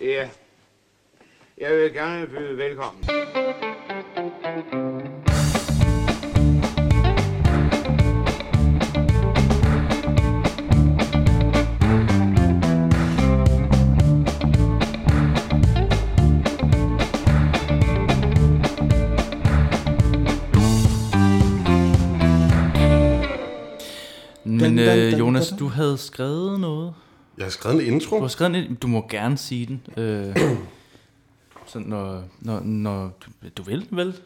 Ja. Jeg vil gerne byde velkommen. Dun, Men dun, dun, øh, Jonas, dun, dun. du havde skrevet noget. Jeg har skrevet en intro. Du har skrevet en, du må gerne sige den. Øh, sådan, når, når, når du, du vil, vel?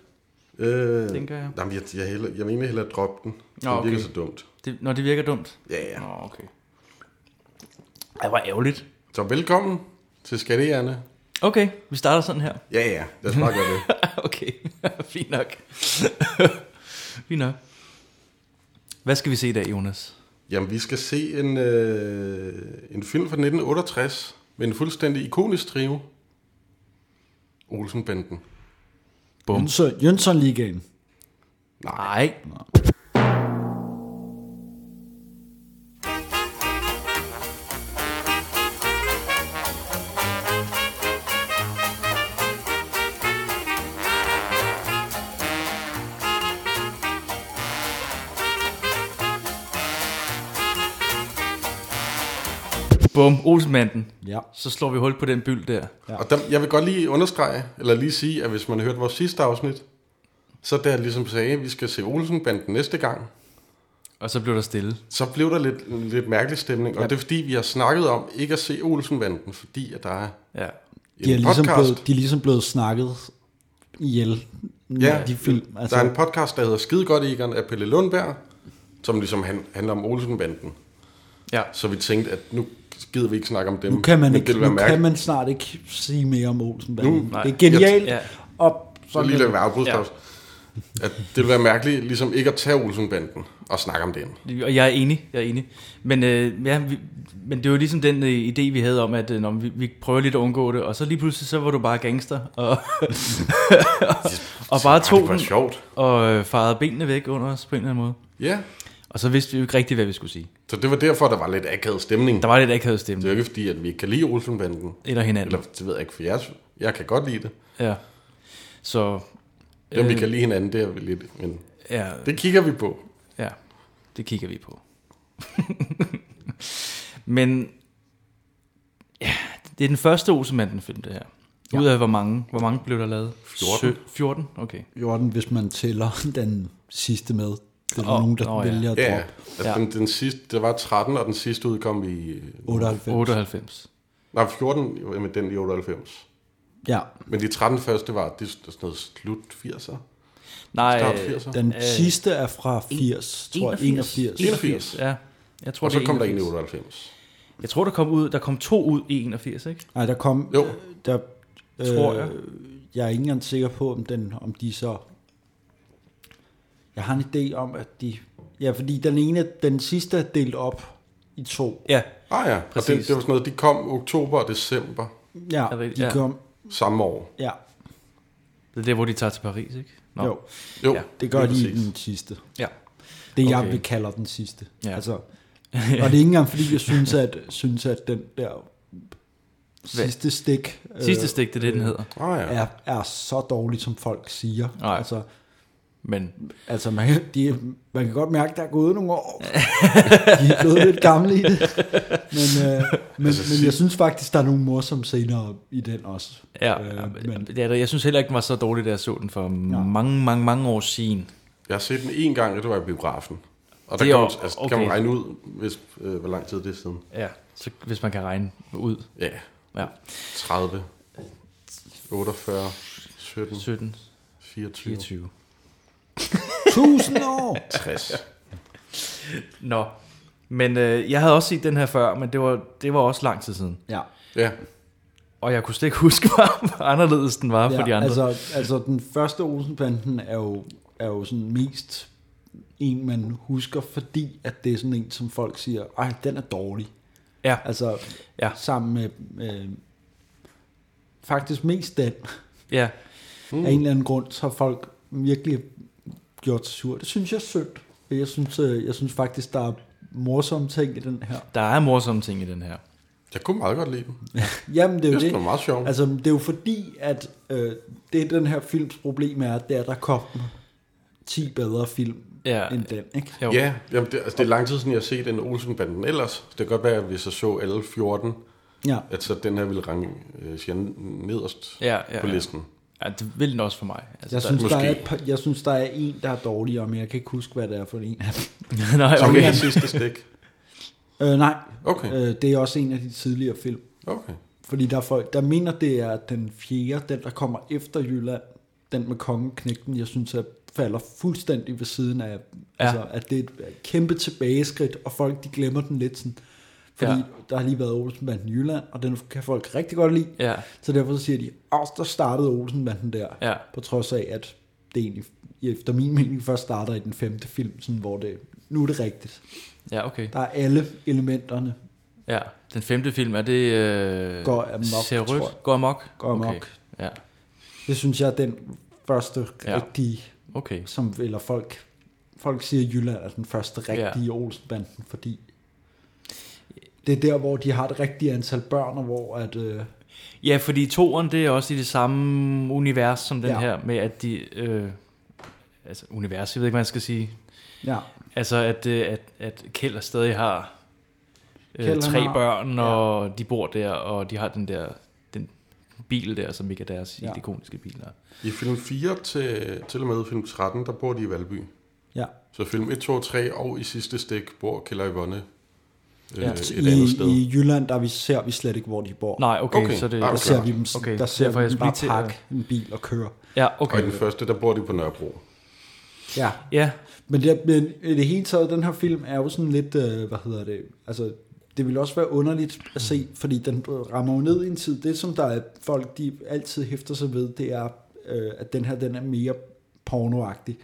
Øh, tænker jeg. Nej, men jeg, jeg, heller, jeg mener heller at droppe den. Det Nå, okay. virker så dumt. Det, når det virker dumt. Ja, ja. Nå, okay. Ej, hvor ærgerligt. Så velkommen til Skattejerne. Okay, vi starter sådan her. Ja, ja. Lad os bare gøre det. okay, fint nok. fint nok. Hvad skal vi se i dag, Jonas? Jamen, vi skal se en, øh, en film fra 1968 med en fuldstændig ikonisk trio. Olsenbanden. Bum. Jønsson, Jønsson Ligaen. Nej. Bum, Olsenmanden. Ja. Så slår vi hul på den byld der. Ja. Og der, jeg vil godt lige understrege, eller lige sige, at hvis man har hørt vores sidste afsnit, så der ligesom sagde, at vi skal se Olsenbanden næste gang, Og så blev der stille. så blev der lidt, lidt mærkelig stemning. Og det er fordi, vi har snakket om ikke at se Olsenbanden, fordi at der er Ja. en De er, ligesom podcast. blevet, de er ligesom blevet snakket ihjel. Ja, de film. Altså... Altså, Der er en podcast, der hedder Skide Godt Egon af Pelle Lundberg, som ligesom han, handler om Olsenbanden. Ja. Så vi tænkte, at nu gider vi ikke snakke om dem. nu kan man, men ikke, det være nu kan mærkeligt. man snart ikke sige mere om Olsen. Det nej. er genialt. Jeg- Og Så lige er lade det. være afbrudt, Ja. ja. At det ville være mærkeligt ligesom ikke at tage Olsenbanden og snakke om den. Og jeg er enig, jeg er enig. Men, øh, ja, vi, men det var ligesom den øh, idé, vi havde om, at øh, når vi, vi prøver lidt at undgå det, og så lige pludselig, så var du bare gangster, og, og bare Ej, ah, det tog var den, sjovt. og øh, farede benene væk under os på en eller anden måde. Ja, Og så vidste vi jo ikke rigtigt, hvad vi skulle sige. så det var derfor, der var lidt akavet stemning. Der Det var lidt akavet er jo stemme, ikke fordi, at vi ikke kan lide Olsenbanden. eller hinanden. Eller det ved jeg ikke, for jeg, jeg kan godt lide det. Ja. Så, Det, Øh. om vi kan lide hinanden, det er vi lidt. Men ja, det kigger vi på. Ja, det kigger vi på. Men ja, det er den første Olsenmanden film det her. Ja. Ud af hvor mange? Hvor mange blev der lavet? 14. 14, okay. Jordan, hvis man tæller den sidste med. Det er der Åh, nogen, der nå ja. vælger at Ja, droppe. altså Ja. ja. Den, den sidste, der var 13, og den sidste udkom i... 98. 98. Nej, 14, jo, men den i 98. Ja, Men de 13 første var, det er sådan noget slut 80'er, Nej, start 80'er. den Øh, sidste er fra 80, tror jeg. 81. 81. ja. Jeg tror, Og så det er kom der en i 81. 98. Jeg tror, der kom, ud, der kom to ud i 81, ikke? Nej, der kom... Jo. Der, øh, Tror jeg. Jeg er ikke engang sikker på, om, den, om de så... Jeg har en idé om, at de... Ja, fordi den ene, den sidste er delt op i to. Ja, Ah ja, og den, Præcis. det var sådan noget, de kom oktober og december Ja, Er det- de ja. kom... samme år. Ja, det er der, hvor de tager til Paris, ikke? Nå. jo. Jo, Ja, Det gør lige de i præcis. den sidste. Ja. Det okay. Okay. jeg vil kalder den sidste. Ja. Altså, og det er ikke engang, fordi jeg synes, at, synes, at den der sidste stik... øh, Sidste Øh, stik, det er det, den hedder. Ah ja. er, er så dårlig, som folk siger. Nej. Altså, Men altså man, kan- de, man kan godt mærke, at der er gået nogle år. De er blevet lidt gamle i det. Men, øh, men, altså, men jeg synes faktisk, der er nogle morsomme scener i den også. ja, Øh, øh, men- men, det er der. jeg synes heller ikke, den var så dårlig, da jeg så den for mange, mange, mange år siden. Jeg har set den en gang, og det var i biografen. Og der Det kan er man, jo- altså, okay. kan man regne ud, hvis, øh, hvor lang tid det er siden. Ja, så hvis man kan regne ud. Ja, Ja, 30, 48, 17, 17, 24, 24. Tusind år! 60. Nå, men øh, jeg havde også set den her før, men det var, det var også lang tid siden. Ja, Ja, Og jeg kunne slet ikke huske, hvor anderledes den var ja, for de ja andre. Altså, altså, altså den første Olsenbanden er jo, er jo sådan mest en, man husker, fordi at det er sådan en, som folk siger, ej, den er dårlig. ja, Altså, Ja. ja. sammen med øh, faktisk mest den. ja, Mm. Af en eller anden grund, så har folk virkelig gjort sig sur. Det synes jeg er synd. For Jeg synes, øh, jeg synes faktisk, der er morsomme ting i den her. der er morsomme ting i den her. Jeg kunne meget godt lide den. Jamen, det er jo Det er det. sgu meget sjovt. Altså, det er jo fordi, at øh, det den her films problem er, det er, at der kom 10 bedre film Ja. end den. Ikke? Jo. Ja, jamen det, altså, det er lang tid siden, jeg har set en Olsenbanden ellers. Det kan godt være, at hvis jeg så alle 14, Ja. at så den her ville range øh, siger jeg, nederst Ja, ja, på ja. listen. ja, det vil den også for mig. Altså, Jeg synes, der er, måske. et par, jeg synes, der er en, der er dårligere, men jeg kan ikke huske, hvad det er for en. der... Nej, Som okay. det sidste stik. øh, nej, Okay. øh, det er også en af de tidligere film. Okay. Fordi der er folk, der mener, det er den fjerde, den der kommer efter Jylland, den med kongeknægten, jeg synes, at falder fuldstændig ved siden af, ja. altså, at det er et kæmpe tilbageskridt, og folk de glemmer den lidt sådan, fordi Ja. ja. der har lige været Olsenbanden i Jylland, og den kan folk rigtig godt lide, Ja. så derfor så siger de, at der startede Olsenbanden der, Ja. på trods af, at det egentlig, efter min mening, først starter i den femte film, sådan, hvor det, nu er det rigtigt. Ja, okay. Der er alle elementerne, Ja. Den femte film, er det... Øh... Går amok, Ser tror rødt? jeg. Går amok? Går amok. Okay. Ja, det synes jeg er den første Ja. rigtige okay. som, eller folk, folk siger, at Jylland er den første rigtige ja. Olsenbanden, fordi det er der, hvor de har et rigtigt antal børn, og hvor at, øh, Ja, fordi toren, det er også i det samme univers som den ja. Ja. her, med at de... Øh... Altså, univers, jeg ved ikke, hvad man skal sige. ja, Altså, at, øh, at, at Kjeld stadig har øh, Kjeld, han tre har- børn, og de bor der, og de har den der den bil der, som ikke er deres ja. Ja. ikoniske biler. I film 4 til, til og med film 13, der bor de i Valby. ja. Så film 1, 2 og 3 og i sidste stik bor Killer Yvonne øh, Ja. ja. et I, andet sted. I Jylland, der vi, ser vi slet ikke, hvor de bor. Nej, okay, okay. Okay. så det... Ah, der okay. ser vi dem, Okay, okay. der ser derfor vi jeg dem skulle bare lige til pakke en bil og køre. Ja, Og i den okay. første, der bor de på Nørrebro. Ja, Ja, men, det, men i det hele taget, den her film er jo sådan lidt, øh, hvad hedder det, altså det ville også være underligt at se, fordi den rammer jo ned i en tid. Det, som der er folk, de altid hæfter sig ved, det er, øh, at den her, den er mere pornoagtig.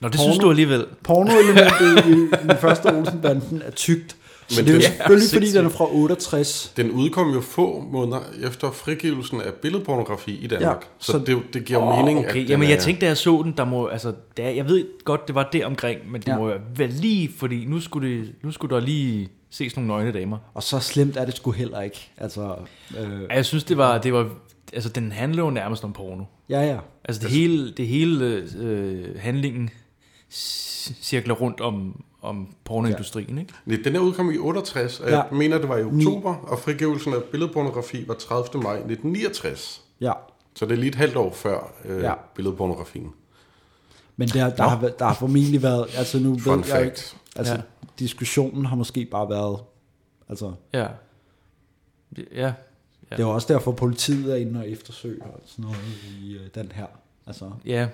Nå, det Porno. synes du alligevel. Pornoelementet i, i den første Olsenbanden er tykt. Men Men det er jo det- selvfølgelig, Ja, fordi den er fra 68. Den udkom jo få måneder efter frigivelsen af billedpornografi i Danmark. Ja, Ja, så, så- så det, det giver oh, mening, at Okay, den jamen er- jeg tænkte, da jeg så den, der må, altså, der, jeg ved godt, det var der omkring, men det ja. Ja. må jo være lige, fordi nu skulle, det, nu skulle der lige ses nogle nøgne damer. Og så slemt er det sgu heller ikke. Altså, øh, Ja, Jeg synes, det var, det var, altså den handler jo nærmest om porno. ja, ja. Altså det hele, det hele øh, handlingen c- cirkler rundt om, om pornoindustrien, ikke? Nej, den her udkom i 68, og Ja. ja. jeg mener, det var i oktober, og frigivelsen af billedpornografi var 30. maj 1969. ja. Så det er lige et halvt år før øh, Ja. ja. billedpornografien. Men der, der, har, væ- der har formentlig været, altså nu Fun ved jeg ikke, fact. altså Ja. ja. diskussionen har måske bare været, altså Ja. Ja. Ja. det er jo også derfor politiet er inde og eftersøger og sådan noget i øh, den her, altså Ja.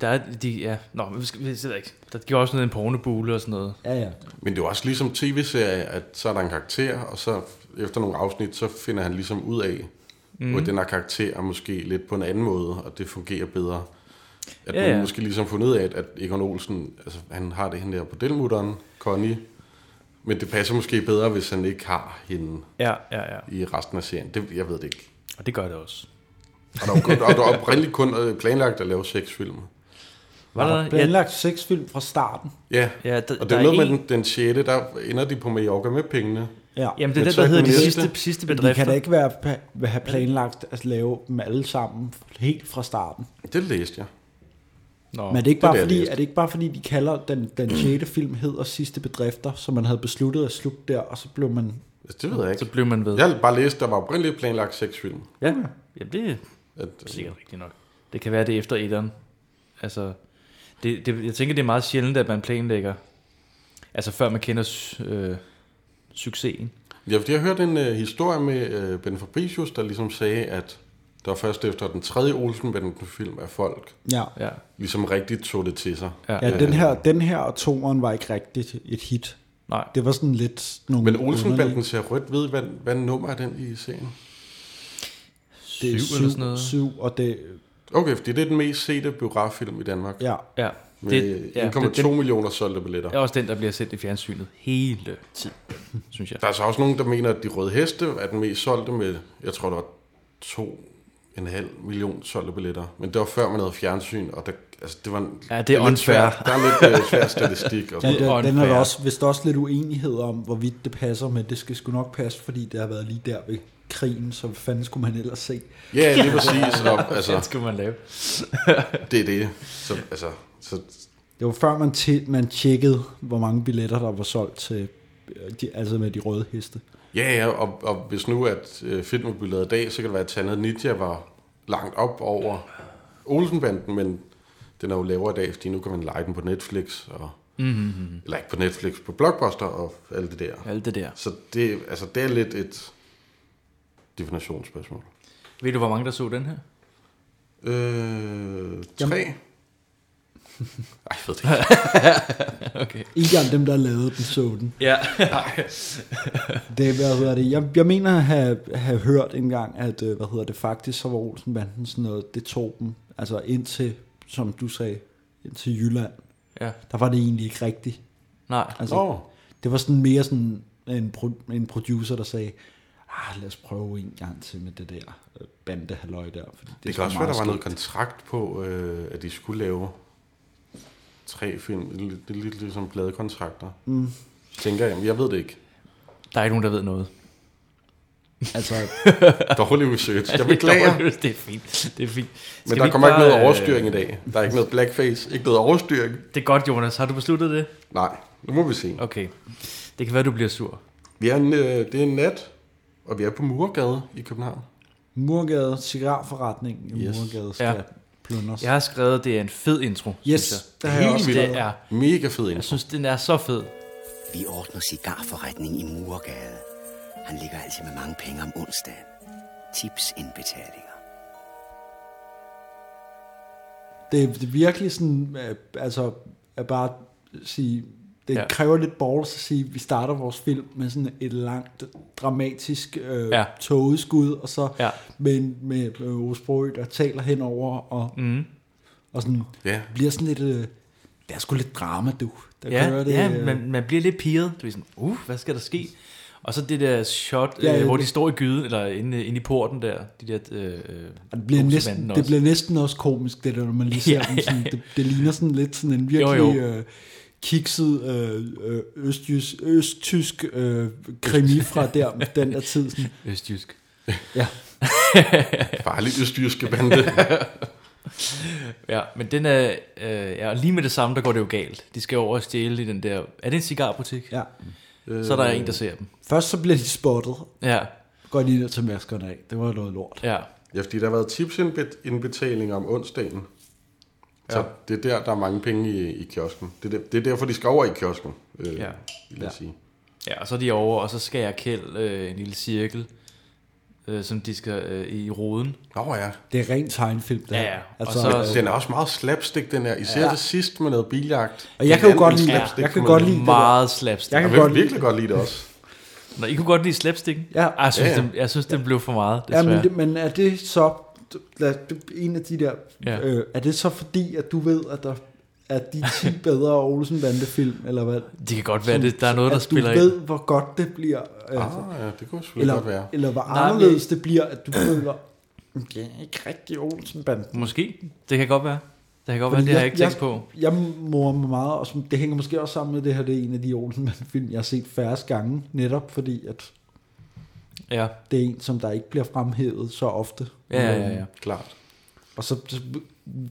Der er de, ja. Nå, men vi skal, vi sidder ikke. Der gjorde også noget en pornobule og sådan noget. ja ja, Men det er jo også ligesom tv-serie, at så er der en karakter, og så efter nogle afsnit, så finder han ligesom ud af, Mhm. mm. hvor den her karakter er måske lidt på en anden måde, og det fungerer bedre. At Ja, ja, ja. ja. man måske ligesom fundet ud af, at- at Egon Olsen, altså han har det hende der bordelmutteren, Connie, men det passer måske bedre, hvis han ikke har hende Ja, ja, ja. i resten af serien. Det, jeg ved det ikke. Og det gør det også. Og der var, kun, og der var oprindeligt kun øh, planlagt at lave seks film. Var der der, har ja, planlagt seks film fra starten, Ja, ja, der, og det der er noget en, med den, den sjette, der ender de på Mallorca med pengene. ja. Jamen, det er Men den, så der er hedder den de næste. sidste, sidste Men de bedrifter. kan da ikke være, pa- have planlagt at lave dem alle sammen helt fra starten. Det læste jeg. Nå, Men er det ikke det er bare, det, jeg fordi, læste. er det ikke bare fordi, de kalder den, den 6. film hedder Sidste Bedrifter, så man havde besluttet at slutte der, og så blev man... Altså, det ved jeg ikke. så blev man ved. Jeg har bare læst, der var oprindeligt planlagt seks film. ja. ja det er At, øh, sikkert rigtigt nok. Det kan være, det er efter etteren. Altså, det, det, jeg tænker, det er meget sjældent, at man planlægger, altså før man kender su- øh, succesen. ja, fordi jeg hørte en øh, historie med øh, Ben Fabricius, der ligesom sagde, at der var først efter den tredje Olsen-film, at folk Ja, Ja, ligesom rigtigt tog det til sig. Øh, ja. ja. ja den, her, den her og toeren var ikke rigtigt et hit. Nej, Det var sådan lidt nogle... Men underlige- Olsen-banden ser rødt ved, hvad, hvad nummer er den i serien? det er syv eller sådan noget. Syv, og det... Okay, fordi det er den mest sete biograffilm i Danmark. Ja, Ja, Med ja, 1,2 millioner solgte billetter. det er også den, der bliver sendt i fjernsynet hele tiden, synes jeg. Der er så også nogen, der mener, at De Røde Heste er den mest solgte med, jeg tror, der var to en halv million solgte billetter. Men det var før man havde fjernsyn, og der, altså, det var en, Ja, det er lidt unfair. svær- Der er lidt øh, svær statistik. Og Ja, sådan noget. den, den er unfair. der også, vist også lidt uenighed om, hvorvidt det passer, men det skal sgu nok passe, fordi det har været lige der ved krigen, så hvad fanden skulle man ellers se? Ja, lige præcis. Og, Hvad altså, skulle man lave? det er det. Så, altså, så Det var før man, til, man tjekkede, hvor mange billetter, der var solgt til, øh, de, altså med de røde heste. Ja, ja, og, og hvis nu at øh, Fedtmobil lavede i dag, så kan det være, at Tandet Ninja var langt op over Olsenbanden, men den er jo lavere i dag, fordi nu kan man lege den på Netflix, og, mm-hmm. eller ikke på Netflix, på Blockbuster og alt det der. Ja. Alt det der. Så det, altså, det er lidt et definitionsspørgsmål. Ved du, hvor mange der så den her? Øh, Jamen. tre? Ej, jeg ved det ikke. Okay. Ikke engang dem, der lavede den, så den. Ja. Det, hvad hedder det? Jeg, jeg mener at have, have hørt engang, at øh, hvad hedder det, faktisk så var Olsenbanden sådan noget, det tog dem, altså indtil, som du sagde, indtil Jylland, ja. der var det egentlig ikke rigtigt. Nej. Altså, Nå, Det var sådan mere sådan en, pro- en producer, der sagde, ah, lad os prøve en gang til med det der øh, bandehalløj der. Fordi det, det, det sgu kan også være, meget der var noget skægt." kontrakt på, øh, at de skulle lave tre film. Det er lidt- det er lidt ligesom pladekontrakter. Mm. Tænker jeg, men jeg ved det ikke. Der er ikke nogen, der ved noget. Altså, Dårlig research. Jeg beklager, det er fint. Det er fint. Skal men vi der kommer ikke noget bare, øh, overstyring i dag. Der er ikke noget blackface, ikke noget overstyring. Det er godt, Jonas. Har du besluttet det? Nej, nu må vi se. Okay. Det kan være, du bliver sur. Vi er en, øh, det er en nat, og vi er på Murgade i København. Murgade, cigarforretningen i Yes. yes. Murgade skal Ja. ja. plundres. Jeg har skrevet, det er en fed intro, synes jeg. Yes, der har jeg Helt også vildt. skrevet. Det er. Mega fed Jeg intro. synes, den er så fed. Vi ordner cigarforretning i Murgade. Han ligger altid med mange penge om onsdagen. Tips indbetalinger. Det, er- det er virkelig sådan, øh, altså, at bare sige, det Ja. ja. kræver lidt balls at sige, vi starter vores film med sådan et langt, dramatisk øh, Ja. ja. togeskud, og så Ja. ja. med, med, med Osbro, der taler henover, og, Mhm. mm. og sådan, Ja. bliver sådan lidt, øh, der er sgu lidt drama, du. Der Ja, kører det, ja øh, man, man bliver lidt piret. Du er sådan, uh, hvad skal der ske? Og så det der shot, Ja, ja, øh, ja, hvor det- de står i gyden, eller inde, inde i porten der. De der øh, og det, bliver næsten, det også. bliver næsten også komisk, det der, når man lige ser Ja, ja, dem. ja, Sådan, det, det ligner sådan lidt sådan en virkelig Jo, jo. Øh, kikset øh, øh, østjys, østtysk øh, krimi fra der, den der tid. Sådan. Østjysk. Ja. Farlig østjyske bande. Ja, men den er... Øh, ja, og lige med det samme, der går det jo galt. De skal jo over og stjæle i den der... Er det en cigarbutik? Ja. Øh. Så er der en, der ser dem. Først så bliver de spottet, Ja, går de ned til maskerne af. Det var noget lort. ja. Ja, fordi der har været tipsindbetalinger om onsdagen. Så det er der, der er mange penge i, i kiosken. Det er, der, det er derfor, de skal over i kiosken, øh, Ja. ja. vil jeg ja. sige. Ja, og så er de over, og så skærer Kjeld øh, en lille cirkel, øh, som de skal øh, i roden. Nå ja. Det er rent tegnfilm, det Ja, her. ja. Og Altså, så- og, Den er også meget slapstick, den her. Især ja. Ja. det sidste med noget biljagt. og jeg kan jo godt lide, slapstick jeg kan godt lide det der. Meget slapstick. Jeg Jeg kan vil godt lide virkelig godt lide det også. Nå, I kunne godt lide slapsticken? Ja. Ej, jeg synes, Ja, ja. Den, jeg synes den blev for meget, Ja, desværre. men, det, men er det så lad, en af de der, Ja. ja. øh, er det så fordi, at du ved, at der er de 10 bedre Olsen Bande film, eller hvad? det kan godt være, det, der er noget, der at spiller altså, du ind. ved, hvor godt det bliver, øh, Ah, ja, det kunne selvfølgelig eller, godt være. eller hvor Nej, men- anderledes det bliver, at du føler, det er ikke rigtig Olsen Bande. Måske. Det kan godt være. Det kan godt være, det har jeg ikke tænkt på. Jeg, jeg morer mig meget, og som, det hænger måske også sammen med det her, det er en af de Olsen Bande film, jeg har set færrest gange, netop fordi, at Ja, det er en, som der ikke bliver fremhævet så ofte. ja, ja, ja. ja. Klart. Og så, så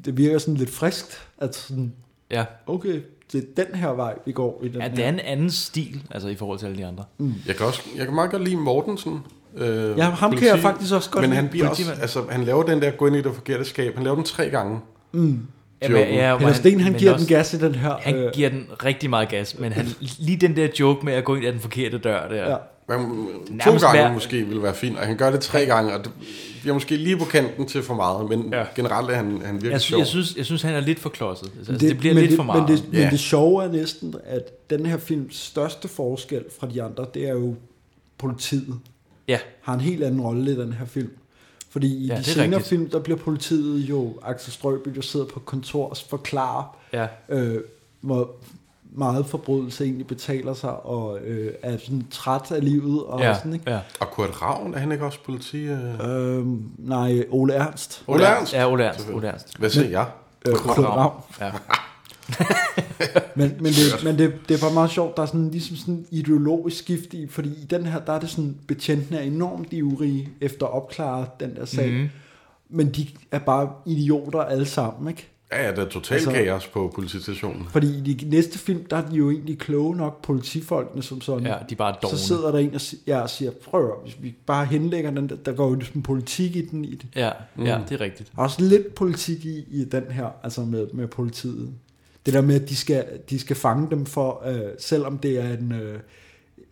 det virker sådan lidt friskt, at sådan, ja. okay, det er den her vej, vi går i den ja det er her. en anden stil, altså i forhold til alle de andre. Jeg kan, også, jeg kan meget godt lide Mortensen. Øh, Ja, ham kan jeg faktisk også godt Men lide. han, bliver også, Politimand. altså, han laver den der gå ind i det forkerte skab. Han laver den tre gange. Jamen, Joken. hvor Peter Sten, han men giver også- den gas i den her. Han øh, giver den rigtig meget gas, men han, lige den der joke med at gå ind ad den forkerte dør der. ja. Man, to Nærmest gange hver- hver... måske ville være fint, og han gør det tre gange, og det bliver måske lige på kanten til for meget, men Ja. ja. generelt er han, han virkelig Jeg, sy- sjov. jeg, synes, jeg synes, han er lidt for klodset. Altså, det, Det- det bliver men lidt det, for meget. Men det, Ja. men det sjove er næsten, at den her films største forskel fra de andre, det er jo politiet. ja, Har en helt anden rolle i den her film. Fordi i Ja, ja, de det er senere rigtigt. film, der bliver politiet jo, Axel Strøby, der sidder på et kontor og forklarer, ja. øh, hvor, meget forbrydelse egentlig betaler sig, og øh, er sådan træt af livet, og ja, ja. sådan, ikke? ja. Og Kurt Ravn, er han ikke også politi? Øh? Øhm, nej, Ole Ernst. Ole Ernst? Ja, Ole Ernst. Ole Ernst. Hvad siger jeg? Øh, Kurt Ravn. Ravn. Ja. Men, men, det, men det, det er bare meget sjovt, der er sådan ligesom sådan en ideologisk skift i, fordi i den her, der er det sådan, betjentene er enormt ivrige efter at opklare den der sag, Mhm. mm. men de er bare idioter alle sammen, ikke? Ja, ja, der er total Altså- altså, kaos på politistationen. Fordi i de næste film, der er de jo egentlig kloge nok, politifolkene som sådan. ja, de er bare dogne. så sidder der en og, si- ja, og siger, prøv at høre, hvis vi bare henlægger den, der, der går jo ligesom politik i den i det. Ja, Mm. ja, det er rigtigt. Der er også lidt politik i, i den her, altså med, med politiet. Det der med, at de skal, de skal fange dem for, øh, selvom det er en, øh,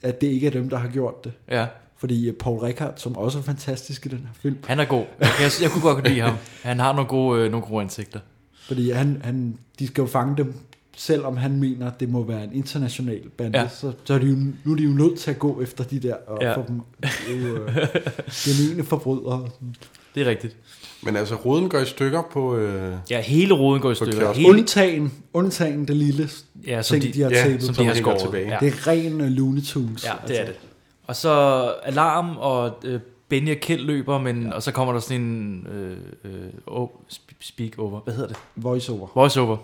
at det ikke er dem, der har gjort det. Ja. Fordi øh, Paul Rickard, som også er fantastisk i den her film, Han er god. Jeg, jeg, jeg kunne godt kunne lide ham. Han har nogle gode, øh, nogle gode ansigter. fordi han, han, de skal jo fange dem, selvom han mener, at det må være en international bande, Ja. ja. så, så er de jo, nu er de jo nødt til at gå efter de der, og Ja. ja. få dem øh, gemene forbrydere. Det er rigtigt. Men altså, roden går i stykker på... Øh, Ja, hele roden går i stykker. kiosken. Hele, Undtagen, undtagen det lille ja, som ting, de, de har ja, tapet. som som de har hænger skåret. tilbage. Ja. Det er ren øh, Looney Tunes. altså, Ja, det er det. Og så alarm, og øh, Benny og Kjeld løber, men, ja. og så kommer der sådan en øh, øh, oh, sp- speak over. Hvad hedder det? Voiceover. Voice over.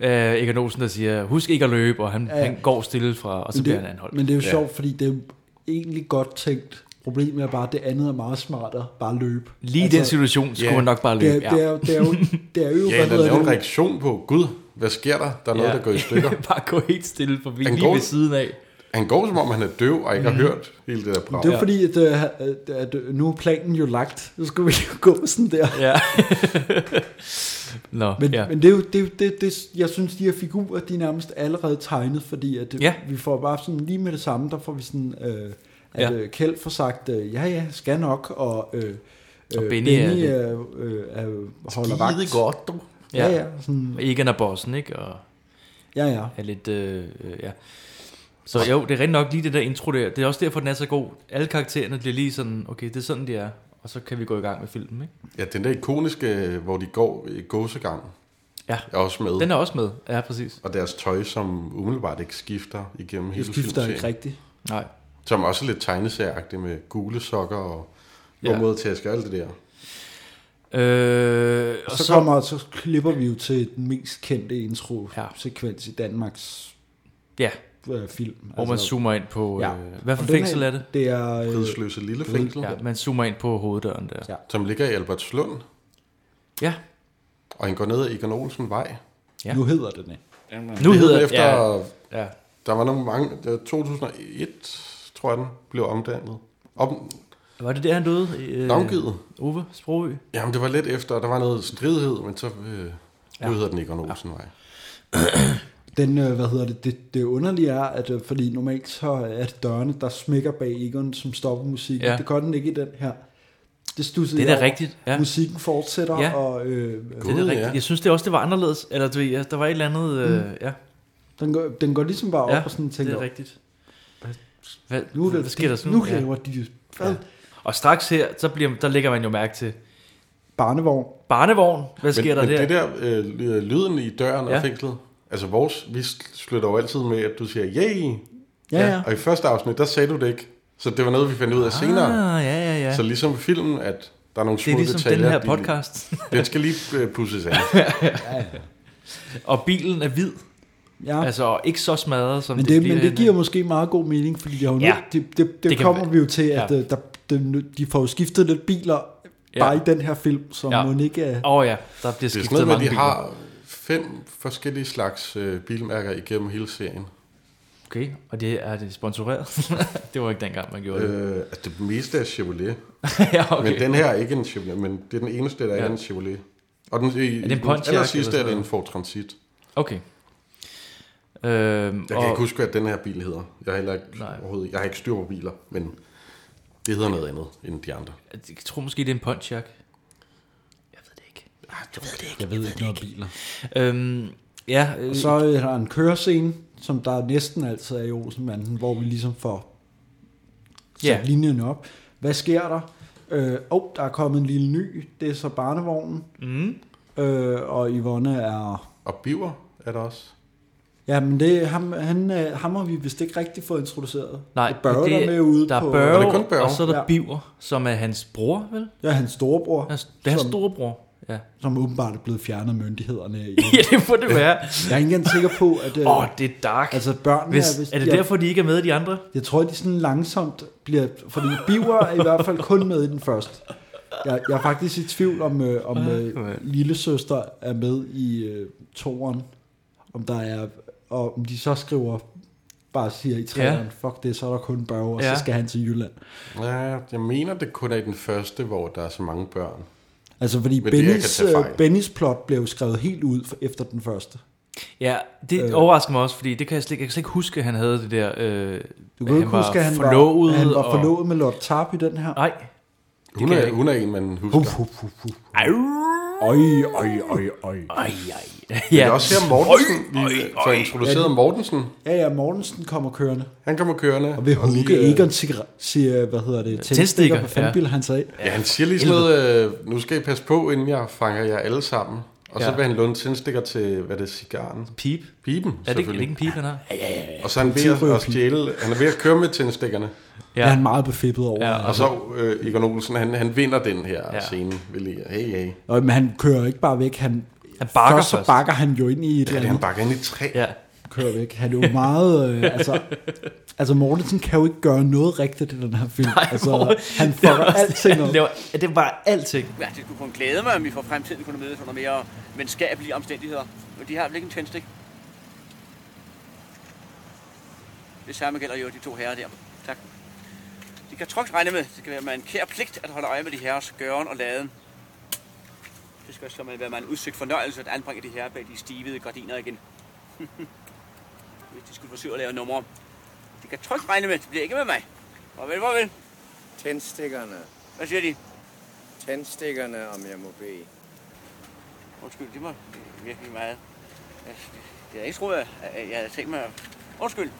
øh, Egon Olsen, der siger, husk ikke at løbe, og han, ja. Ja. han går stille fra, og så Men bliver han det, anholdt. men det er jo Ja. sjovt, fordi det er jo egentlig godt tænkt. Problemet er bare, at det andet er meget smartere. Bare løbe. Altså, Lige i den situation skulle ja. han nok bare Det er, løbe. det er, jo- det er jo, det er jo ja, hvad der laver hedder en det? reaktion på, gud, hvad sker der? Der er noget, der går i stykker. bare gå helt stille forbi, Han lige går- ved siden af. Han Han går, som om han er døv og ikke Mhm. har hørt hele det der brag. Det er jo fordi, at, øh, at, at øh, nu er planen jo lagt. Nu skal vi jo gå sådan der. Ja. Nå, Men, ja. ja. men det er jo, det, er jo- det, det, jeg synes, de her figurer, de er nærmest allerede tegnet, fordi at Ja. ja. vi får bare sådan lige med det samme, der får vi sådan, øh, at Ja. ja. Kjeld får sagt, øh, ja ja, skal nok, og, øh, Og øh, Benny Benny er det. er, øh, er, holder vagt. godt, du. Ja ja, sådan, Egon er bossen, ikke? Og ja ja. er lidt, øh, øh, ja. Så jo, det er rent nok lige det der intro der. Det er også derfor, den er så god. Alle karaktererne bliver lige sådan, okay, det er sådan, de er. Og så kan vi gå i gang med filmen, ikke? Ja, den der ikoniske, hvor de går i gåsegang, Ja. er også med. Den er også med. Ja, præcis. Og deres tøj, som umiddelbart ikke skifter igennem hele Det skifter filmserien. ikke rigtigt. Nej. Som også er lidt tegneserieagtigt med gule sokker og Ja. ja. måde til at alt det der. Øh, og Og så, så kommer så klipper vi jo til den mest kendte intro Ja. sekvens i Danmarks Ja, øh, film. hvor man zoomer ind på... Ja. Øh, hvad for en Og den fængsel er det? Det er øh, Ridsløse lille fængsel, ja. Ja, man zoomer ind på hoveddøren der. Ja. som ligger i Albertslund. Ja. Og han går ned ad Egon Olsen vej. Ja. nu hedder den. ikke? Nu hedder Det hedder efter, Ja, ja. ja. der var nogle mange, det var 2001, tror jeg den, blev omdannet. Om, Var det der, han døde? Øh, navngivet. Ove Sprogø? Jamen, det var lidt efter, der var noget stridighed, men så øh, ja. nu hedder den Egon Olsen vej. Den, øh, hvad hedder det, det, det underlige er, at øh, fordi normalt så er det dørene, der smækker bag Egon, som stopper musikken. Ja. Ja. Det gør den ikke i den her. Det Det stussede er da jeg over. rigtigt, ja. Musikken fortsætter, Ja. ja. og øh, Det er da Gud, rigtigt. ja. Mm. Jeg synes det også, det var anderledes. Eller du ved, ja, der var et eller andet... Øh, ja. den, går, den går ligesom bare op ja, og sådan det tænker, er rigtigt. Hvad, nu, hvad det- sker der så nu? nu Ja. laver de jo ja. Og straks her, så bliver, der lægger man jo mærke til barnevogn. barnevogn. Hvad sker men, der men der? det der øh, ly- lyden i døren ja. Ja. af fængslet, altså vores, vi slutter jo altid med, at du siger, yay! Ja, Ja. ja. ja. Og i første afsnit, der sagde du det ikke. Så det var noget, vi fandt ud af ah, senere. Ah, ja, ja, ja. Så ligesom i filmen, at der er nogle det er små ligesom detaljer. den her de- podcast. Den skal lige øh, pudses af. og bilen er hvid. ja. Altså, og ikke så smadret, som Men det, det, bliver. men det i- giver måske meget god mening, fordi de har jo Ja. ja. det, det, det, Det kan kommer være- vi jo til, at ja. ja. der, de, de får jo skiftet lidt biler Ja. ja. bare i den her film, som Ja. ja. må ikke er... Åh oh, ja, der bliver Det er skiftet sådan noget, mange med, at de biler. har fem forskellige slags øh, bilmærker igennem hele serien. Okay, og det er det sponsoreret. det var ikke dengang, man gjorde det. Øh, altså det meste er Chevrolet. ja, okay. Okay. Men den her er ikke en Chevrolet, men det er den eneste, der ja. Ja. er en Chevrolet. Og den, i, en er den Pontiac aller eller sidste sådan er det en noget? Ford Transit. Okay. Øhm, Jeg kan ikke huske, hvad den her bil hedder. Jeg har, heller ikke, Nej. overhovedet, jeg har ikke styr på biler, men det hedder noget andet end de andre. Jeg tror måske, det er en Pontiac. Jeg Ah, ved det ikke. Jeg ved ikke noget om biler. Øhm, ja, øh, Og så øh, er der en kørescene, som der næsten altid er i Olsenbanden, hvor vi ligesom får sat Ja. ja. linjen op. Hvad sker der? Øh, oh, der er kommet en lille ny, det er så barnevognen, mm, øh, og Yvonne er... Og biver er der også. Ja, men det, ham, han, øh, ham har vi vist ikke rigtig fået introduceret. Nej, det børger men der med ude der på... er Er Børge, det kun Børge? og så er der Ja. Biver, som er hans bror, vel? Ja, hans storebror, Hans- Det er hans Som- storebror. Ja. som åbenbart er blevet fjernet af myndighederne. i- ja, det må det være. Jeg er ikke engang sikker på, at... øh, Åh, oh, det er dark. Altså børnene Hvis, er vist... er det jeg, derfor, de ikke er med i de andre? Jeg tror, de sådan langsomt bliver... Fordi Biver er i hvert fald kun med i den første. Jeg, jeg er faktisk i tvivl om, øh, om øh, lillesøster er med i øh, toren. Om der er... Og om de så skriver bare siger i træerne, ja. fuck det, så er der kun Børge, og ja. Ja. så skal han til Jylland. Ja, jeg mener, det kun er i den første, hvor der er så mange børn. Altså, fordi Men det, jeg kan Bennys, tage fejl. øh, Bennys plot blev jo skrevet helt ud for- efter den første. Ja, det øh. overrasker mig også, fordi det kan jeg, slet, jeg kan slet ikke huske, at han havde det der... Øh, Du kan jo ikke huske, at han forlovet var, han var og- forlovet med Lord Tarp i den her. Nej. Hun, kan jeg er, ikke. hun er en, man husker. Uf, uf, uf, uf. Ej, Øj, øj, øj, øj. ej, ej. Det Ja. er også her Mortensen, vi får introduceret Mortensen. Ja, ja, Mortensen kommer kørende. Han kommer kørende. Og vil hugge lige, øh, Egon cigaret, siger, hvad hedder det, tændstikker, tændstikker på fandbil, ja. han sagde. Ja, han siger lige sådan noget, øh, nu skal I passe på, inden jeg fanger jer alle sammen. Og så Ja. vil han låne tændstikker til, hvad er det er, cigaren? Pip. Piben, Er det, ikke- er det selvfølgelig. ikke en pip, han har? Og så er han ved at, Tilrører at stjæle, han er ved at køre med tændstikkerne. Ja. Ja. Er han meget befippet over. Ja, Ja. Og så øh, Egon Olsen, han, han vinder den her Ja. ja. scene. Ved lige, hey, hey. Og, men han kører ikke bare væk, han, Han bakker først, så først. bakker han jo ind i et Ja, ja, det eller er han andet, bakker ind i et træ. Ja. kører væk. Han er jo meget, øh, altså, altså Mortensen kan jo ikke gøre noget rigtigt i den her film. Nej, altså, han Det fucker var også- alting op. han laver- ja, Det var alting. Ja, det skulle kun glæde mig, om vi for fremtiden kunne mødes under mere venskabelige omstændigheder. Men de har vel ikke en tændstik? Det samme gælder jo de to herrer der. Tak. De kan trygt regne med, det skal være med en kær pligt at holde øje med de herres gøren og laden. Det skal så være med en udsøgt fornøjelse at anbringe de herrer bag de stivede gardiner igen. Hvis de skulle forsøge at lave numre. De kan trygt regne med, det bliver ikke med mig. Hvorvel, hvorvel. Tændstikkerne. Hvad siger de? Tændstikkerne, om jeg må bede. Undskyld, det var virkelig meget. Jeg, jeg havde ikke troet, at at jeg havde tænkt mig... at- Undskyld.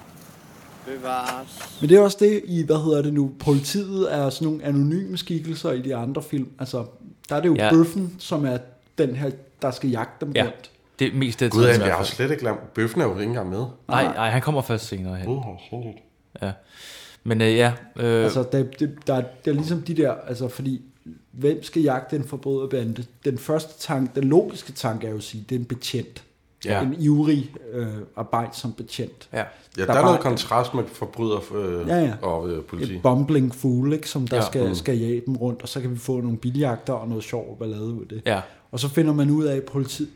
Bevares. Men det er også det i, hvad hedder det nu, politiet er sådan nogle anonyme skikkelser i de andre film. Altså, der er det jo ja. Ja. bøffen, som er den her, der skal jagte dem Ja. rundt. Det er mest det. Gud, han er også slet ikke glemt. Bøffen er jo ikke engang med. Nej, nej, han kommer først senere hen. Det er sindssygt. Ja. Men øh, ja, øh, Altså, der, det, der, er- der er ligesom de der, altså fordi, hvem skal jagte en forbryderbande? Den første tanke, den logiske tanke er jo at sige, det er en betjent. Ja. En ivrig øh, arbejde som betjent. ja. Ja, der, der Der bare- er noget kontrast med forbryder øh, Ja, ja, ja. ja. og øh, politi. Et bumbling fool, ikke, som der ja. Ja. Mm. skal, skal jage dem rundt, og så kan vi få nogle biljagter og noget sjov ballade ud af det. Ja. Og så finder man ud af, at politi,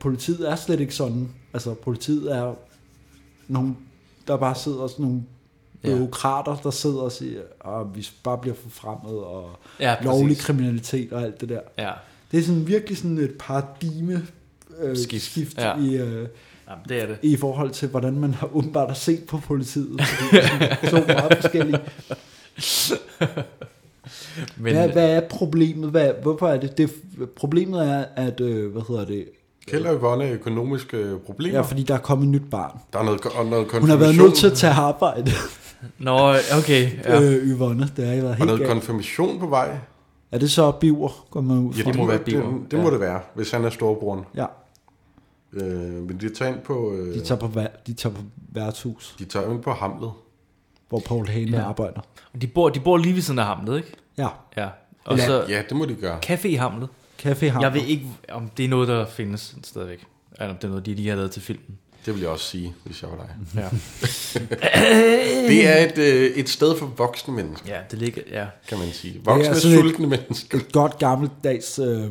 politiet er slet ikke sådan. Altså, politiet er nogle, der bare sidder sådan nogle Ja. byråkrater, der sidder og siger, at vi bare bliver forfremmet, og Ja, ja, præcis. lovlig kriminalitet og alt det der. Ja. Det er sådan virkelig sådan et paradigme øh, skift, skift ja. Ja. i, øh, Jamen, det er det. i forhold til, hvordan man har åbenbart har set på politiet. Fordi det er sådan så meget forskelligt. Men, øh, Hvad, hvad er problemet? Hvad, hvorfor er det? det? Problemet er, at, øh, hvad hedder det? Kjeld og Yvonne er økonomiske øh, problemer. Ja, Ja, fordi der er kommet et nyt barn. Der er noget, og noget konfirmation. Hun har været nødt til at tage arbejde, Nå, okay. Ja. ja. øh, Yvonne. Det har jeg været Og helt noget galt. konfirmation på vej. Er det så biver, går man ud Ja, fra? det, må må, være det, Bieber. det, det må det være, hvis han er storebroren. Ja, Øh, men de tager ind på, øh, de tager på, vær- de tager på værtshus, de tager ind på hamlet. hvor Paul Hane ja. Ja. arbejder. De bor, de bor lige ved siden af Hamlet, ikke? Ja, Ja. Og Eller- så Ja, det må de gøre. Café i Hamlet. Café Hammer. Jeg ved ikke, om det er noget, der findes stadigvæk. Eller om det er noget, de lige har lavet til filmen. Det vil jeg også sige, hvis jeg var dig. Ja, Det er et, øh, et sted for voksne mennesker, ja det ligger... Ja. kan man sige. Voksne, Ja, ja, sådan et- sultne mennesker. et godt gammeldags øh,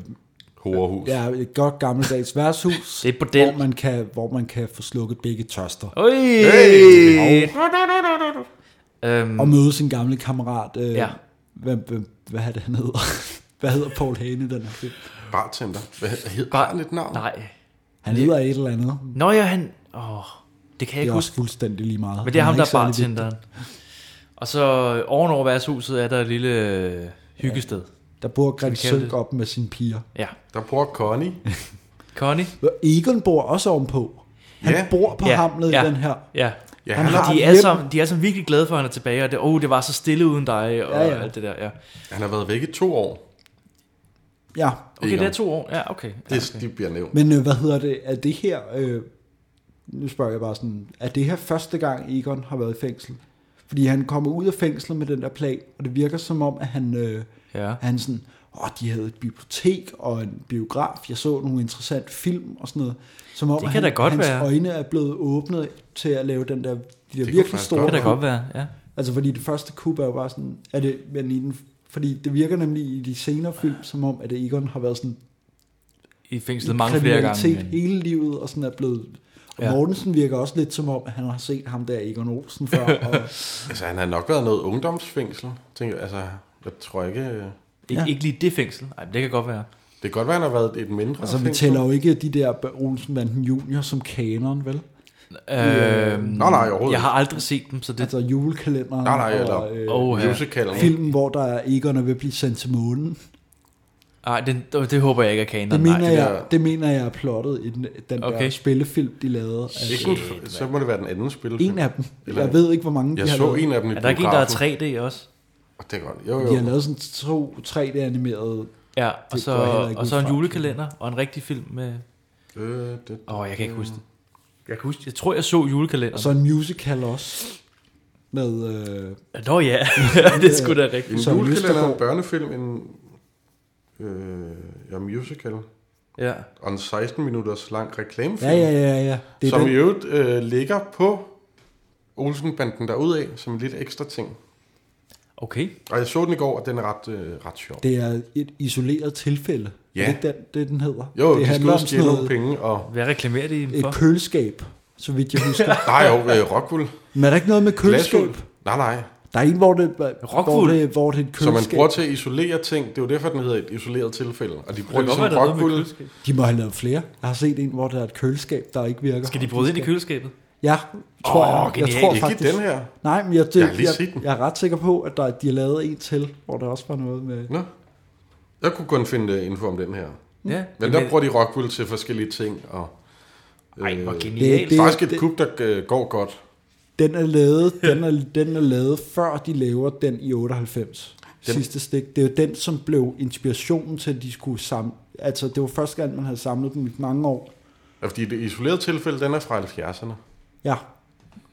Horehus. Ja. ja, et godt gammeldags værtshus, Det er et bordel. hvor man kan hvor man kan få slukket begge tørster Øj! Hey! Øhm, og møde sin gamle kammerat. Øh, Ja. hvad, hvad, hvad er det han hedder? hvad hedder Paul Hane i den her film? Bartender. Hvad hedder Bar- han et navn? nej. Han hedder et eller andet. Nå ja, han... Åh, det kan jeg Det er ikke også huske. fuldstændig lige meget. Men det er Han ham, der ikke er særlig bartenderen. Og så ovenover værtshuset er der et lille øh, hyggested. vigtig. Der bor Greg kalde Sønk det. op med sine piger. Ja. Der bor Connie. Connie? Og Egon bor også ovenpå. Han Ja. bor på ja. hamlet ja. i den her. Ja. Ja, Han han, han, har- har, De et er, alle hjem. sammen, de er alle sammen virkelig glade for, at han er tilbage, og det, oh, det var så stille uden dig, og Ja, ja, ja. ja. alt det der, ja. han har været væk i to år. Ja, Okay, Egon. det er to år. Ja, okay. Ja, Det, okay. de bliver nævnt. men øh, hvad hedder det? Er det her... Øh, nu spørger jeg bare sådan, er det her første gang Egon har været i fængsel? Fordi han kommer ud af fængslet med den der plan, og det virker som om, at han, øh, Ja. han sådan, åh, de havde et bibliotek og en biograf, jeg så nogle interessante film og sådan noget. Som om, Det kan han, da godt hans være. øjne er blevet åbnet til at lave den der, de der kunne virkelig faktisk store Det kan da film. godt være, ja. Altså fordi det første kub er jo bare sådan, er det, men i den, fordi det virker nemlig i de senere film, som om, at Egon har været sådan I i fængslet mange flere gange. kriminalitet men- hele livet, og sådan er blevet... Og Ja. ja. Mortensen virker også lidt som om, at han har set ham der Egon Olsen før, og Altså, han har nok været noget ungdomsfængsel. Tænker, jeg. altså, jeg tror ikke... øh, Ikke, Ja. ikke lige det fængsel. Nej, det kan godt være. Det kan godt være, han har været et mindre altså, vi fængsel. tæller jo ikke de der Olsenbanden Junior som kanon, vel? Øh, Nå, nej, overhovedet jeg har aldrig set dem, så det... Altså julekalenderen Nej, nej, og eller øh, Åh, oh, ja. musicalen. filmen, hvor der er Egon er ved at blive sendt til månen. Ej, det, det håber jeg ikke er kanon. Det, nej, mener, det jeg, der- det mener jeg er plottet i den, den okay. Okay. der spillefilm, de lavede. Ikke Altså, den f- så må det være den anden spillefilm. en af dem. Eller- Jeg ved ikke, hvor mange de Jeg har så lavet. en af dem i Er der ikke en, der er biografen. 3D også? Og Det er godt. Jo, jo. De har lavet sådan to 3D-animerede... Ja, og Det så, går jeg heller ikke og ud så en fra. julekalender og en rigtig film med... Øh, det, Åh, oh, jeg kan ikke huske det. Mm. Jeg, kan huske, jeg tror, jeg så Og julekalenderen. så en musical også. Med... Øh, Nå ja, det er sgu da en rigtigt. Så julekalender, Østergaard- en børnefilm, en øh, ja, musical, Ja. og en 16-minutters lang reklamefilm, ja, ja, ja, ja. Det er som den. i øvrigt øh, ligger på Olsenbanden derudad, som en lidt ekstra ting. Okay. Og jeg så den i går, og den er ret, øh, ret sjov. Det er et isoleret tilfælde. Ja. Er det ikke den, det, den hedder? Jo, det de skal ud og stjæle nogle noget, penge, og... Hvad reklamerer de et for? køleskab, så vidt jeg husker. Nej, jo, øh, Rockwool. Men er der ikke noget med køleskab? Glasuld. Nej, nej. Der er en, hvor det, hvor Rockwool. det, hvor det er et Som man køleskab. bruger til at isolere ting. Det er jo derfor, den hedder et isoleret tilfælde. Og de bruger det, godt som være, der er noget med Rockwool. køleskab. De må have lavet flere. Jeg har set en, hvor der er et køleskab, der ikke virker. Skal de bryde ind i køleskabet? Ja, tror Åh, jeg. genialt. Jeg tror Ikke faktisk. den her. Nej, men jeg, det, Jeg har lige jeg, set den. jeg, er ret sikker på, at der, de har lavet en til, hvor der også var noget med... Nå. Jeg kunne kun finde øh, info om den her. Ja. Men der bruger de Rockwool til forskellige ting. Og, øh, Ej, hvor Det- genialt. det er faktisk det- et kub, der øh, går godt. Den er lavet, den er, den er lavet før de laver den i 98. Den- Den. Sidste stik. Det er jo den, som blev inspirationen til, at de skulle samle... Altså, det var første gang, man havde samlet dem i mange år. Og Altså, fordi det isolerede tilfælde, den er fra 70'erne. Ja.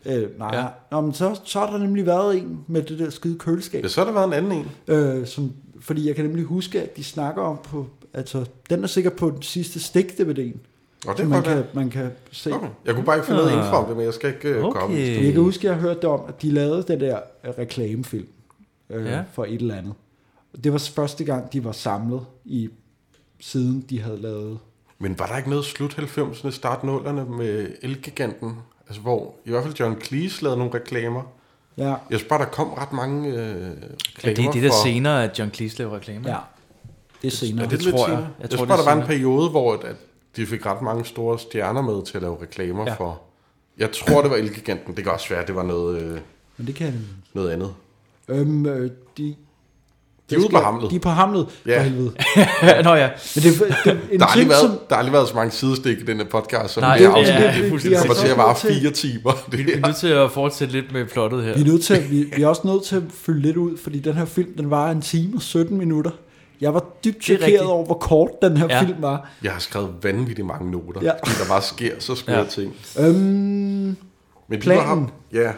Øh, nej. Ja. Ja. Nå, men så, så har der nemlig været en med det der skide køleskab. Ja, så har der været en anden en. Øh, som, fordi jeg kan nemlig huske, at de snakker om på... Altså, den er sikkert på den sidste stik, DVD'en. Og det Så er man godt. kan, være. man kan se. Okay. Jeg kunne bare ikke finde noget info om det, men jeg skal ikke øh, komme. Ah. Okay. Jeg kan huske, at jeg hørte det om, at de lavede den der øh, reklamefilm øh, Ja. ja. for et eller andet. Og Det var første gang, de var samlet i siden de havde lavet. Men var der ikke noget slut 90'erne, start 0'erne med Elgiganten? Altså hvor, i hvert fald John Cleese lavede nogle reklamer. Ja, Jeg synes bare, der kom ret mange øh, reklamer Ja, det er det, der for- senere, at John Cleese laver reklamer. ja. det er senere. Er Det, det det, lidt tror jeg. senere? Jeg Jeg, tror, tror, det er bare, der var en senere. periode, hvor at, at de fik ret mange store stjerner med til at lave reklamer Ja. ja. for... Jeg tror, det var Elgiganten. Det kan også være, at det var noget, øh, Men det kan... noget andet. Øhm, øh, de, De er ude på Hamlet. De er på hamlet, Ja. ja. for helvede. Nå ja. Men det, er- det er en Der har, aldrig ting, som... været, der har aldrig været så mange sidestik i den her podcast, som Nej, Nej, det det- her afsnit. ja, det er det, fuldstændig det kommer til at sindssygt. vare fire timer. Det Vi er her. nødt til at fortsætte lidt med plottet her. Vi er, nødt til at, vi, vi er også nødt til at fylde lidt ud, fordi den her film, den var en time og 17 minutter. Jeg var dybt Det er rigtigt. chokeret over, hvor kort den her Ja. film var. Jeg har skrevet vanvittigt mange noter, Ja. ja. fordi der bare sker så skøre Ja. ja. ting. Øhm, Men de Planen. Var, ja,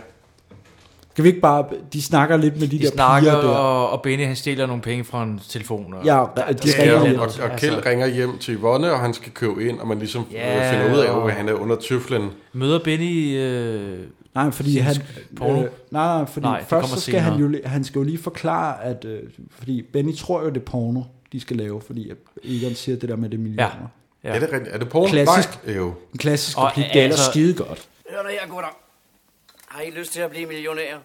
Kan vi ikke bare... De snakker lidt med de, De der snakker, piger der. og, og Benny han stjæler nogle penge fra en telefon. Og, Ja, der, de sker ringer jo ja hjem. og, altså. og Kjeld ringer hjem til Yvonne, og han skal købe ind, og man ligesom Ja, yeah. finder ud af, og- at han er under tøflen. Møder Benny... Øh, Nej, fordi han... porno. Øh, nej, nej, fordi Nej, nej, det først kommer så skal han jo, senere. li- han skal jo lige forklare, at... Øh, fordi Benny tror jo, det er porno, de skal lave, fordi at Egon siger det der med det millioner. Ja. Ja. Ja. Er det, rigtigt? er det porno? Klassisk. Nej, jo. En klassisk Og replik, altså- det er ellers skide godt. Hør nu her, gutter. Har I lyst til at blive millionærer?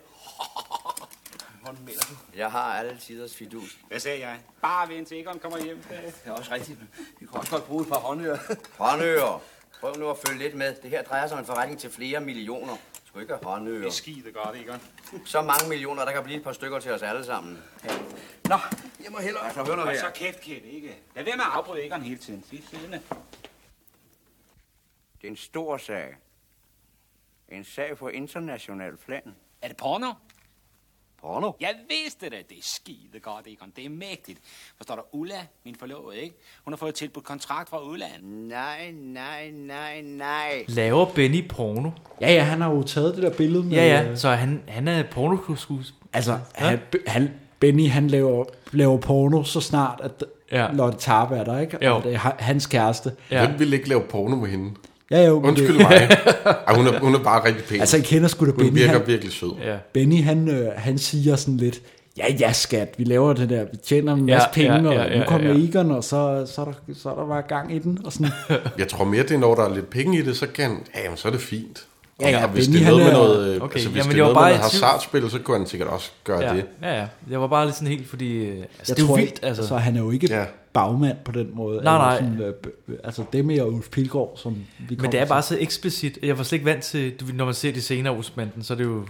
Hvordan mener du? Jeg har alle tiders fidus. Hvad sagde jeg? Bare vent til Egon kommer hjem. Det er også rigtigt. Vi kan også godt bruge et par håndører. Håndører. Prøv nu at følge lidt med. Det her drejer sig om en forretning til flere millioner. Du skal ikke have håndører. Skide godt, Egon. Så mange millioner, der kan blive et par stykker til os alle sammen. Nå, jeg må hellere. Altså, hør nu Og her. så kæft, kæft, ikke? Lad være med at afbryde Egon hele tiden. Bliv siddende. Det er en stor sag. En sag på international plan. Er det porno? Porno? Jeg vidste det, det er skide godt, Egon. Det er mægtigt. Forstår du, Ulla, min forlovede, ikke? Hun har fået tilbudt kontrakt fra udlandet. Nej, nej, nej, nej. Laver Benny porno? Ja, ja, han har jo taget det der billede med... Ja, øh, ja, så han, han er pornoskuespiller. Altså, han, han, Benny, han laver, laver porno så snart, at Ja. ja. Lotte Tarpe er der, ikke? Jo. Og det er ha- hans kæreste. Ja. Ja. Hvem ville ikke lave porno med hende? Ja, jo, men Undskyld Det, mig. Ej, hun, er, hun er bare rigtig pæn. altså, jeg kender sgu da hun Benny. virker Han, virkelig sød. Ja. Benny, han, øh, han siger sådan lidt, ja, ja, skat, vi laver det der, vi tjener en Ja, masse ja, penge, ja, ja, og ja, nu kommer ja. Egon, og så, så, er der, så er der bare gang i den, og sådan. Jeg tror mere, det er, når der er lidt penge i det, så kan ja, jamen, så er det fint. Ja, ja, og hvis Benny, det er noget med han er- noget, øh, Okay, altså, hvis jamen, det jeg er var noget bare med noget i tvivl. hasardspil, så kunne han sikkert også gøre Ja, det. ja, ja. Jeg var bare lidt sådan helt, fordi... øh, Altså, Jeg det er jo tror vildt, ikke, altså. Så han er jo ikke Ja. ja. bagmand på den måde. Nej, Altså nej. Sådan, øh, b- b- altså det med Ulf Pilgaard, som vi Men kommer det er til. bare så eksplicit. Jeg var slet ikke vant til, du ved, når man ser de senere Osmanden, så er det jo...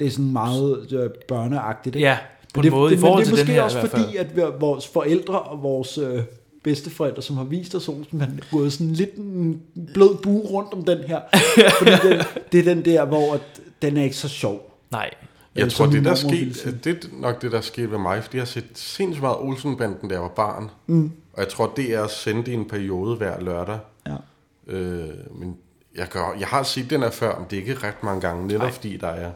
Det er sådan meget øh, børneagtigt, ikke? Ja, på Men en det, måde det, i men forhold det er til den måske her i også hvert fald. fordi, at vi, vores forældre og vores øh, bedsteforældre, som har vist os Olsen, han er gået sådan lidt en blød bue rundt om den her. fordi den, det er den der, hvor at, den er ikke så sjov. Nej. Jeg Øh, tror, som det min der mormor ville sige. skete, det er nok det, der skete med mig, fordi jeg har set sindssygt meget Olsenbanden, da jeg var barn. Mm. Og jeg tror, det er sendt i en periode hver lørdag. Ja. Øh, men jeg, gør, jeg har set den her før, men det er ikke ret mange gange, netop fordi der er...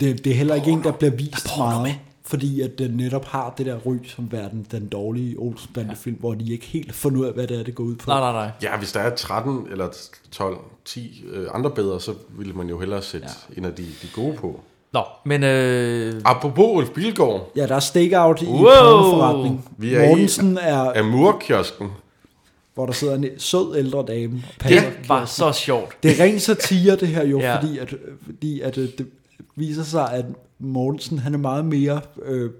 Det, det er heller ikke en, der bliver vist meget, med. fordi at den netop har det der ryg som verden, den dårlige Olsen-bandefilm, ja. hvor de ikke helt finder ud af, hvad det er, det går ud på. Nej, nej, nej. Ja, hvis der er 13 eller 12, 10 øh, andre bedre, så ville man jo hellere sætte ja. en af de, de gode på. Nå, men øh, Apropos Ulf Bilgaard, Ja, der er stakeout i wow. Wow! pornoforretning. Vi er i- Mortensen er, er murkiosken. hvor der sidder en sød ældre dame. og passer det var så sjovt. Det er ren satire, det her jo, Ja. ja. fordi, at, fordi at, øh, det viser sig, at Mortensen han er meget mere øh,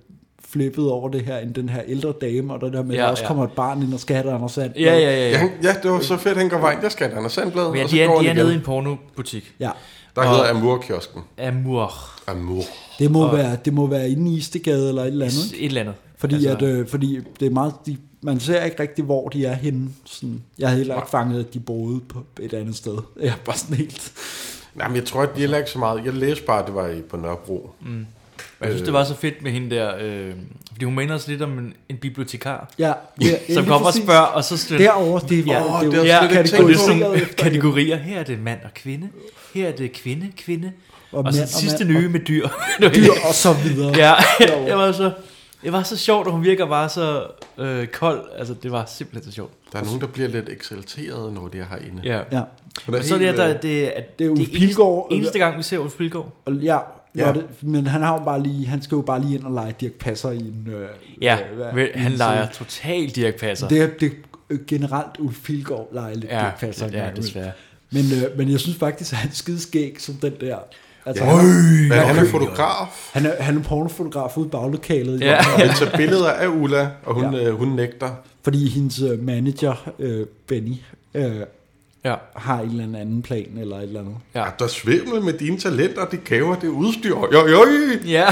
flippet over det her, end den her ældre dame, og det der med, at Ja, der også ja. kommer et barn ind og skal have dig, Anders Sand. Ja, ja, ja. Ja, ja. han- ja, det var så fedt, han går vejen. Jeg skal have Anders Sandblad, Men ja, og så de går er, de er han igen. nede i en pornobutik. ja. Der hedder Amurkiosken. Amur. Amur. Det må, være, det må være inde i Istegade eller et eller andet. Et eller andet. Fordi, Altså- altså, at, øh, fordi det er meget, de, man ser ikke rigtig, hvor de er henne. Sådan, jeg havde heller ikke fanget, at de boede på et andet sted. Jeg er bare sådan helt... Nej, men jeg tror, at de heller ikke så meget. Jeg læste bare, at det var i- på Nørrebro. Mm. Jeg synes, det var så fedt med hende der, øh, fordi hun minder os lidt om en, en bibliotekar, Ja, ja, som lige kommer og præcis. spørger, og så støtter Derovre, det er, Ja. ja, det er, det jo er Ja, slet og det er ikke tænkt kategoriseret sådan efter- kategorier. Her er det mand og kvinde, her er det kvinde, kvinde, og, og mand så og sidste mand nye med dyr. dyr og så videre. ja, Derovre. det var så, det var så sjovt, og hun virker bare så øh, kold. Altså, det var simpelthen så sjovt. Der er nogen, der bliver lidt eksalteret, når de er herinde. Ja. Ja. Hun er Og så er det, helt, at der, øh, det, at det er Ulf eneste- Pilgaard. eneste gang, vi ser Ulf Pilgaard. Og ja, Ja. ja. Det, men han har jo bare lige, han skal jo bare lige ind og lege Dirk Passer i en... Øh, Ja, øh, hvad- vel, han en- leger totalt Dirk Passer. Det er det, er generelt Ulf Pilgaard leger lidt ja, Dirk Passer. en ja, gang imellem. desværre. Men, øh, men jeg synes faktisk, at han er skideskæg som den der... Altså, Ja. han, Men han er fotograf. han, er, han er pornofotograf ude i baglokalet, Ja. ja. Han tager billeder af Ulla, og hun, Ja. ja. øh, hun nægter. fordi hendes øh, manager, øh, Benny, øh, Ja, har en eller anden plan eller et eller andet. Ja. Ja. Der svimmel med dine talenter, de kæver, det udstyr. Jo, jo, jo. ja,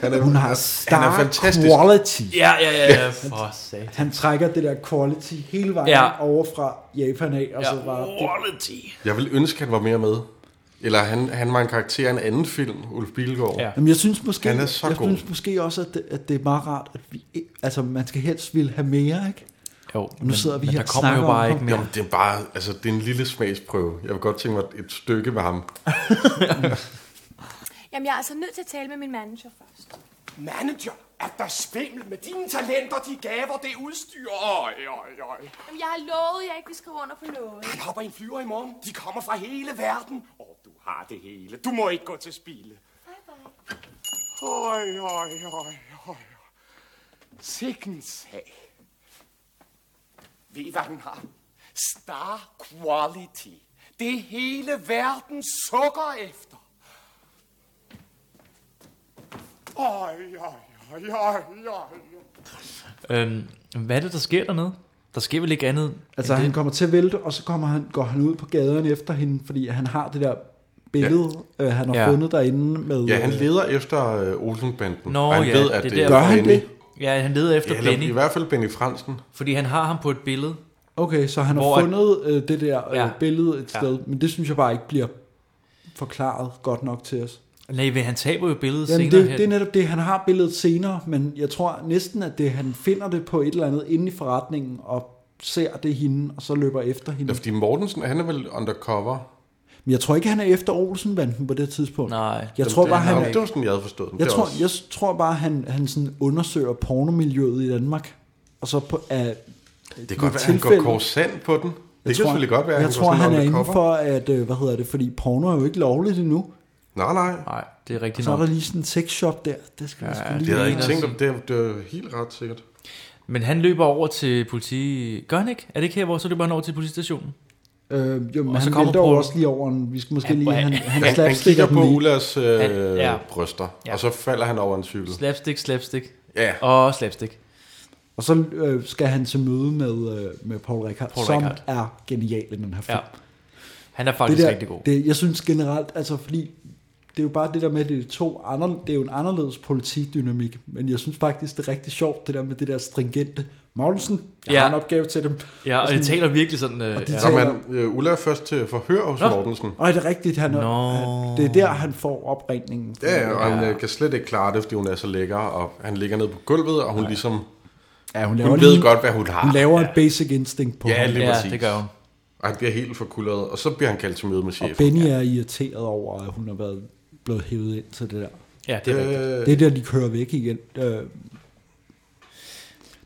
Han er, Hun har star han er fantastisk. quality. ja, ja, ja, ja. for satan. Han trækker det der quality hele vejen Ja. ja. over fra Japan af, og ja. så bare... Det, Jeg vil ønske, han var mere med. Eller han, han var en karakter i en anden film, Ulf Bilgaard. Ja. Ja. jamen, jeg synes måske, Han er så jeg god. synes måske også, at det, at det er meget rart, at vi, altså, man skal helst ville have mere, ikke? Jo, nu sidder vi men her der og kommer jo snakker bare om ikke ham. mere. Jamen, det er bare, altså, det er en lille smagsprøve. Jeg vil godt tænke mig et stykke med ham. Jamen, jeg er altså nødt til at tale med min manager først. Manager, er der svimmel med dine talenter, de gaver, det udstyr? Øj, øj, øj. Jamen, jeg har lovet, at jeg ikke vil skrive under på noget. Der hopper en flyver i morgen. De kommer fra hele verden. Og oh, du har det hele. Du må ikke gå til spilde. Bye bye. Øj, øj, øj, øj. Sikken sag. Ved I, hvad den har? Star quality. Det hele verden sukker efter. Øj, øj, øj, øj, øj. Øhm, hvad er det, der sker dernede? Der sker vel ikke andet? Altså, end han det? kommer til at vælte, og så kommer han, går han ud på gaderne efter hende, fordi han har det der billede, ja. øh, han har Ja. ja. fundet derinde med... Ja, han øh, leder efter øh, Olsenbanden. Nå, og han ja, ved, at det det, er er derfor. Gør han Benny. det? Ja, han leder efter Ja, ja, eller, Benny, I hvert fald Benny Fransen. fordi han har ham på et billede. Okay, så han Hvor har at- fundet øh, det der øh, Ja. billede et Ja. sted, men det synes jeg bare ikke bliver forklaret godt nok til os. Nej, men han taber jo billedet Jamen, senere det, hen. det er netop det, han har billedet senere, men jeg tror næsten, at det, han finder det på et eller andet inde i forretningen, og ser det hende, og så løber efter hende. Ja, fordi Mortensen, han er vel undercover? Men jeg tror ikke, han er efter Olsenbanden på det tidspunkt. Nej. Jeg tror bare, han... Nå, Det var sådan, jeg havde forstået den. Jeg Det er tror, også- jeg tror bare, han, han sådan undersøger pornomiljøet i Danmark, og så på, af, Det kan godt være, han går korsand på den. Det kan selvfølgelig godt være, Jeg han går tror, sådan han er undercover. inden for, at, øh, hvad hedder det, fordi porno er jo ikke lovligt endnu. Nej, nej. Nej, det er Og rigtigt så er nok. der lige sådan en sexshop der. Det skal ja, vi sgu Ja, lige Det havde jeg ikke Lige tænkt om. nøjagtigt. Det er, det er helt ret sikkert. Men han løber over til politi... Gør han ikke? Er det ikke her, hvor så løber han over til politistationen? Øh, jo, men Og så han kommer vælter jo Paul- også lige over en, vi skal måske Ja, lige, hvor- han, Han, han, han, han slapstikker kigger den på lige. Ulas øh, Han- ja. ja. bryster, Ja. ja. og så falder han over en cykel. Slapstick, slapstick. Ja. Og slapstick. Og så øh, skal han til møde med, øh, med Paul Rickard, Paul som Reichhardt. er genial i den her film. Ja. Han er faktisk det der, rigtig god. Det, jeg synes generelt, altså fordi, det er jo bare det der med, at det er, to ander, det er jo en anderledes politikdynamik, men jeg synes faktisk, det er rigtig sjovt, det der med det der stringente, Magnussen, Ja. jeg ja. har en opgave til dem. Ja, og sådan- det taler virkelig sådan... Øh, Og de ja. Så taler- man, øh, Ulla er først til forhør hos Nå. Mortensen. Og er det rigtigt, han, Nå. han, det er der, han får opringningen. Ja, ja, og han øh, kan slet ikke klare det, fordi hun er så lækker, og han ligger ned på gulvet, og hun ja. ligesom, ja, hun, laver hun ved godt, hvad hun har. Hun laver ja. et basic instinct på Ja, ham. lige ja, præcis. det gør hun. Og han bliver helt forkulleret, og så bliver han kaldt til møde med Og chefen. Benny er irriteret over, at hun har været blevet hævet ind til det der. Ja, det er rigtigt. Øh, Det er der, de kører væk igen. Øh,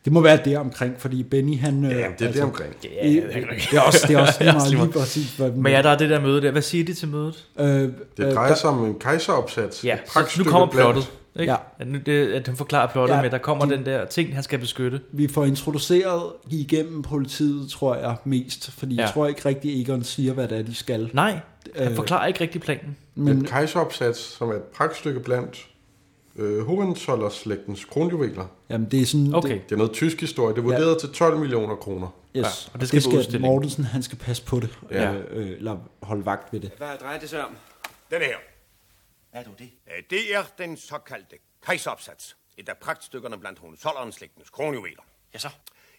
Det må være der omkring, fordi Benny han... øh, ja, det er det omkring. Ja, det, er det er også, det er også lige meget lige præcis, hvad den- Men ja, der er det der møde der. Hvad siger de til mødet? øh, øh, Det drejer sig om en kejseropsats. Ja, et så nu pragtstykke kommer blandt- plottet. Ikke? Ja. At, nu, det, at han forklarer plottet Ja, med, at der kommer de- den der ting, han skal beskytte. vi får introduceret igennem politiet, tror jeg, mest. Fordi ja. Ja. jeg tror ikke rigtig, Egon siger, hvad det er, de skal. Nej, han Øh. forklarer ikke rigtig planen. Men... Men Et kejseropsats, som er et pragtstykke blandt øh, Hohenzollern-slægtens kronjuveler. jamen, det er sådan... Okay, Det, Det er noget tysk historie. Det er vurderet ja. til 12 millioner kroner. yes, Ja, og det skal, det på skal udstillingen. Mortensen, han skal passe på det. Ja. Øh, øh, eller holde vagt ved det. Hvad drejer det sig om? Den her. Hvad er du det? Øh, Det er den såkaldte kejseropsats. Et af pragtstykkerne blandt Hohenzollern-slægtens kronjuveler. Ja så.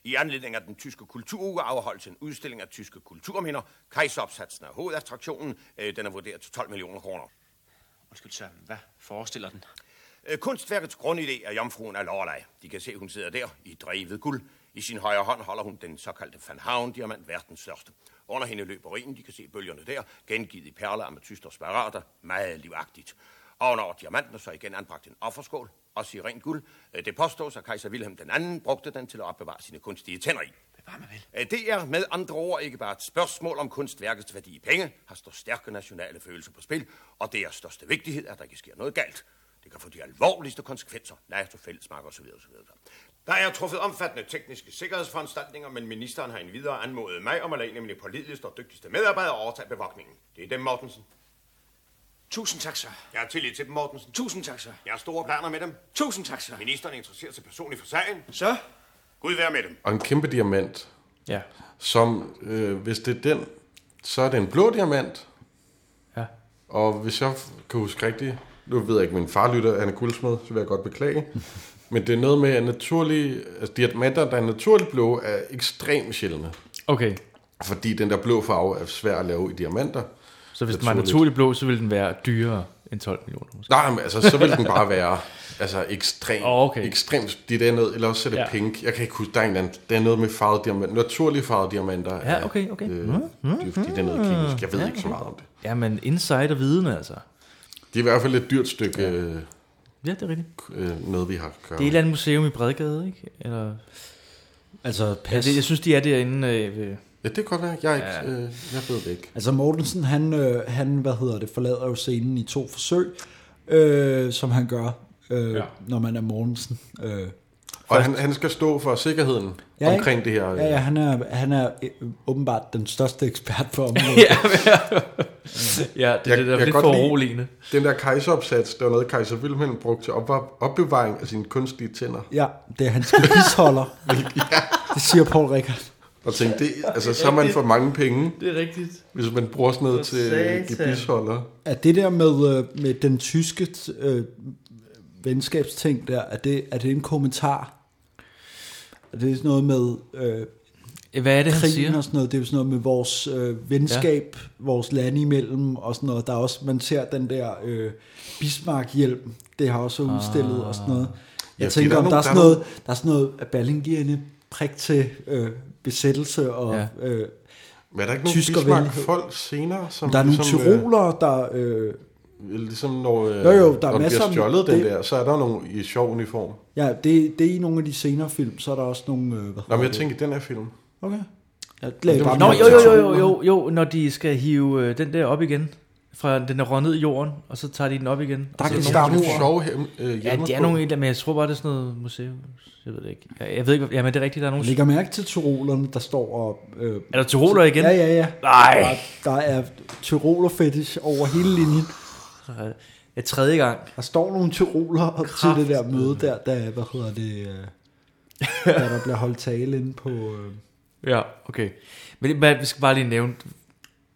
I anledning af den tyske kulturuge afholdes en udstilling af tyske kulturminder. Kejseropsatsen er hovedattraktionen. Øh, Den er vurderet til 12 millioner kroner. Undskyld, Søren. Hvad forestiller den? Øh, Kunstværkets grundidé er jomfruen af Lorelei. De kan se, hun sidder der i drevet guld. I sin højre hånd holder hun den såkaldte Van Havn-diamant, verdens største. Under hende løber rinen, de kan se bølgerne der, gengivet i perler, ametyst og sparater, meget livagtigt. Ovenover diamanten er så igen anbragt en offerskål, også i rent guld. Øh, Det påstås, at kejser Wilhelm den anden brugte den til at opbevare sine kunstige tænder i. Bevar mig vel. Øh, Det er med andre ord ikke bare et spørgsmål om kunstværkets værdi i penge, har står stærke nationale følelser på spil, og det er af største vigtighed, at der ikke sker noget galt. Det kan få de alvorligste konsekvenser, NATO, fællesmark osv. osv. Der er truffet omfattende tekniske sikkerhedsforanstaltninger, men ministeren har endvidere anmodet mig om at lade en af mine pålideligste og dygtigste medarbejdere overtage bevogtningen. Det er dem, Mortensen. Tusind tak, sir. Jeg har tillid til dem, Mortensen. Tusind tak, sir. Jeg har store planer med dem. Tusind tak, sir. Ministeren interesserer sig personligt for sagen. Sir? Gud være med dem. Og en kæmpe diamant, ja. som, øh, hvis det er den, så er det en blå diamant. ja. Og hvis jeg kan huske rigtigt, nu ved jeg ikke, min far lytter, han er guldsmed, så vil jeg godt beklage. Men det er noget med, at naturlige, altså diamanter, der er naturligt blå, er ekstremt sjældne. Okay, Fordi den der blå farve er svær at lave i diamanter. så hvis den var Naturligt. naturlig blå, så ville den være dyrere end 12 millioner måske. Nej, men altså, så vil den bare være altså, ekstrem. Åh, okay. Ekstremt, det er noget, eller også er det Ja. ja. pink. Jeg kan ikke huske, der er, en eller anden, der er noget med farvede diamanter. Naturlige farvede diamanter. Ja, okay, okay. Mm, Øh, det er fordi, det er noget kemisk. Jeg ved ikke så meget om det. Jamen, insight og viden altså. Det er i hvert fald et dyrt stykke øh, Ja, det er rigtigt. øh, noget, vi har at gøre Det er et eller andet museum i Bredgade, ikke? Eller, Altså, ja, det, jeg synes, de er derinde øh, ved... med. Ja, det kan godt være. Jeg, er ikke, øh, jeg ved det ikke. Altså Mortensen, han, øh, han hvad hedder det, forlader jo scenen i to forsøg, øh, som han gør, øh, ja. når man er Mortensen. Øh. Og han, han skal stå for sikkerheden Ja, ja, ikke? omkring det her. Øh, Ja, ja, han er, han er øh, åbenbart den største ekspert på området. ja. Ja, det, Jeg- det der er jeg lidt kan for godt lide- uroligende. øh, Den der kejseropsats, det var noget, kejser Wilhelm brugte til opvar- opbevaring af sine kunstige tænder. ja, det er hans bevisholder. Det siger Paul Rickard. Og tænkte, det, altså, så har man for mange penge. Det er rigtigt. Hvis man bruger sådan noget til øh, gebisholder. Er det der med, øh, med den tyske øh, venskabsting der, er det, er det en kommentar? Er det sådan noget med, øh, Hvad er det, han krigen siger? og sådan noget, det er jo sådan noget med vores øh, venskab, ja. vores lande imellem og sådan noget. Der er også, man ser den der øh, Bismarck-hjelm, det har også været udstillet og sådan noget. Jeg Ja, fordi tænker, der er om der, nogle- der er er sådan noget, der er sådan noget af Berlingierne prik til øh, besættelse og ja. øh, Men er der ikke nogen tysker venlighed. Bismarck-folk senere? Som, Der er nogle ligesom, tyrolere, der... Øh, ligesom når, øh, Jo, jo, der er når den masser bliver om- stjålet, den det- der, så er der nogle i sjov uniform. ja, det, det er i nogle af de senere film, så er der også nogle... Øh, hvad Nå, men hedder jeg det? tænker i den her film. Okay. Jeg Det lagde var- bare Nå, mærke jo, til jo, jo, tyrolerne. jo, jo, når de skal hive øh, den der op igen, fra den er rundet i jorden, og så tager de den op igen. Der og kan så nogle- vi starte Nogle Uger. sjove hjem, øh, Ja, det er nogle et, men jeg tror bare, det er sådan noget museum. Jeg ved det ikke. Jeg, jeg ved ikke, hvad- ja, men det er rigtigt, der er Jeg nogle... lægger mærke til tyrolerne, der står og... Øh, Er der tyroler igen? Ja, ja, ja. Nej. Der, der er tyroler fetish over hele linjen. Ja, tredje gang. Der står nogle tyroler op til det der møde der, der hvad hedder det, øh, der, der bliver holdt tale inde på... Øh, Ja, okay. Men det- men vi skal bare lige nævne,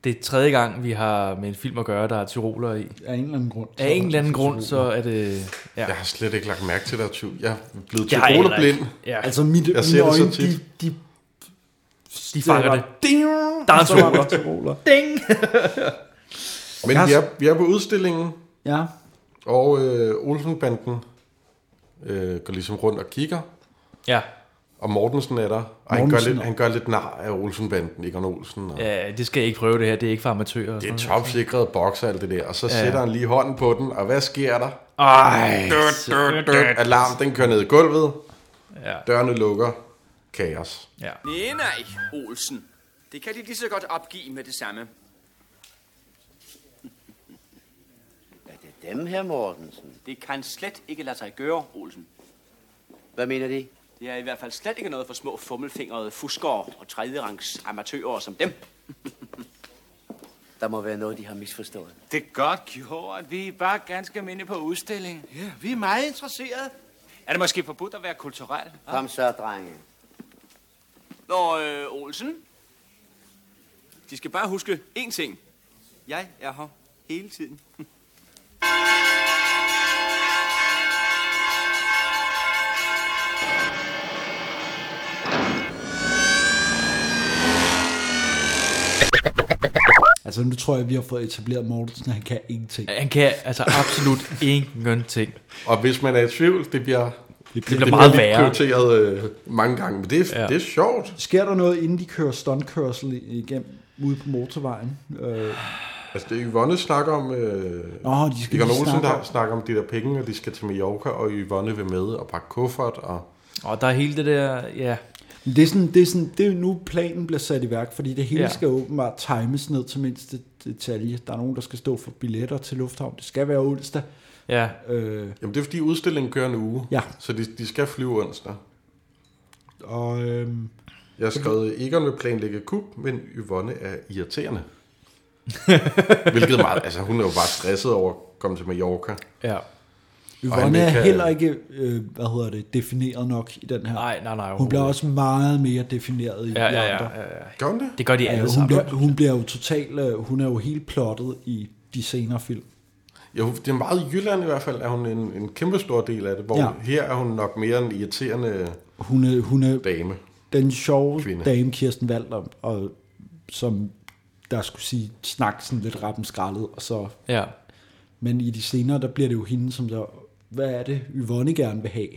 det er tredje gang, vi har med en film at gøre, der er tyroler i. af en eller anden grund. Af en eller anden grund, så er det... Ja. Jeg har slet ikke lagt mærke til dig, Tyv. Jeg er blevet Det har jeg heller tyrolerblind. ikke. Ja. Altså, Altså mit, Jeg jeg ser mine det så øjne, de, tit. de, de fanger det. Ding, Der er en så var der tyroler. Ding! Men Jeg vi har- er, vi er på udstillingen, Ja, og øh, Olsenbanden øh, går ligesom rundt og kigger. Ja, Og Mortensen er der. Og han gør, Mortensen lidt, er- han gør lidt nar af Olsenbanden, Egon Olsen. Og ja, det skal jeg ikke prøve det her, det er ikke for amatører. og Det er sådan topsikrede bokser, alt det der. Og så sætter han lige hånden på den, og hvad sker der? noget. Ej, Død, alarm, den kører ned i gulvet. Ja. Dørene lukker. Kaos. ja. Nej, nej, Olsen. Det kan de lige så godt opgive med det samme. Er det dem her, Mortensen? Det kan slet ikke lade sig gøre, Olsen. Hvad mener de? Det er i hvert fald slet ikke noget for små fummelfingrede fuskere og tredjerangs amatører som dem. Der må være noget, de har misforstået. Det er godt gjort. Vi er bare ganske minde på udstillingen. Ja, vi er meget interesserede. Er det måske forbudt at være kulturel? Kom så, drenge. Nå, øh, Olsen. De skal bare huske én ting. Jeg er her hele tiden. altså nu tror jeg, vi har fået etableret Mortensen, han kan ingenting. Han kan altså absolut ingenting. Og hvis man er i tvivl, det bliver, det bliver meget lidt værre. prioriteret øh, mange gange. Men det er, Ja. ja. det er sjovt. Sker der noget, inden de kører stuntkørsel igennem ude på motorvejen? Øh, Altså, det er Yvonne snakker om... Øh, Nå, de skal Egon lige Olsen, snakke der om- snakker om de der penge, og de skal til Mallorca, og Yvonne vil med og pakke kuffert. Og, Og der er hele det der, ja, Men Det er, sådan, det, er sådan, det er jo nu planen bliver sat i værk, fordi det hele Ja. ja. skal åbenbart times ned til mindste detalje. Der er nogen, der skal stå for billetter til lufthavn. Det skal være onsdag. ja. Øh, jamen, det er fordi udstillingen kører en uge, Ja. så de, de skal flyve onsdag. og øh, Jeg har skrevet, Egon vil planlægge kub, men Yvonne er irriterende. Hvilket er meget, altså hun er jo bare stresset over at komme til Mallorca. ja. Yvonne er kan- heller ikke øh, hvad hedder det, defineret nok i den her. Nej, nej, nej. Hun bliver også meget mere defineret i Ja, de ja, andre. ja, ja, ja. Gør hun det? Det gør de alle Altså, hun, sammen. bliver, hun bliver jo total, øh, hun er jo helt plottet i de senere film. Jo, det er meget i Jylland i hvert fald, er hun en, en kæmpe stor del af det, hvor Ja. ja. her er hun nok mere en irriterende Hun er, hun er dame. den sjove Kvinde. Kvinde. dame Kirsten Walter, og, som der skulle sige, snakke sådan lidt rappen skraldet, og så, Ja. men i de senere, der bliver det jo hende, som der, hvad er det, Yvonne gerne vil have.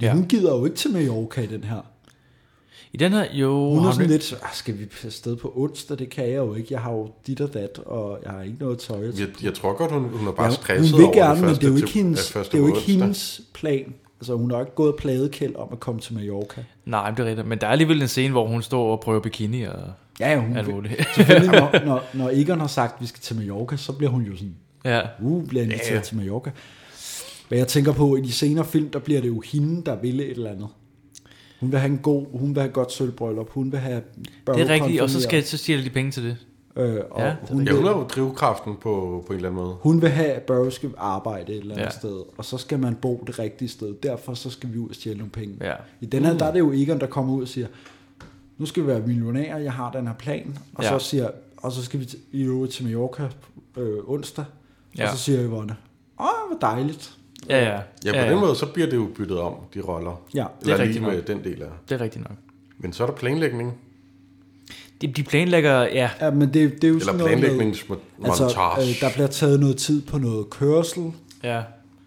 Ja. Ja. Hun gider jo ikke til Mallorca i den her. I den her, jo... Hun er har sådan lidt, "Ah, skal vi afsted på onsdag, det kan jeg jo ikke, jeg har jo dit og dat, og jeg har ikke noget tøj. Jeg Jeg, jeg tror godt, hun, hun er bare ja, stresset hun vil over gerne, det men det er jo første ikke til- hendes, af første det er jo ikke onsdag. hendes plan. Altså, hun har jo ikke gået og plaget Kjeld om at komme til Mallorca. Nej, men det er rigtigt. Men der er alligevel en scene, hvor hun står og prøver bikini og Ja, ja, hun alt vil- muligt. Selvfølgelig, når, når, når Egon har sagt, at vi skal til Mallorca, så bliver hun jo sådan, ja. uh, bliver inviteret yeah. til Mallorca. Hvad jeg tænker på, i de senere film, der bliver det jo hende, der vil et eller andet. Hun vil have en god, hun vil have et godt sølvbryllup, hun vil have Det er rigtigt, og så, skal, så stjæler de penge til det. øh, og Ja, ja, det er hun, Ja, hun er vil, jo drivkraften på, på en eller anden måde. hun vil have, at Burrow skal arbejde et eller andet Ja. ja. sted, og så skal man bo det rigtige sted. Derfor så skal vi ud og stjæle nogle penge. Ja. I den her, der er det jo Egon, der kommer ud og siger, nu skal vi være millionærer, jeg har den her plan. Og, Ja. ja. så, siger, og så skal vi t- i øvrigt til Mallorca øh, onsdag. Ja. Ja. Og så siger Yvonne, åh, hvor dejligt. Ja, ja. Ja, på ja, ja. den måde, så bliver det jo byttet om, de roller. Ja, Eller lige rigtigt med nok. den del af Det er rigtigt nok. Men så er der planlægning. De, de planlægger, ja. ja men det, det er jo Eller sådan noget med- planlægningsmontage. Altså, øh, der bliver taget noget tid på noget kørsel. Ja.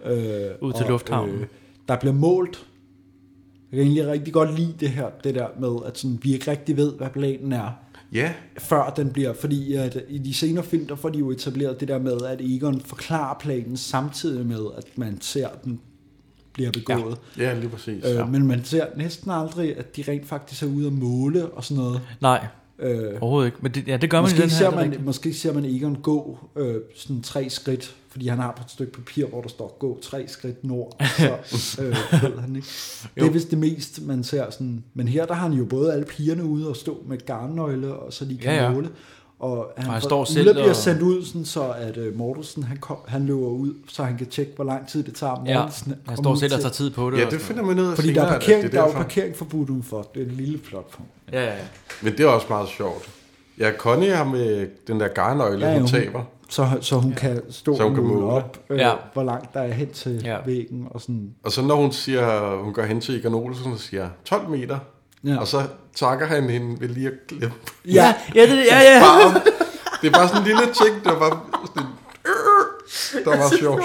Øh, Ud til lufthavnen. der bliver målt. Jeg kan egentlig rigtig godt lide det her, det der med, at sådan, vi ikke rigtig ved, hvad planen er. Ja. Før den bliver, fordi at i de senere film, der får de jo etableret det der med, at Egon forklarer planen samtidig med, at man ser den bliver begået. Ja. Ja, lige præcis. Øh, Ja. Men man ser næsten aldrig, at de rent faktisk er ude at måle og sådan noget. Nej, øh, overhovedet ikke. Men det, ja, det gør man i måske den her. ser det er man, rigtigt. Måske ser man Egon gå øh, sådan tre skridt, fordi han har på et stykke papir, hvor der står, gå tre skridt nord. Så, øh, ved han, ikke? Det er Jo. vist det mest, man ser sådan. Men her, der har han jo både alle pigerne ude og stå med garnnøgle, og så de kan Ja, ja, ja. ja. måle. Og han, Og han får- står Ulla selv og- bliver sendt ud, sådan, så at øh, Mortensen, han, kom, han løber ud, så han kan tjekke, hvor lang tid det tager Ja, Mortensen. at han komme står ud selv og til. tager tid på det Ja, og det sådan finder man ud af Fordi der senere, er at det er parkering, der er jo derfor. parkeringsforbud udenfor. Det er et lille flot punkt. Ja, ja, ja. Men det er også meget sjovt. Ja, Connie har med den der garnøgle, ja, hun taber. Så, så hun ja. kan stå Så hun kan og måle måle. op, øh, Ja. ja. hvor langt der er hen til Ja. ja. væggen. Og sådan. Og så når hun siger, hun går hen til Egon Olsen og siger 12 meter, Ja. ja. og så takker han hende ved lige at glemme. Ja, ja, det- ja, Som ja. barm. Det er bare sådan en lille ting, der var sådan, øh, der var sjovt.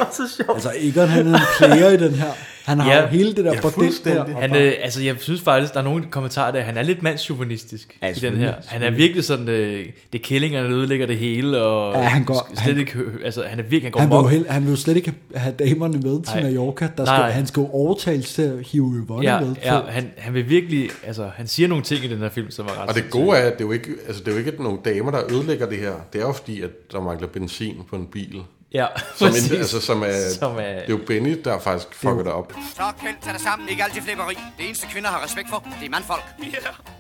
Altså Egon, han er en player i den her. Han har ja. jo hele det der ja, bordel der. og Han, bare- øh, altså, jeg synes faktisk, der er nogle kommentarer der, han er lidt mandsjuvenistisk ja, i den her. selvfølgelig, Han er virkelig sådan, øh, det er killingerne, der ødelægger det hele, og Ja, han går- sk- slet han- ikke, hø- altså, han er virkelig, han går han vil, jo mok. hel, han vil jo slet ikke have damerne med til Nej. Mallorca. Der skal, Nej. han skal jo overtales til at hive Yvonne Ja, med til. ja han, han vil virkelig, altså, han siger nogle ting i den her film, som er ret Og det gode er, at det er jo ikke, altså, det er jo ikke nogle damer, der ødelægger det her. Det er jo fordi, at der mangler benzin på en bil. Ja, som, præcis. en, altså, som, er, Som som er- er, det er jo Benny, der faktisk fucker det op. Så kæld, tag dig sammen. Ikke alt det flipperi. Det eneste kvinder har respekt for, det er mandfolk. Ja. Yeah.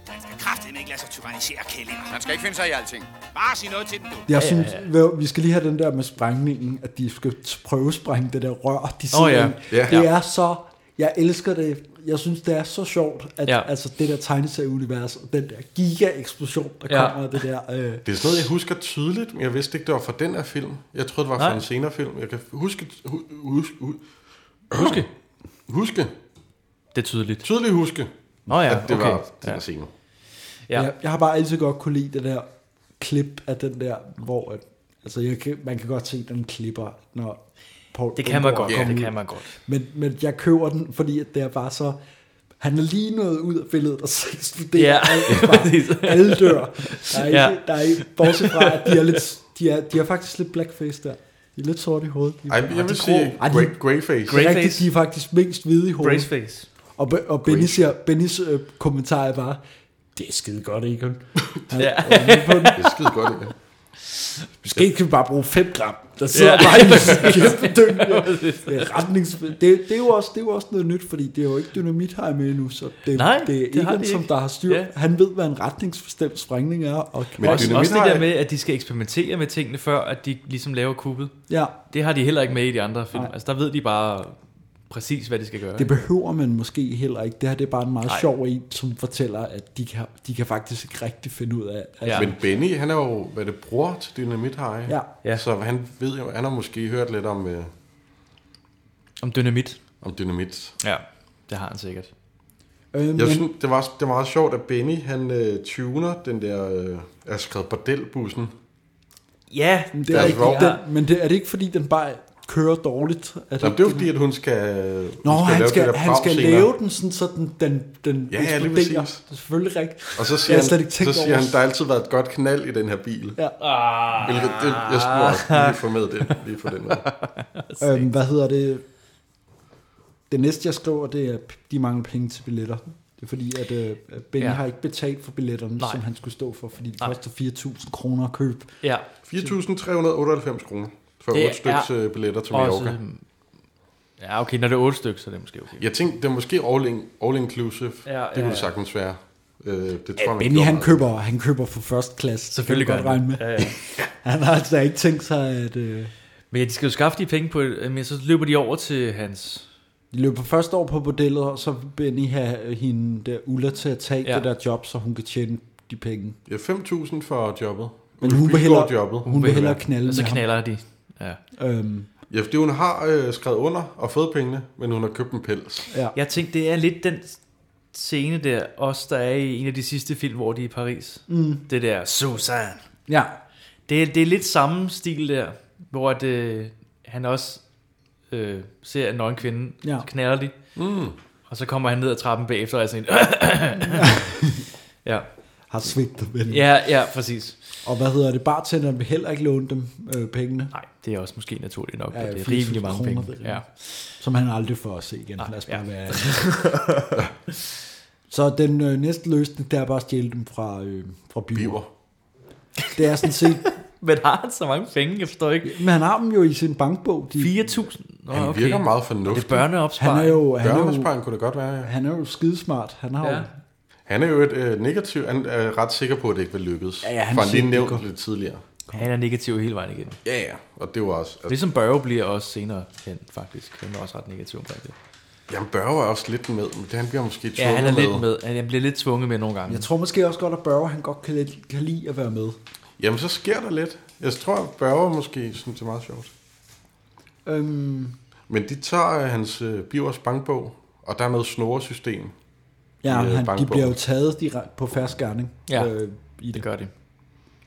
Man skal kraftedeme ikke lade sig tyrannisere kællinger. Man skal ikke finde sig i alting. Bare sig noget til den, du. Jeg synes, ja. vi skal lige have den der med sprængningen, at de skal t- prøve at sprænge det der rør, de sidder Åh, ja. i. Ja. Ja. Det er så, jeg elsker det. Jeg synes, det er så sjovt, at Ja. ja. altså, det der tegneserieunivers, og den der giga-eksplosion, der Ja. ja. kommer af det der... Øh, Det er sådan noget, jeg husker tydeligt, men jeg vidste ikke, det var fra den her film. Jeg troede, det var fra Nej. en senere film. Jeg kan huske... Hu, huske, hu, huske. Huske. Det er tydeligt. Tydeligt huske. Nå ja, at det okay. var den Ja. ja. scene. Ja. Ja. Jeg, jeg har bare altid godt kunne lide det der klip af den der, hvor at, altså jeg kan, man kan godt se, at den klipper, når Paul Det kan man Bundgaard godt, kommer det ud. kan man godt. Men, men jeg køber den, fordi at det er bare så... Han er lige noget ud af billedet, og så studerer Ja, alt bare. Alle dør. Der er ikke, Ja. ja. der er ikke, bortset fra, at de er, lidt, de, er, de er faktisk lidt blackface der. De er lidt sorte i hovedet. De er- Ej, og jeg de vil er sige grå. Ej, de- grey- greyface. Det er rigtigt, Greyface. de er faktisk mest hvide i hovedet. Greyface. Og, Be- og Bennys, her, Bennys øh, kommentar er bare, det er skide godt, Egon. Han- Ja. han er med på den. Det er skide godt, Egon. Måske kan vi bare bruge 5 gram. Der sidder Ja. ja. bare en kæmpe dynge. Det, er retningsfri- det, det, er jo også, det er jo også noget nyt, fordi det er jo ikke dynamit her med endnu, så det, Nej, det er det har Egon, de som ikke. der har styr. Ja. Ja. Han ved, hvad en retningsbestemt sprængning er. Og kan Men også, også det har- der med, at de skal eksperimentere med tingene, før at de ligesom laver kuppet. Ja. Det har de heller ikke med i de andre film. Nej. Altså, der ved de bare præcis, hvad de skal gøre. Det behøver man måske heller ikke. Det her det er bare en meget Nej. Nej. sjov en, som fortæller, at de kan, de kan faktisk ikke rigtig finde ud af. altså- Ja. Men Benny, han er jo, hvad det bror til Dynamit High. Ja. Ja. Så han ved jo, han har måske hørt lidt om... Øh, Om dynamit. Om dynamit. Ja, det har han sikkert. Øhm, jeg men- synes, det var, det var meget sjovt, at Benny, han øh, tuner den der, øh, er skrevet bordelbussen. Ja, Men det er, ikke, den, men det, er det ikke, fordi den bare kører dårligt? At Nå, det er jo fordi, at hun skal, hun Nå, han skal, det der han skal brag senere. lave den, sådan, så den, den, den Ja, ja, lige eksploderer. præcis. Det er selvfølgelig rigtigt. Og så siger, jeg har slet han, ikke tænkt så siger over han, det. der har altid været et godt knald i den her bil. Ja. Ah. Hvilket, det, jeg skulle også lige få med det, lige for den med. Øhm, hvad hedder det? Det næste, jeg skriver, det er, p- de mangler penge til billetter. Det er fordi, at øh, Benny Ja. ja. har ikke betalt for billetterne, Nej. Nej. som han skulle stå for, fordi det Nej. koster 4.000 kroner at købe. Ja. 4.398 kroner for Det 8 stykker er til billetter til også- Mallorca. Ja, okay, når det er 8 stykker, så er det måske okay. Jeg tænkte, det er måske all, in, all inclusive. Ja, ja, det kunne ja. det sagtens være. Øh, det tror jeg, man Benny, gjorde han meget. køber, han køber for første klasse. Selvfølgelig Det kan gør du han godt det. regne Ja, med. ja. han har altså ikke tænkt sig, at... Øh, Men ja, de skal jo skaffe de penge på, et- men så løber de over til hans... De løber først over på bordellet, og så vil Benny have øh, hende der Ulla til at tage Ja. ja. det der job, så hun kan tjene de penge. Ja, 5.000 for jobbet. Men hun vil hellere, jobbet. Hun vil hellere Altså knalde Og så med ham. knaller de. Ja. Øhm. Ja, fordi hun har øh, skrevet under og fået pengene, men hun har købt en pels. Ja. Jeg tænkte, det er lidt den scene der, også der er i en af de sidste film, hvor de er i Paris. Mm. Det der, Susan. Ja. Det, er- det er lidt samme stil der, hvor at, øh, han også øh, ser en nøgen kvinde, Ja. ja. knaller de. Mm. Og så kommer han ned ad trappen bagefter, og er sådan en... ja. Har svigtet ven. Ja, ja, præcis. Og hvad hedder det? Bartenderen vil heller ikke låne dem øh, pengene. Nej, det er også måske naturligt nok, Ja, ja, at det er 80.000 rimelig mange kroner, penge. det er Ja. Som han aldrig får at se igen. Nej, Lad os bare Ah, ja. ja. være ærlige. Så den øh, næste løsning, det er bare at stjæle dem fra, øh, fra biver. biver. Det er sådan set... Men har han så mange penge? Jeg forstår ikke. Men han har dem jo i sin bankbog. De, 4.000? Nå, Han virker meget fornuftig. Er det børneopsparing? Han er jo- han er jo- Børneopsparing kunne det godt være, ja. Han er jo skidesmart. Han har ja. jo Han er jo et øh, negativ, han er ret sikker på, at det ikke vil lykkes. Ja, ja, han For han siger, lige det nævnt går- lidt tidligere. Han er negativ hele vejen igen. Ja, ja, og det var også... Altså, Ligesom Børge bliver også senere hen, faktisk. Han er også ret negativ omkring det. Jamen, Børge er også lidt med, men det, han bliver måske tvunget Ja, han er med. lidt med. Han bliver lidt tvunget med nogle gange. Jeg tror måske også godt, at Børge han godt kan, lide- kan lide at være med. Jamen, så sker der lidt. Jeg tror, at Børge måske synes, det er meget sjovt. Øhm, Men de tager øh, hans øh, Bivers bankbog, og der er noget snoresystem. ja, i, øh, han, de bankbogen. bliver jo taget direkt på færre gerning. Ja, Øh, i det gør de.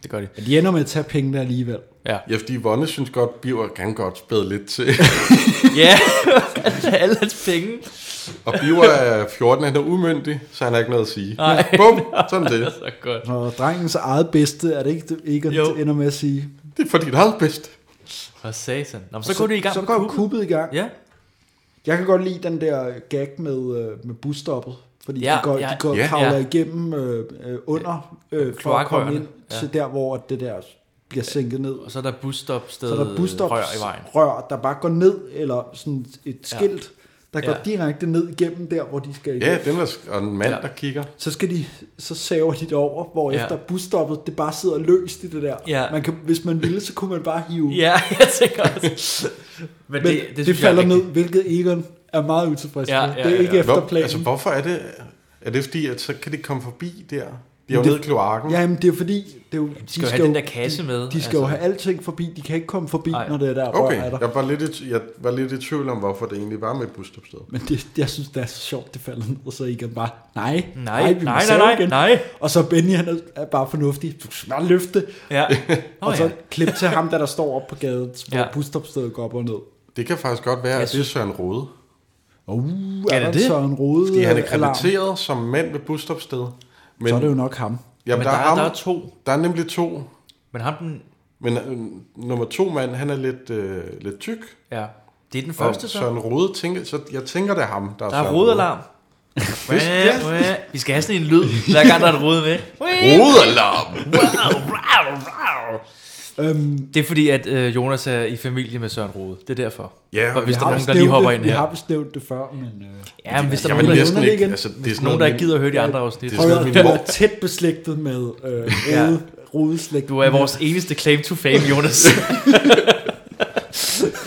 Det gør de. men de ender med at tage pengene alligevel. Ja. ja, fordi Vonne synes godt, Biver kan godt spæde lidt til. Ja, alle hans penge. og Biver er 14, han er umyndig, så han har ikke noget at sige. Nej. Bum, sådan det. Så godt. Og drengens eget bedste, er det ikke, det ikke Jo. ender med at sige? Det er for dit eget bedste. Hvad sagde han? Nå, men så, går det i gang Så med går kuppet. kuppet i gang. Ja. Jeg kan godt lide den der gag med, øh, med busstoppet. Fordi ja, Ja, de går, ja, de går ja. ja, kravler ja. igennem øh, øh, under, øh, for at komme Kloakrørene, ind ja. ja. til der, hvor det der bliver sænket ned. Og så er der busstopsted Så er der Øh, busstops rør i vejen. rør, der bare går ned, eller sådan et skilt, der går Ja. direkte ned igennem der, hvor de skal Ja, igennem. den der, og en mand, der kigger. Så skal de, så saver de det over, hvor Ja. efter busstoppet, det bare sidder løst i det der. Ja. Man kan, hvis man ville, så kunne man bare hive. Ja, jeg tænker også. Men, Men det, det, det synes jeg er falder rigtigt. ned, hvilket Egon er meget utilfreds med. Ja, Ja, ja, ja, det er ja, ikke ja. efter Hvor, planen. altså, hvorfor er det... Er det fordi, at så kan de komme forbi der? De er jo Men det- nede i kloakken. Ja, men det er fordi, det er jo, de skal jo have den der kasse med, De, de skal altså. jo have alting forbi. De kan ikke komme forbi, Nej. når det er der Okay, rør er der. jeg var, lidt i, jeg var lidt i tvivl om, hvorfor det egentlig var med et busstopsted. Men det, jeg synes, det er så sjovt, det falder ned, og så Egon bare, nej, Nej, vi må nej, save nej, nej, nej. Og så Benny, han er- er bare fornuftig, du skal bare løfte, Ja. Nå, og så ja. klip til ham, der, der står op på gaden, hvor ja. Ja. busstopstedet går op og ned. Det kan faktisk godt være, at det er Søren Rode. Og uh, Er det er der det? så en rode Fordi han er øh, alarm, krediteret som mand ved busstopsted. Men, så er det jo nok ham. Øhm, jamen, Men der, er, ham, der er to. der er nemlig to. Men ham den... Men øh, nummer to mand, han er lidt, øh, lidt tyk. Ja. Det er den Og første, så. Søren Rode tænker, så jeg tænker, det er ham, der er Der er Søren rodalarm. Wah, wah. Vi skal have sådan en lyd, hver gang der er et rod med. Rodealarm! Øhm, Det er fordi, at øh, Jonas er i familie med Søren Rode. Det er derfor. Ja, og hvis der vi er nogen, har der vist lige nævnt hopper det, ind Vi har her. vist nævt det før, men... Øh, Ja, men hvis der er Jamen, nogen, der, næsten nævner det ikke. igen. Altså, det er sådan nogen, der ikke min- gider at høre de andre afsnit. Det er prøv sådan min at du mor- er tæt beslægtet med øh, Ja. rode, rodeslægt. Du er vores eneste claim to fame, Jonas.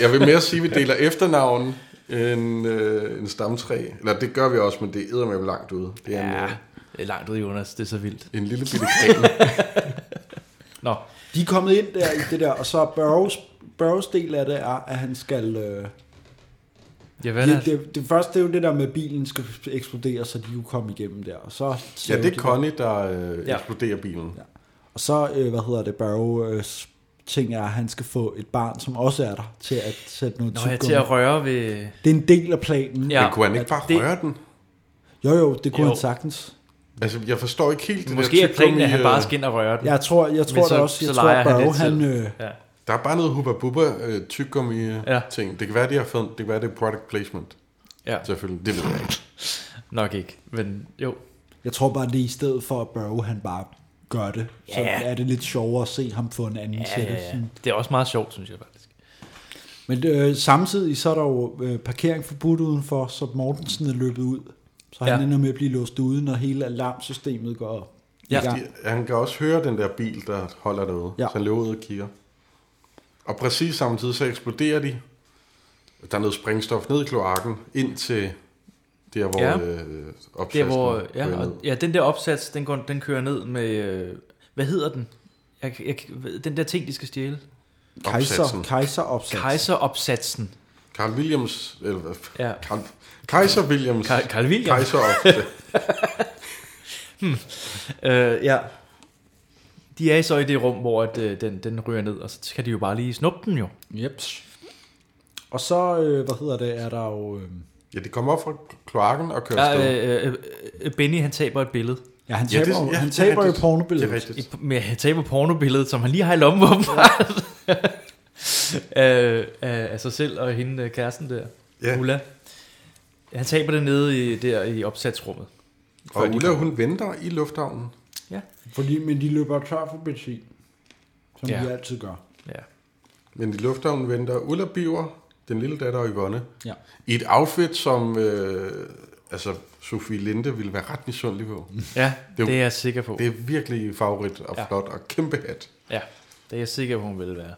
Jeg vil mere sige, at vi deler efternavn en, øh, en stamtræ. Eller det gør vi også, men det er med langt ude. Det er ja. en, ja, øh, det er langt ud, Jonas. Det er så vildt. en lille bitte gren. Nå, De er kommet ind der i det der, og så Burrows, Burrows del af det er, at han skal... Øh, ja, hvad er det, det? det, det, første, det er jo det der med, at bilen skal eksplodere, så de kan komme igennem der. Og så, ja, det er Connie, der øh, Ja. eksploderer bilen. Og så, øh, hvad hedder det, Burrow øh, s- ting er, at han skal få et barn, som også er der, til at sætte noget Nå, jeg er tyggegummi. til at røre ved... Det er en del af planen. Ja. Ja. Men kunne han ikke bare Det- det... røre den? Jo, jo, det kunne Jo. han sagtens. Altså, jeg forstår ikke helt det Måske der er planen, at han tyggegummi, bare øh, skal ind og røre den. Jeg tror, jeg tror Men så- da også, jeg så tror, leger at han Burrow, lidt selv. han... Øh, Ja. Der er bare noget hubba bubba øh, tyggegummi Ja. ja. ting. Det kan være, de har fundet, det kan være, det er product placement. ja. Selvfølgelig, det ved jeg ikke. Nok ikke, men jo. Jeg tror bare, det er i stedet for, at Burrow han bare gør det. Så Ja. er det lidt sjovere at se ham få en anden ja, Ja, til det. ja, Sådan. ja. Det er også meget sjovt, synes jeg faktisk. Men øh, samtidig så er der jo øh, parkering forbudt udenfor, så Mortensen er løbet ud. Så han Ja. ender med at blive låst ude, når hele alarmsystemet går ja. Ja. i gang. De, han kan også høre den der bil, der holder derude. Ja. Ja. Så han løber ud og kigger. Og præcis samtidig, så eksploderer de. Der er noget sprængstof ned i kloakken, ind til der, hvor Ja. ja. øh, Der opsatsen hvor, ja, kører ned. og, ja, den der opsats, den, går, den kører ned med, øh, hvad hedder den? Jeg, jeg, den der ting, de skal stjæle. Kejser, Opsatsen. kejseropsats. Kejseropsatsen. Carl Williams, eller hvad? Ja. Carl, Kaiser Williams. Carl, Carl William. Kaiser of, hmm. øh, ja. De er så i det rum, hvor at, øh, den, den ryger ned, og så skal de jo bare lige snuppe den jo. Jeps. Og så, øh, hvad hedder det, er der jo... Øh, ja, de kommer op fra kloakken og kører Ja, afsted. øh, øh, øh, Benny han taber et billede. Ja, han taber, ja, det, ja, han taber jo pornobilledet. Det er rigtigt. Et- Med, han taber pornobilledet, som han lige har i lommen åbenbart. øh, af af sig selv og hende øh, kæresten der, Ja. Ulla. Han taber det nede i, der i opsatsrummet. Og Før de Ulla, kommer. hun venter i lufthavnen. Fordi, men de løber tør for benzin, som Ja. ja. de altid gør. Ja. Men i lufthavnen venter Ulla Biver, den lille datter og Yvonne, Ja. i et outfit, som øh, altså, Sofie Linde ville være ret misundelig på. Ja, jo- det, det er jeg sikker på. Det er virkelig favorit og Ja. flot og kæmpe hat. Ja, det er jeg sikker på, hun vil være.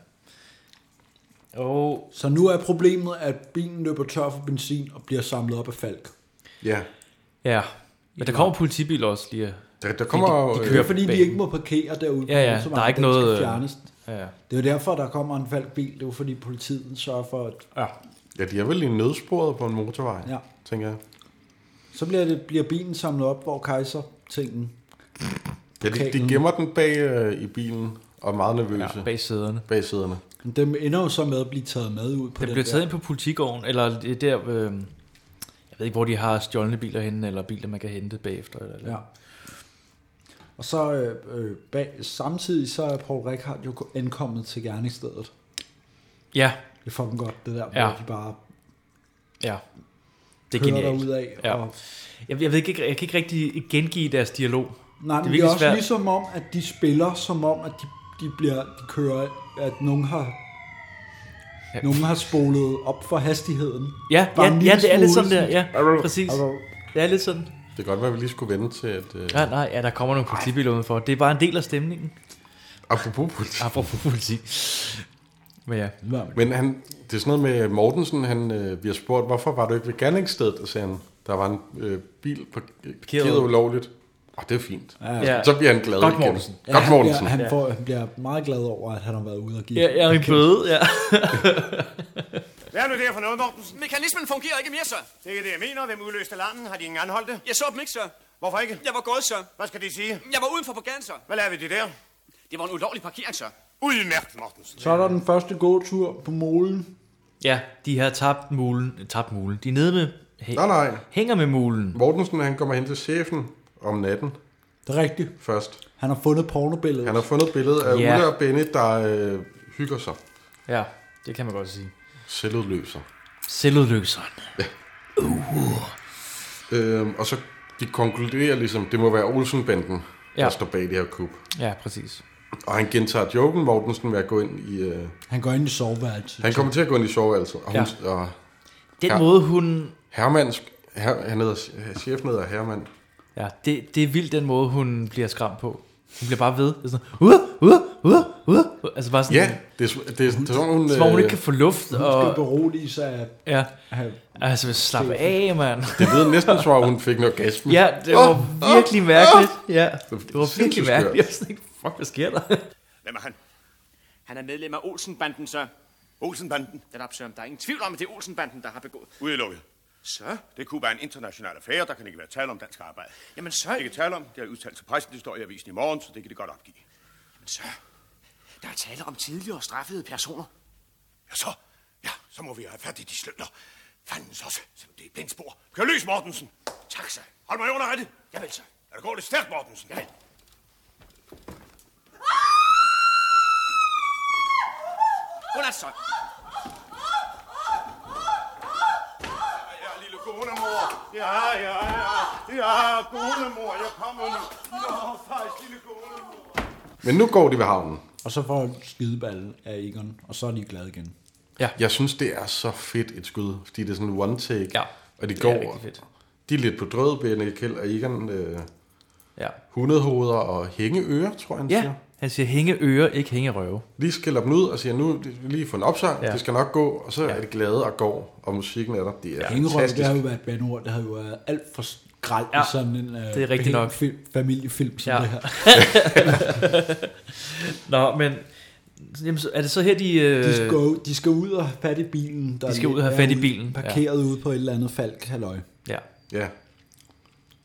Og Så nu er problemet, at bilen løber tør for benzin og bliver samlet op af Falk. Ja, ja, men der kommer politibil også lige. der, der kommer... de øh, Det kører er fordi, de bagen. ikke må parkere derude. på Ja, ja, motorvejen. der er ikke Den skal noget... øh, Fjernes. Ja, ja. Det er jo derfor, der kommer en falsk bil. Det er jo fordi, politiet sørger for, at ja. Ja, de er vel i nødsporet på en motorvej, Ja. tænker jeg. så bliver, det, bliver bilen samlet op, hvor kejser-tingen Ja, de, de Pokalen. gemmer den bag øh, i bilen og er meget nervøse ja ja, bag. bag sæderne. bag sæderne. Men Dem ender jo så med at blive taget med ud på Den den, bliver taget der. ind på politigården, eller det er der... Øh, jeg ved ikke, hvor de har stjålne biler henne, eller biler, man kan hente bagefter. Eller, eller. Ja. Og så øh, øh, bag, samtidig så er Paul Rickard jo ankommet til gerningsstedet. ja, Det er fucking godt, det der, Ja. hvor de bare ja. Det er kører genialt. derudad. Ja. Og, Jeg, jeg, ved ikke, jeg kan ikke rigtig gengive deres dialog. nej, Det er men det er virkelig også svært. svært. ligesom om, at de spiller som om, at de, de, bliver, de kører, at nogen har Ja. ja. nogen har spolet op for hastigheden. Ja, Bare ja, en lille ja det er lidt sådan smule der. Ja, sådan- præcis. Altså, Det er lidt sådan. Det kan godt være, at vi lige skulle vente til, at... Øh, Ja, nej, ja, der kommer nogle politibiler udenfor. Det er bare en del af stemningen. apropos politi. Apropos politi. Men ja. Men han, det er sådan noget med Mortensen, han øh, bliver spurgt, hvorfor var du ikke ved gerningsstedet? Og sagde han, der var en øh, bil parkeret, parkeret ulovligt. Og det er fint. Ja, ja. Så bliver han glad Godt, igen. Mortensen. Godt, Mortensen. Ja, han, får, han bliver meget glad over, at han har været ude og give. Ja, jeg er en bøde, ja. Hvad er nu der for noget, Mortensen? Mekanismen fungerer ikke mere, sir. Det er det, jeg mener. Hvem udløste alarmen? Har de ingen anholdte? Jeg så dem ikke, sir. Hvorfor ikke? Jeg var gået, sir. Hvad skal de sige? Jeg var udenfor på gaden, sir. Hvad laver de der? Det var en ulovlig parkering, sir. Udmærket, Mortensen. Så er der den første gåtur på molen. Ja, de har tabt mulen. Tabt mulen. De er nede med... Hæ- Nej, nej. Hænger med mulen. Mortensen, han kommer hen til chefen om natten Det er rigtigt. først. Han har fundet pornobilledet. Han har fundet et billede af Ja. Ulla og Benny, der øh, hygger sig. Ja, det kan man godt sige. Selvudløser. Selvudløseren. Øhm, og så de konkluderer ligesom, det må være Olsen-banden, ja. Ja. der står bag det her kub. Ja, præcis. Og han gentager joken, Mortensen ved at gå ind i... Øh, Han går ind i soveværelset. han kommer til at gå ind i soveværelset, og, hun, ja. og Den Ja. ja. måde, hun... Hermans, her, han hedder, chefen hedder Herman. Ja, det, det er vildt, den måde, hun bliver skræmt på. Hun bliver bare ved. Det er sådan, uh, uh, uh, uh. Altså bare sådan, Ja, det er, sm- det er, det er sådan, hun... som om hun øh, ikke kan få luft. Hun skal Og, berolige sig af... ja, af altså slappe af, mand. Det lyder næsten som om, hun fik en orgasme. Ja, det var virkelig mærkeligt. Ja, det var sindssygt virkelig skørt. mærkeligt. Jeg var sådan, ikke, fuck, hvad sker der? Hvem er han? Han er medlem af Olsenbanden, sir. Olsenbanden. Den op, sir. Der er ingen tvivl om, at det er Olsenbanden, der har begået. Udelukket. Sir? Det kunne være en international affære, der kan ikke være tale om dansk arbejde. Jamen, så... Det kan tale om, det er udtalt til pressen, det står i avisen i morgen, så det kan det godt opgive. Men, sir, der er tale om tidligere straffede personer. Ja, så, ja, så må vi have fat i de slønder. Fandens også, selvom det er et blindspor. Kør løs, Mortensen. Tak, sir. Hold mig under rettet. Javel, sir. Er det går lidt stærkt, Mortensen? Javel. Godnat, sir. Ja, lille konemor. Ja, ja, ja. Ja, konemor, jeg kommer nu. Nå, faktisk, lille konemor. Men nu går de ved havnen. og så får han skideballen af Egon, og så er de glade igen. Jeg synes, det er så fedt et skud, fordi det er sådan en one take. Ja, og de det er går, rigtig fedt. De er lidt på drød, Benny Kjeld og Egon. Øh, Ja. hundehoveder og hængeører, tror jeg, han siger. ja, han siger hænge ører, ikke hænge røve. Lige skiller dem ud og siger, nu er det lige få en opsang, ja. Ja. det skal nok gå. Og så er det glade og går, og musikken er der. Det er ja. Hængerøv, det fantastisk. har jo været et bandord, det har jo været alt for skrald ja, Ja, i sådan en uh, det er rigtigt nok. Film, familiefilm som Ja. ja. det her. Nå, men Jamen, så- er det så her, de... Øh... De skal, gå, de skal ud og have fat i bilen. Der De skal ud og have fat i er bilen, ja. Parkeret ja. ude på et eller andet falk, halløj. Ja. Ja.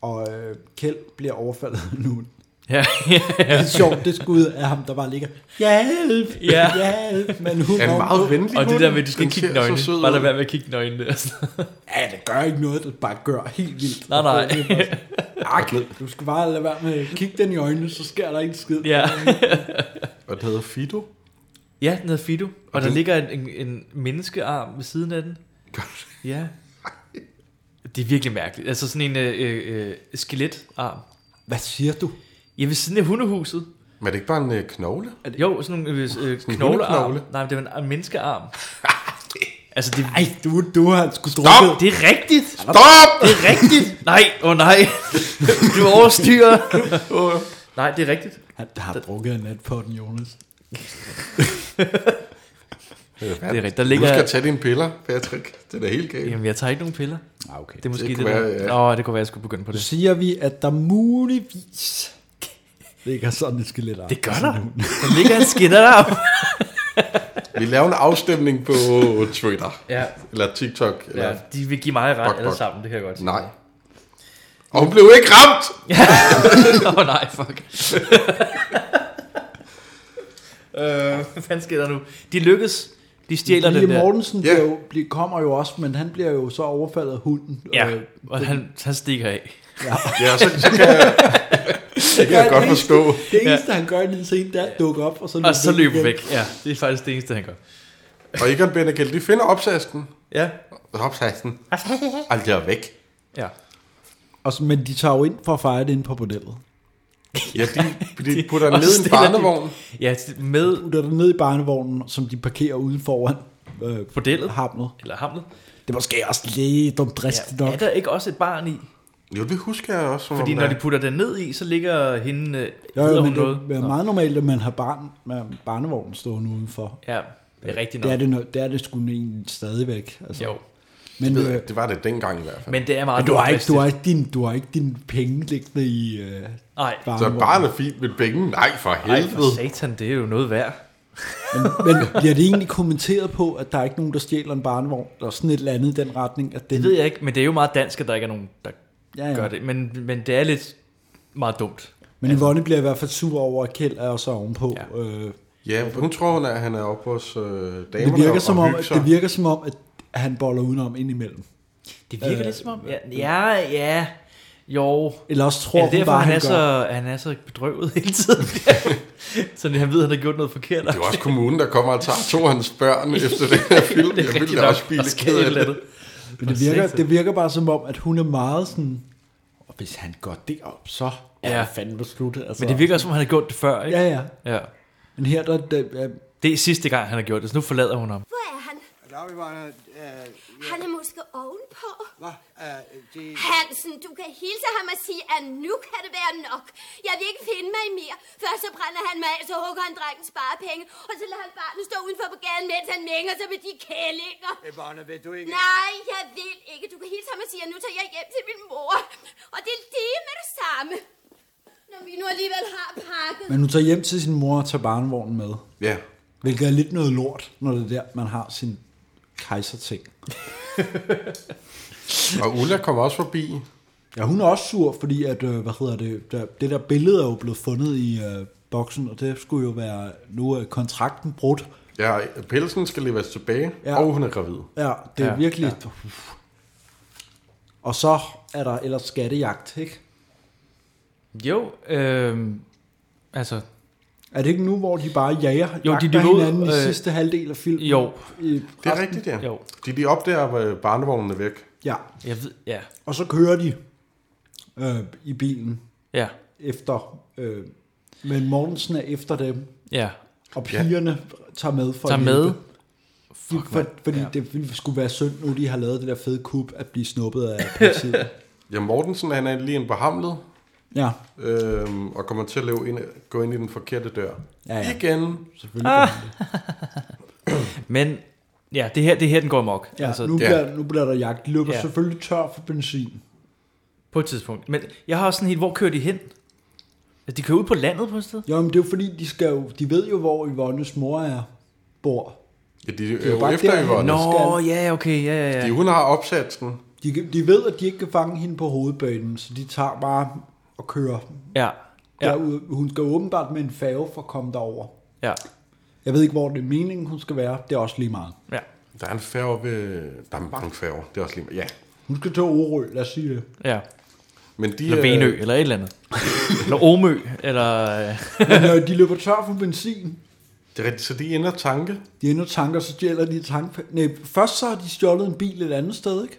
Og øh, Kjeld bliver overfaldet nu. Ja, Det er sjovt, det skud af ham, der bare ligger, hjælp, Ja. ja. hjælp, men hun Er en meget venlig Og det der med, at de skal Den kigge ser så nøgne. sød Bare ud. lad være med at kigge nøgne der. Ja, det gør ikke noget, det bare gør helt vildt. Nej, nej. Ak, du skal bare lade være med at kigge den i øjnene, så sker der ikke en skid. Ja. og det hedder Fido. Ja, den hedder Fido. Og, og der den- ligger en, en, en menneskearm ved siden af den. Ja. Det er virkelig mærkeligt. Altså sådan en øh, øh, øh, skeletarm. Hvad siger du? Ja, ved siden af hundehuset. Men er det ikke bare en øh, knogle? Er det- Jo, sådan nogle øh, øh, en knoglearm. hundeknogle? Nej, men det er en, en menneskearm. altså, det... Ej, du, du har sgu Stop! Det er rigtigt! Stop! Det er rigtigt! nej, åh oh, nej! Du overstyrer! nej, det er rigtigt. Han har drukket en nat på den, Jonas. Det er rigtigt. Der Du ligger... skal tage dine piller, Patrick. Det er da helt galt. Jamen, jeg tager ikke nogen piller. Ah, okay. Det er måske det, Det det kunne der. være, ja. Nå, det kunne være, jeg skulle begynde på det. Siger vi, at der muligvis ligger sådan et skelet af. Det gør der. Der ligger en skinner der. Vi laver en afstemning på Twitter. Ja. Eller TikTok. Eller... Ja, de vil give mig ret Bok, alle bok. sammen, det kan jeg godt sige. Nej. Og hun blev ikke ramt! Åh oh, nej, fuck. øh, hvad fanden sker der nu? De lykkes. De stjæler den Lige der. Mortensen Ja. yeah. jo, bliver, kommer jo også, men han bliver jo så overfaldet af hunden. Øh, Ja, og han, han stikker af. Ja, så, så kan jeg, det kan jeg godt forstå. Det eneste, han gør i den scene, der dukker op, og så løber, Og så løber væk. Ja, det er faktisk det eneste, han gør. Og Egon Benegel, de finder opsasken. Ja. Opsasken. Og de er væk. Ja. Og så, men de tager jo ind for at fejre det inde på bordellet. Ja, de, de putter og ned i en stiller de- barnevogn. Ja, med Putter det ned i barnevognen, som de parkerer ude foran øh, bordellet. hamlet. Eller hamlet. Det er måske også lidt dumdristigt Ja, nok. er der ikke også et barn i? Jo, det husker jeg også. Som Fordi om, når der- de putter den ned i, så ligger hende... øh, Jo, hedder jo, hun men noget? det er Nå. meget normalt, at man har barn, med barnevognen stående udenfor. Ja, det er rigtigt nok. Det er det, no- det, er det sgu egentlig stadigvæk. Altså. Jo. Men, Det ved øh, jeg, Det var det dengang i hvert fald. Men det er meget men du, har ikke, du, dumdristigt. har ikke din, du har ikke dine penge liggende i øh, Nej. Så barnevognen. barnet er fint med penge? Nej, for Ej, for helvede. satan, det er jo noget værd. Men bliver det egentlig kommenteret på, at der er ikke nogen, der stjæler en barnevogn, eller sådan et eller andet i den retning? At den, Det ved jeg ikke, men det er jo meget dansk, at der ikke er nogen, der Ja, ja, ja. ja. gør det. Men, men det er lidt meget dumt. Men Yvonne bliver i hvert fald sur over, at Kjeld er så ovenpå. Altså- Ja. Ja. Øh, Ja, hun tror, hun er, han er oppe hos øh, damerne det, virker og, som og om, hygger at, sig. det virker som om, at han boller udenom indimellem. Det virker øh, lidt som om... Ja, ja, ja. Jo. Eller også tror Er det hun derfor, bare, han, han, er gør. så, han er så bedrøvet hele tiden? så han ved, at han har gjort noget forkert. Det er jo også kommunen, der kommer og tager to af hans børn efter den her film. det er Jeg rigtigt ville nok, da også blive der lidt sker ked et af eller det. andet. Men det virker, det virker bare som om, at hun er meget sådan... Og hvis han går derop, så er Ja. ja. fandme slut. Altså. Men det virker også, som om han har gjort det før, ikke? Ja, ja. ja. Men her, der, der, der Det er sidste gang, han har gjort det, så nu forlader hun ham. Hvor er han? Der er vi bare... Øh, Han er måske ovenpå. hvad? Øh, det... Hansen, du kan hilse ham og sige, at nu kan det være nok. Jeg vil ikke finde mig mere. Først så brænder han mig af, så hugger han drengen sparepenge, og så lader han barnet stå udenfor på gaden, mens han mænger sig med de kællinger. Øh, Barne, vil du ikke... Nej, jeg vil ikke. Du kan hilse ham og sige, at nu tager jeg hjem til min mor. Og det er lige med det samme. Når vi nu alligevel har pakket. Men hun tager hjem til sin mor og tager barnevognen med. Ja. Hvilket er lidt noget lort, når det er der, man har sin kejserting. Og Ulla kommer også forbi. Ja, hun er også sur, fordi at, øh, hvad hedder det, der, det der billede er jo blevet fundet i øh, boksen, og det skulle jo være, nu er kontrakten brudt. Ja, pelsen skal leveres tilbage, Ja. ja. og hun er gravid. Ja, det er Ja, ja, virkelig... Ja. Og så er der ellers skattejagt, ikke? Jo, øh, altså, Er det ikke nu, hvor de bare jager Jo, jo, de de løber ud, hinanden øh, i øh, sidste halvdel af filmen? jo. I Det er rigtigt, ja. Jo. De, de opdager, at barnevognen er væk. Ja, jeg ved, ja. og så kører de øh, i bilen Ja, efter... Øh, men Mortensen er efter dem, ja. og pigerne ja. tager med for Tager at med. hjælpe. Fuck, for, fordi ja. det ville skulle være synd nu, de har lavet det der fede kub, at blive snuppet af politiet. Ja, Mortensen, han er lige en på hamlet, ja, øhm, og kommer til at leve ind, gå ind i den forkerte dør. Ja, ja. Igen. selvfølgelig. Ah, Men ja, det her, det her den går amok. ja, altså, nu, ja. bliver, nu bliver der jagt. De løber Ja. ja. selvfølgelig tør for benzin. På et tidspunkt. Men jeg har også sådan helt, hvor kører de hen? Altså, de kører ud på landet på et sted? Jo, men det er jo fordi, de, skal jo, de ved jo, hvor Yvonnes mor er, bor. Ja, de, Det det er er jo jo bare efter der, Yvonne. Nå, ja, okay, ja, ja, Fordi hun har opsatsen. De, de ved, at de ikke kan fange hende på hovedbanen, så de tager bare og kører. Ja. Ja. Derud, hun skal åbenbart med en færge for at komme derover. Ja. Jeg ved ikke, hvor det er meningen, hun skal være. Det er også lige meget. Ja. Der er en færge ved... Der er mange færger. Det er også lige... Ja. Hun skal til Orø, lad os sige det. Ja. Men de... Eller øh, Venø, eller et eller andet. eller Omø, eller... Men øh, de løber tør for benzin. Det er rigtigt, så de ender tanke. De ender tanker, så stjæler de tanke. Nej, først så har de stjålet en bil et andet sted, ikke?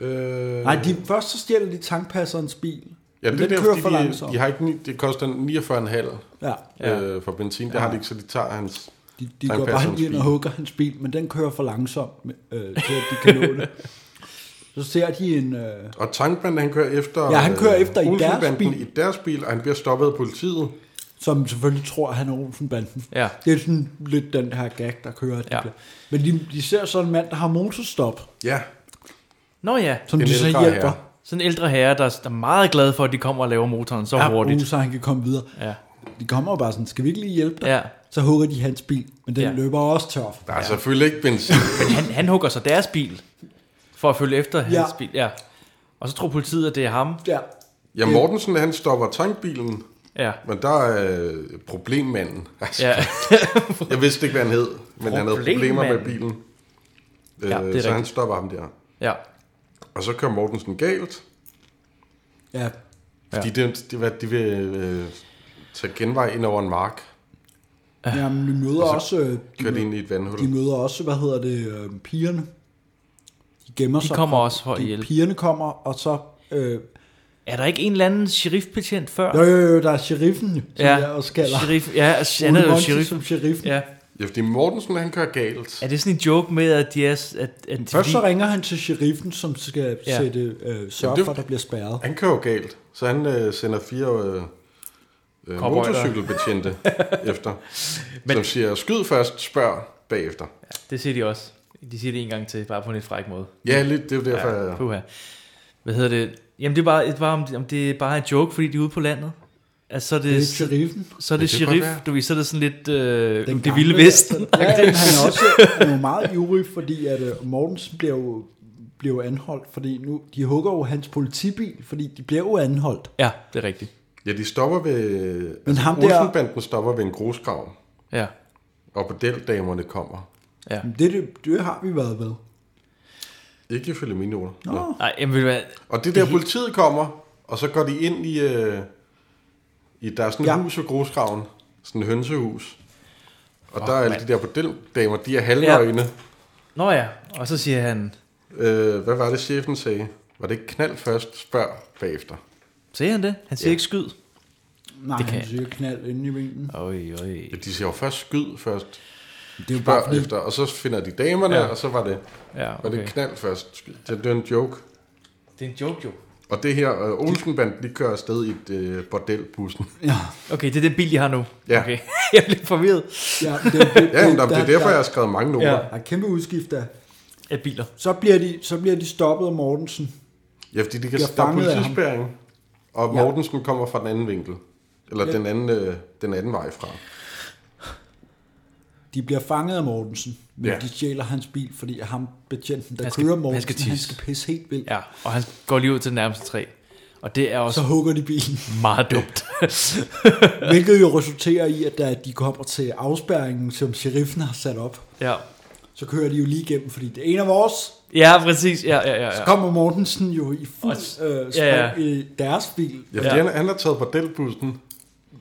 Øh... Nej, de, først så stjæler de tankpasserens bil. Ja, Men det er den der, kører fordi for langsomt. de, de har ikke, ni- det koster 49,5 Ja. øh, for benzin. Det Ja. har de ikke, så de tager hans... De, de tager går en bare passerens lige ind og bil. hugger hans bil, men den kører for langsomt øh, til, at de kan nå det. Så ser de en... Øh, Og tankmanden, han kører efter... øh, Ja, han kører efter i deres Olsenbanden bil. i deres bil, og han bliver stoppet af politiet. som selvfølgelig tror, at han er Olsenbanden. Ja. Det er sådan lidt den her gag, der kører. Ja. Men de, de ser så en mand, der har motorstop. Ja. Nå ja. Som En de så ældre hjælper. herre. Sådan en ældre herre, der er- der er meget glad for, at de kommer og laver motoren så Ja, hurtigt. uh, så han kan komme videre. Ja. De kommer jo bare sådan, skal vi ikke lige hjælpe dig? Ja. Så hugger de hans bil, men den Ja. løber også tør. Der er selvfølgelig ikke benzin. Men han, han hugger så deres bil, for at følge efter hans Ja. bil. Ja. Og så tror politiet, at det er ham. Ja. Ja, Mortensen, han stopper tankbilen. Ja. Men der er øh, problemmanden. Altså, Ja. jeg vidste ikke, hvad han hed, men han havde problemer med bilen. Øh, Ja, det er så rigtigt. han stopper ham der. Ja. Og så kører Mortensen galt, Ja. fordi ja. de, de, hvad, de vil øh, tage genvej ind over en mark. Jamen, de møder Og så Altså- også... øh, kører de ind i et vandhul. De møder også, hvad hedder det, øh, pigerne. De gemmer De sig. kommer for- også for at de- hjælpe. Pigerne kommer, og så... Øh, Er der ikke en eller anden sheriffbetjent før? jo, jo, jo, der er sheriffen, som ja. jeg også kalder. Sheriff, ja, altså, han Ole er jo Monti sheriff. som sheriffen. Ja. Ja, fordi Mortensen, han kører galt. Er det sådan en joke med, at de er... s- At, at de, Først så ringer han til sheriffen, som skal Ja. ja. sætte, øh, sørge Jamen, det- Altså, for, at der bliver spærret. Han kører jo galt, så han øh, sender fire øh, øh, Cowboyer. motorcykelbetjente efter, Men- men, som siger, skyd først, spørg bagefter. Det siger de også. De siger det en gang til, bare på en lidt fræk måde. Ja, lidt, det er jo derfor, Ja, jeg- puha. Hvad hedder det? Jamen, det er bare, det er bare, om, om det er bare en joke, fordi de er ude på landet. Altså, så er det, Det er sheriffen. Så er det, Ja, det kan sheriff, godt være. du ved, så er det sådan lidt øh, Den det vilde gamle, vesten. altså. Ja, men han er også han er jo meget ivrig, fordi at øh, Mortensen bliver jo, bliver jo anholdt, fordi nu, de hugger jo hans politibil, fordi de bliver jo anholdt. Ja, det er rigtigt. Ja, de stopper ved... Men ham ham der- der... Olsenbanden stopper ved en grusgrav. Ja. Og bordeldamerne kommer. Ja. Det, det, det har vi været ved. Ikke ifølge mine ord. Nå. Nej, jamen, ved du hvad? Og Det det er der helt- politiet kommer, og så går de ind i... Øh, i der er sådan et ja. hus ved grusgraven. Sådan et hønsehus. Og der er alle de der bordeldamer, de er halvøjne. Nå ja, og så siger han... Øh, hvad var det, chefen sagde? Var det ikke knald først, spørg bagefter? Siger han det? Han siger ja. ikke skyd. Nej, Det kan det kan han siger knald inde i benen. Oj, oj. Ja, de siger jo først skyd først. Det er jo spørg bare fordi- efter, og så finder de damerne, Ja. ja. og så var det, Ja, var okay. det knald først. skyd. Det, det er en joke. Det er en joke, jo. Og det her, øh, Olsenbanden, de kører afsted i et øh, bordelbussen. Ja. Okay, det er den bil, jeg har nu. Ja. Okay. jeg blev forvirret. Ja, det, det, det, Ja, men der- det er derfor, jeg har skrevet mange noter. Der er kæmpe udskift af. Af biler. Så bliver, de, så bliver de stoppet af Mortensen. Ja, fordi de kan Bliver der er fanget af ham. politispæring, og Ja. Mortensen kommer fra den anden vinkel. Eller Ja. den, anden, øh, den anden vej fra. De bliver fanget af Mortensen, men ja. Ja. de stjæler hans bil, fordi ham betjenten, der Han skal, skal- kører han Mortensen, han skal skal, han tisse. skal pisse helt vildt. Ja, og han går lige ud til den nærmeste træ. Og det er også... Så hugger de bilen. Meget dumt. Hvilket jo resulterer i, at da de kommer til afspærringen, som sheriffen har sat op, ja. så kører de jo lige igennem, fordi det er en af vores. ja, præcis. Ja, ja, ja, ja. Så kommer Mortensen jo i fuld øh, ja, ja, ja. i deres bil, Ja, fordi ja. han, han har taget bordelbussen.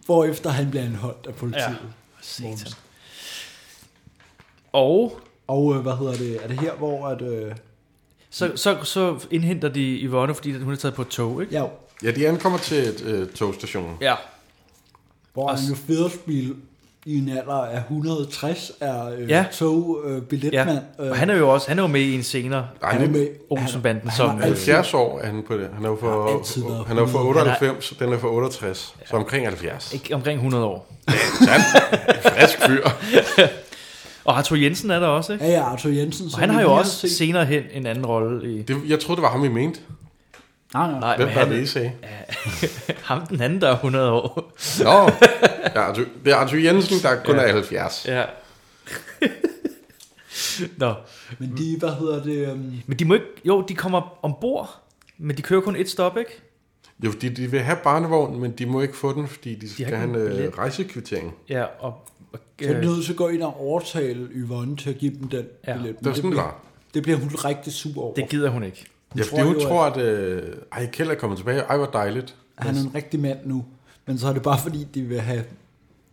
hvorefter han bliver anholdt af politiet. Ja. Og? Og øh, hvad hedder det? Er det her, hvor at... Øh, Så, så, så indhenter de Yvonne, fordi hun er taget på et tog, ikke? Ja. Ja, de ankommer til et øh, togstation. Ja. Hvor Og s- en fædrespil i en alder af 160 er øh, Ja. ja. tog øh, billetmand. Ja. Og han er jo også han er jo med i en senere. Ej, han er med- Olsenbanden, han- som... han er øh, 70 år er han på det. Han er jo Har altid for, været han er jo for 100. 98, den er for 68. Så omkring 70. Ikke omkring 100 år. Ja, sådan. En frisk fyr. og Arthur Jensen er der også, ikke? Ja, ja, Arthur Jensen. Og som han har vi jo lige også set. senere hen en anden rolle i... Det, jeg troede, det var ham, I mente. Nej, nej. Hvem men var han- det, I sagde? Ham den anden, der er 100 år. Nå, det er Arthur, det er Arthur Jensen, der kun er 70. Ja. Nå. Men de, hvad hedder det? Um... Men de må ikke, jo, de kommer ombord, men de kører kun et stop, ikke? Jo, fordi de vil have barnevognen, men de må ikke få den, fordi de skal ikke have en en øh, billet. rejsekvittering. Ja, og... og Så er de nødt til at gå ind og overtale Yvonne til at give dem den Øh. Ja. billet. Men Det var sådan, det bliver, var. det bliver hun rigtig sur over. Det gider hun ikke. Ja, fordi hun tror, at øh, ej, Kjeld er kommet tilbage. Ej, hvor dejligt. at han er en rigtig mand nu. Men så er det bare fordi, de vil have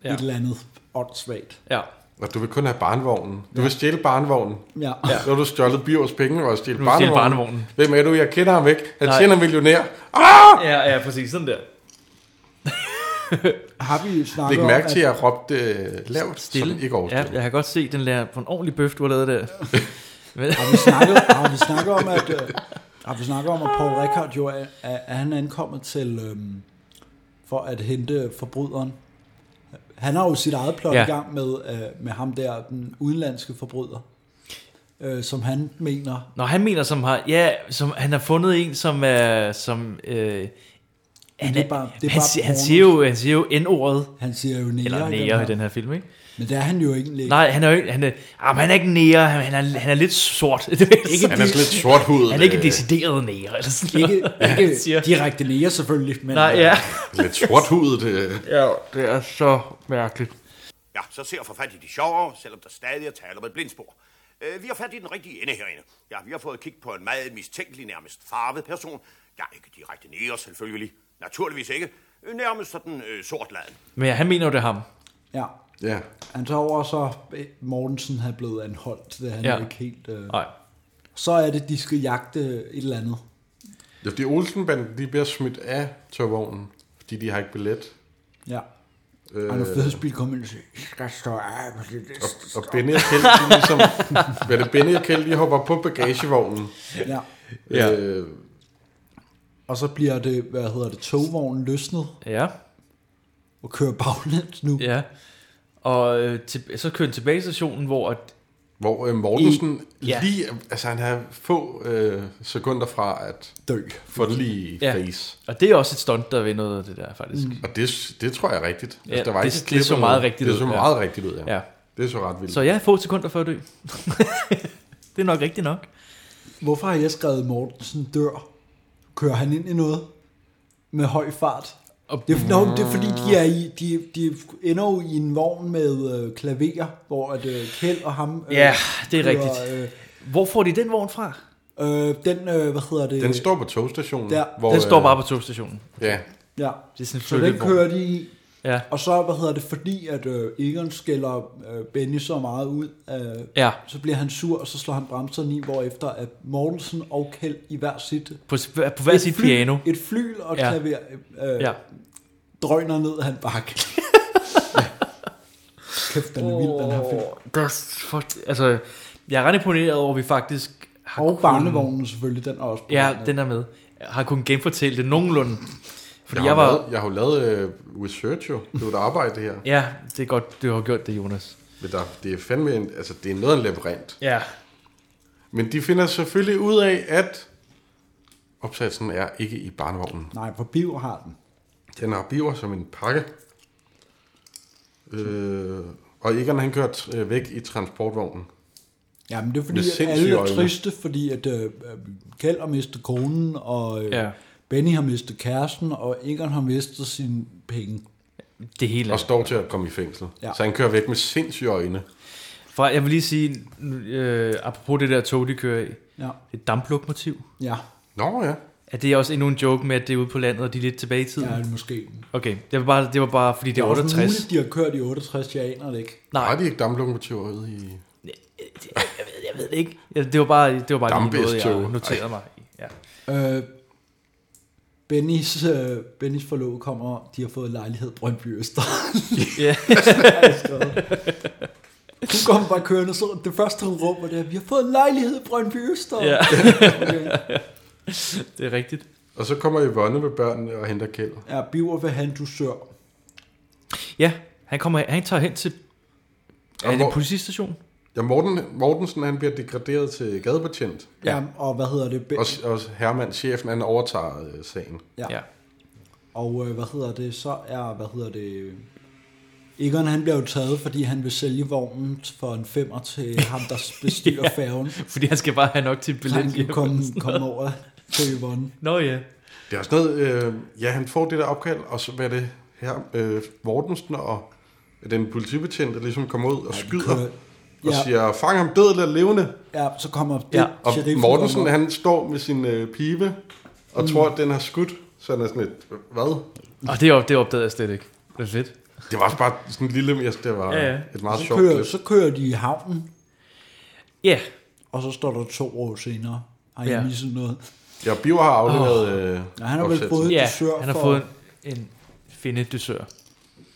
Ja. ja. et eller andet åndssvagt. Ja. Og du vil kun have barnevognen. Du vil stjæle barnevognen. Ja. Så har du stjålet Bivers penge og stjæle Nu vil jeg stjæle barnevognen. barnevognen. Hvem er du? Jeg kender ham ikke. Han Nej. tjener en millionær. Ah! Ja, ja, præcis. Sådan der. Har vi snakket Læg om, mærke til, at at... jeg råbte øh, lavt, Stille. som ikke overstod. altså- Ja, jeg har godt set den der på en ordentlig bøf, du har lavet der. Men, Har vi snakket, har vi snakket om, at... Øh, har vi snakket om, at Paul Rickard jo er, er, er han ankommet til... Øhm, for at hente forbryderen. Han har jo sit eget plot Ja. ja. i gang med, øh, med ham der, den udenlandske forbryder. Øh, som han mener... Nå, han mener, som har, ja, som, han har fundet en, som er, som, øh, han, det er er bare- det er han, bare si- han, porno. siger jo, han siger jo N-ordet. Han siger jo nære Eller i den nære i her. den her film, ikke? Men det er han jo egentlig Nej, han er jo ikke, han er, ah, men han er ikke nære, han, han, er, han er lidt sort. ikke Han er sådan lidt sorthudet. Han er ikke øh, decideret nære, eller sådan Ikke, noget. ikke Han siger- direkte nære selvfølgelig, men... øh, Nej, ja. Lidt sorthudet. Øh. Ja, det er så mærkeligt. Ja, så ser jeg for fat i de sjovere, selvom der stadig er tale om et blindspor. Øh, vi har fat i den rigtige ende herinde. Ja, vi har fået kig på en meget mistænkelig, nærmest farvet person. Ja, ikke direkte nære, selvfølgelig. Naturligvis ikke. Øh, Nærmest sådan øh, sortladen. Men ja, han mener jo, det er ham. Ja. ja. Han tager over, så øh, Mortensen havde blevet anholdt, det er han Ja. ja. ikke helt... Øh. Nej. Så er det, de skal jagte et eller andet. Ja, fordi Olsenbanden, de bliver smidt af togvognen, fordi de har ikke billet. Ja. Øh, Øh. Og når Fedespil kommer ind og siger, "I skal stå af med det. og, og Benny og Kjeld, de ligesom, hvad er det, Benny og Kjeld, de hopper på bagagevognen. Ja. Ja. Ja. Øh, Og så bliver det, hvad hedder det, togvognen løsnet Ja. og kører baglæns nu. Ja. Og øh, til, så kører han tilbage til stationen, hvor... At, hvor øh, Mortensen I- I, ja. ja. lige, altså han har få øh, sekunder fra at Dø. få det lige i Ja. face. og det er også et stunt, der ved noget af det der, faktisk. Mm. Og det, det tror jeg er rigtigt. Altså, Ja, det- et det klip så eller meget noget. rigtigt Det ud, så ja. meget rigtigt ud, ja. Ja. Det så ret vildt. Så ja, få sekunder før at dø. det er nok rigtigt nok. Hvorfor har jeg skrevet, Mortensen dør? Kører han ind i noget med høj fart? Det er, no, det er fordi, de, er i, de, de ender jo i en vogn med øh, klaver, hvor at, øh, Kjeld og ham... Ja, det er rigtigt. Øh, Hvor får de den vogn fra? øh, den, øh, hvad hedder det? Den står på togstationen. Der. Hvor, den står øh, bare på togstationen. Ja, Ja, Det er sådan en så den flyttevogn. kører de i. Ja. Og så, hvad hedder det, fordi at øh, Egon skælder øh, Benny så meget ud, øh, Ja. så bliver han sur, og så slår han bremserne i, hvorefter at Mortensen og Kjeld i hver sit... På, s- på hver et sit fly- piano. Et flyl og et Ja. ja. klaver øh, Ja. ja. drøner ned ad en bakke. Kæft, den er vild, den her film. Der er, s- for, altså, jeg er ret imponeret over, at vi faktisk har Og barnevognen selvfølgelig, den er også på Ja, den. den er med. Jeg har kun genfortalt det nogenlunde. Fordi jeg, jeg, jeg har var... lavet, jeg har jo lavet øh, research jo. Det er jo et arbejde det her. Ja, det er godt, du har gjort det, Jonas. Men der, det er fandme en, altså det er noget af en labyrint. Ja. Men de finder selvfølgelig ud af, at opsatsen er ikke i barnevognen. Nej, for Biver har den. Den har biver som en pakke. Øh, og Egon han kørt øh, væk i transportvognen. Jamen, det er fordi, Med at sindssyge alle er øjne. triste, fordi at øh, Kjeld har mistet konen, og øh, Ja. ja. Benny har mistet kæresten, og Egon har mistet sine penge. Det hele. Og står til at komme i fængsel. Ja. Ja. Så han kører væk med sindssyge øjne. For jeg vil lige sige, øh, apropos det der tog, de kører i. Ja. Det er et damplukmotiv. Ja, Nå ja. Er det også endnu en joke med, at det er ude på landet, og de er lidt tilbage i tiden? ja måske. Okay, Hmm. det var bare, det var bare fordi det, er også 68. Muligt, de har kørt i 68, jeg aner det ikke. Nej. Har de ikke damplokomotiver ude i... Jeg ved det ikke. Ja, det var bare, det var bare lige noget, Dampestog. jeg noterede Ej. mig. i. Ja. Øh, Bennys, øh, Bennys forlov kommer, de har fået lejlighed i Brøndby Øster. Ja. Hun kommer bare kørende, så det første hun råber, det er, vi har fået lejlighed i Brøndby Øster. Ja. okay. det er rigtigt. Og så kommer Yvonne med børnene og henter kælder. Ja, Biver vil have en dusør. Ja, han, kommer, han tager hen til... Er Og det hvor- en politistation? Ja, Morten, Mortensen han bliver degraderet til gadebetjent. Ja. Jamen, og hvad hedder det? Be- Og, og Hermann, chefen, han overtager øh, sagen. Ja. ja. Og øh, hvad hedder det, så er, hvad hedder det, Egon han bliver jo taget, fordi han vil sælge vognen for en femmer til ham, der bestyrer Ja, ja, færgen. fordi han skal bare have nok til Så billet han kan hjem komme, og sådan noget. komme over til Yvonne. Nå ja. Det er også noget, øh, ja, han får det der opkald, og så hvad er det her, øh, Mortensen og den politibetjent, der ligesom kommer ud og skyder, kører- og Ja. siger, fang ham død eller levende. Ja, så kommer det Ja, og sheriffen Mortensen, kommer. han står med sin øh, pibe, og Mm. mm. tror, at den har skudt, så han er sådan et, hvad? Og det, op, det opdagede jeg slet ikke. Det er fedt. Det var også bare sådan en lille, jeg- det var Ja, ja. et meget så sjovt kører, klip. så kører de i havnen. Ja. Og så står der to år senere. Har I Ja. ja. misset noget? Ja, Biver har afleveret oh. øh, ja, han har vel fået ja, dusør han har for- fået en, en finde dusør.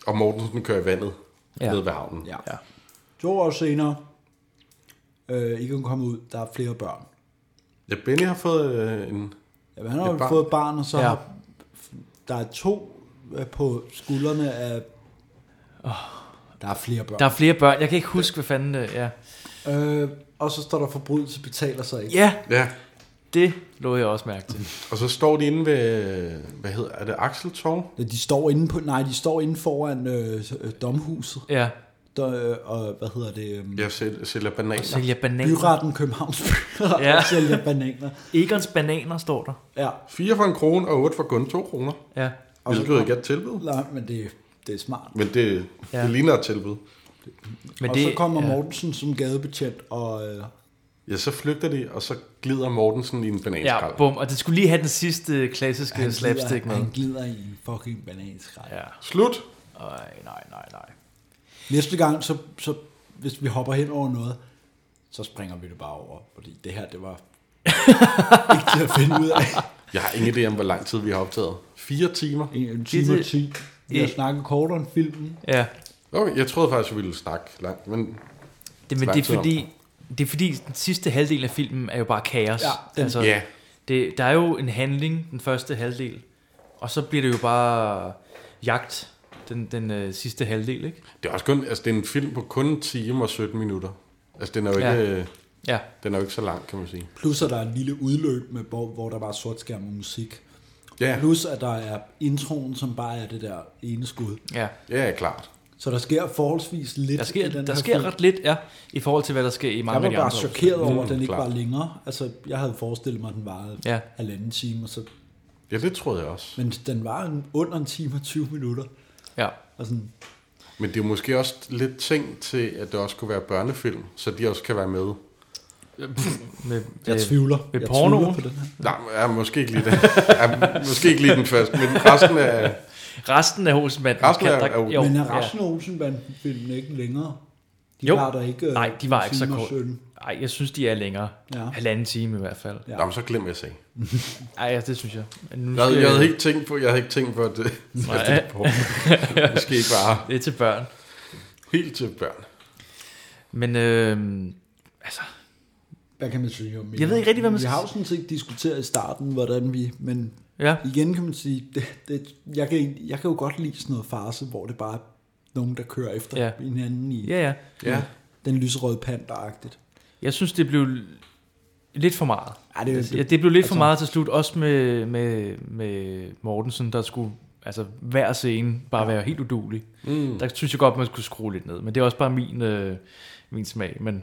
Og Mortensen kører i vandet Ja. ja. ned ved havnen. Ja. ja. To år senere, øh, Egon kommer ud, der er flere børn. ja Benny har fået øh, en... Jamen, han har et jo fået barn, og så Ja. ja. har, der er to øh, på skuldrene af... Der er flere børn. Der er flere børn. Jeg kan ikke huske, hvad fanden det er. Øh, og så står der forbrydelse betaler sig ikke. Ja. Ja. Det lå jeg også mærke til. Og så står de inde ved, hvad hedder, er det Axeltorv? Ja, De står inde på, nej, de står inde foran øh, øh, domhuset. Ja. Der, øh, og hvad hedder det? Øh, Ja, sæl- sælger bananer. sælger bananer. Byretten Københavns Byret Ja. ja. sælger bananer. Egons bananer står der. Ja. Fire for en krone, og otte for kun to kroner. Ja. Og så ikke er et tilbud. Nej, men det, det er smart. Men det, Ja. ja. det ligner et tilbud. Men og det, så kommer ja. Mortensen som gadebetjent, og øh, Ja, så flygter de, og så glider Mortensen i en bananskrald. Ja, bum. Og det skulle lige have den sidste øh, klassiske han, slapstick glider, med. han glider i en fucking bananskrald. Ja. Slut. Nej, nej, nej, nej. Næste gang, så, så hvis vi hopper hen over noget, så springer vi det bare over, fordi det her, det var ikke til at finde ud af. Jeg har ingen idé om, hvor lang tid vi har optaget. Fire timer. En time og ti. Vi har snakket kortere end filmen. Ja. Okay, jeg troede faktisk, vi ville snakke langt, men... Det, men lang det er tid om. fordi, det er fordi den sidste halvdel af filmen er jo bare kaos. Altså, Ja, den- Ja. det, der er jo en handling, den første halvdel, og så bliver det jo bare jagt, den, den øh, sidste halvdel, ikke? Det er også kun, altså det er en film på kun en time og 17 minutter. Altså den er jo Ja. ikke, Ja. den er jo ikke så lang, kan man sige. Plus at der er en lille udløb, med, hvor, hvor der var sort skærm og musik. Ja. Plus at der er introen, som bare er det der ene skud. Ja. Ja, klart. Så der sker forholdsvis lidt Der i sker, den der her sker film. ret lidt, ja, i forhold til, hvad der sker i mange af Jeg var de bare andre chokeret opslag. over, at den ikke klart. var længere. Altså, jeg havde forestillet mig, at den varede Ja. ja. halvanden time, og så... Ja, det troede jeg også. Men den var en- under en time og 20 minutter. Ja. Og sådan, Men det er jo måske også lidt ting til, at det også kunne være børnefilm, så de også kan være med. Med, Jeg tvivler. Med Jeg Øh, porno. tvivler på den her. Nej, ja, måske ikke lige den. Ja, måske ikke lige den første, men resten er... Resten af Olsenbanden. Resten kan er, der- er jo, jo. men er resten af Olsenbanden filmen ikke længere? De jo. var der ikke... øh, Nej, de var en ikke så time og kort. 17. Nej, jeg synes, de er længere. Ja. Halvanden time i hvert fald. Ja. Nå, men så glem jeg sagde. Ej, ja, det synes jeg. Men Nu Jeg, havde- jeg havde ikke tænkt på, jeg havde ikke tænkt på, at det, at det er porno. Måske ikke bare Det er til børn. helt til børn. Men øh, altså, Hvad kan man sige om mere? Jeg ved ikke rigtig, hvad man Vi skal har jo sige. sådan set diskuteret i starten, hvordan vi... Men Ja. igen kan man sige, det, det, jeg, kan, egentlig- jeg kan jo godt lide sådan noget farse, hvor det bare er nogen, der kører efter Ja. ja. hinanden i... Ja, ja. Ja. Den lyserøde panter-agtigt. jeg synes, det blev lidt for meget. Ej, det er- altså, ja, det blev lidt altså, altså- for meget til slut, også med, med, med Mortensen, der skulle altså hver scene bare være helt udulig. Mm. Der synes jeg godt, man skulle skrue lidt ned, men det er også bare min, øh, min smag. Men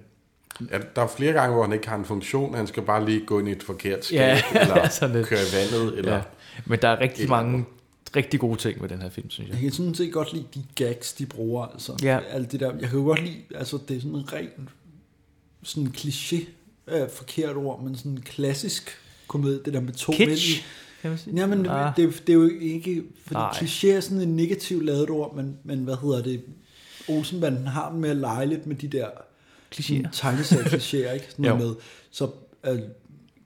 Ja, der er flere gange, hvor han ikke har en funktion. Han skal bare lige gå ind i et forkert skab, Ja, eller sådan lidt. køre i vandet. Eller... Ja. Men der er rigtig eller- mange rigtig gode ting med den her film, synes jeg. Jeg kan sådan set godt lide de gags, de bruger. Altså. Ja. Alt det der. Jeg kan jo godt lide, altså det er sådan en ren sådan en kliché, øh, forkert ord, men sådan en klassisk komedie, det der med to Kitsch, mænd. i- kan man sige. Ja, men Ah. det, det, det, er jo ikke, fordi Nej. Nej. kliché er sådan en negativ lavet ord, men, men hvad hedder det? Olsenbanden har den med at lege lidt med de der Klichéer. tegnesag-klichéer, ikke? Sådan Jo. noget med, så øh,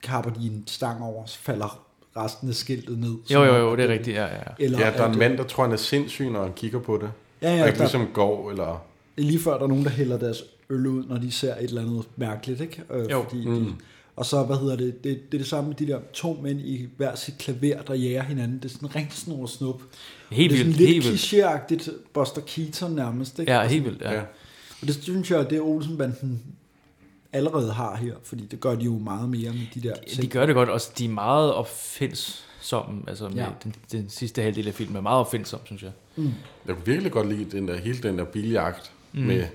kapper de en stang over, så falder resten af skiltet ned. Jo, jo, jo, det er rigtigt, ja, ja. Eller ja, der er en det- mand, der tror, han er sindssyg, når han kigger på det. Ja, ja, og ikke der- ligesom går, eller... Det er lige før, der er nogen, der hælder deres øl ud, når de ser et eller andet mærkeligt, ikke? Øh, Jo. Fordi Mm. de, og så, hvad hedder det, det, det er det samme med de der to mænd i hver sit klaver, der jager hinanden. Det er sådan rigtig snor og snup. Helt det er sådan vildt, helt lidt vildt. klichéagtigt Buster Keaton nærmest, ikke? Ja, Og sådan- helt vildt, ja. Ja. Og det synes jeg, det er Olsenbanden allerede har her, fordi det gør de jo meget mere med de der... De gør det godt, og de er meget opfindsomme. Altså med Ja. ja. den, den sidste halvdel af filmen er meget opfindsom, synes jeg. Mm. Jeg kunne virkelig godt lide den der, hele den der biljagt Mm. mm. med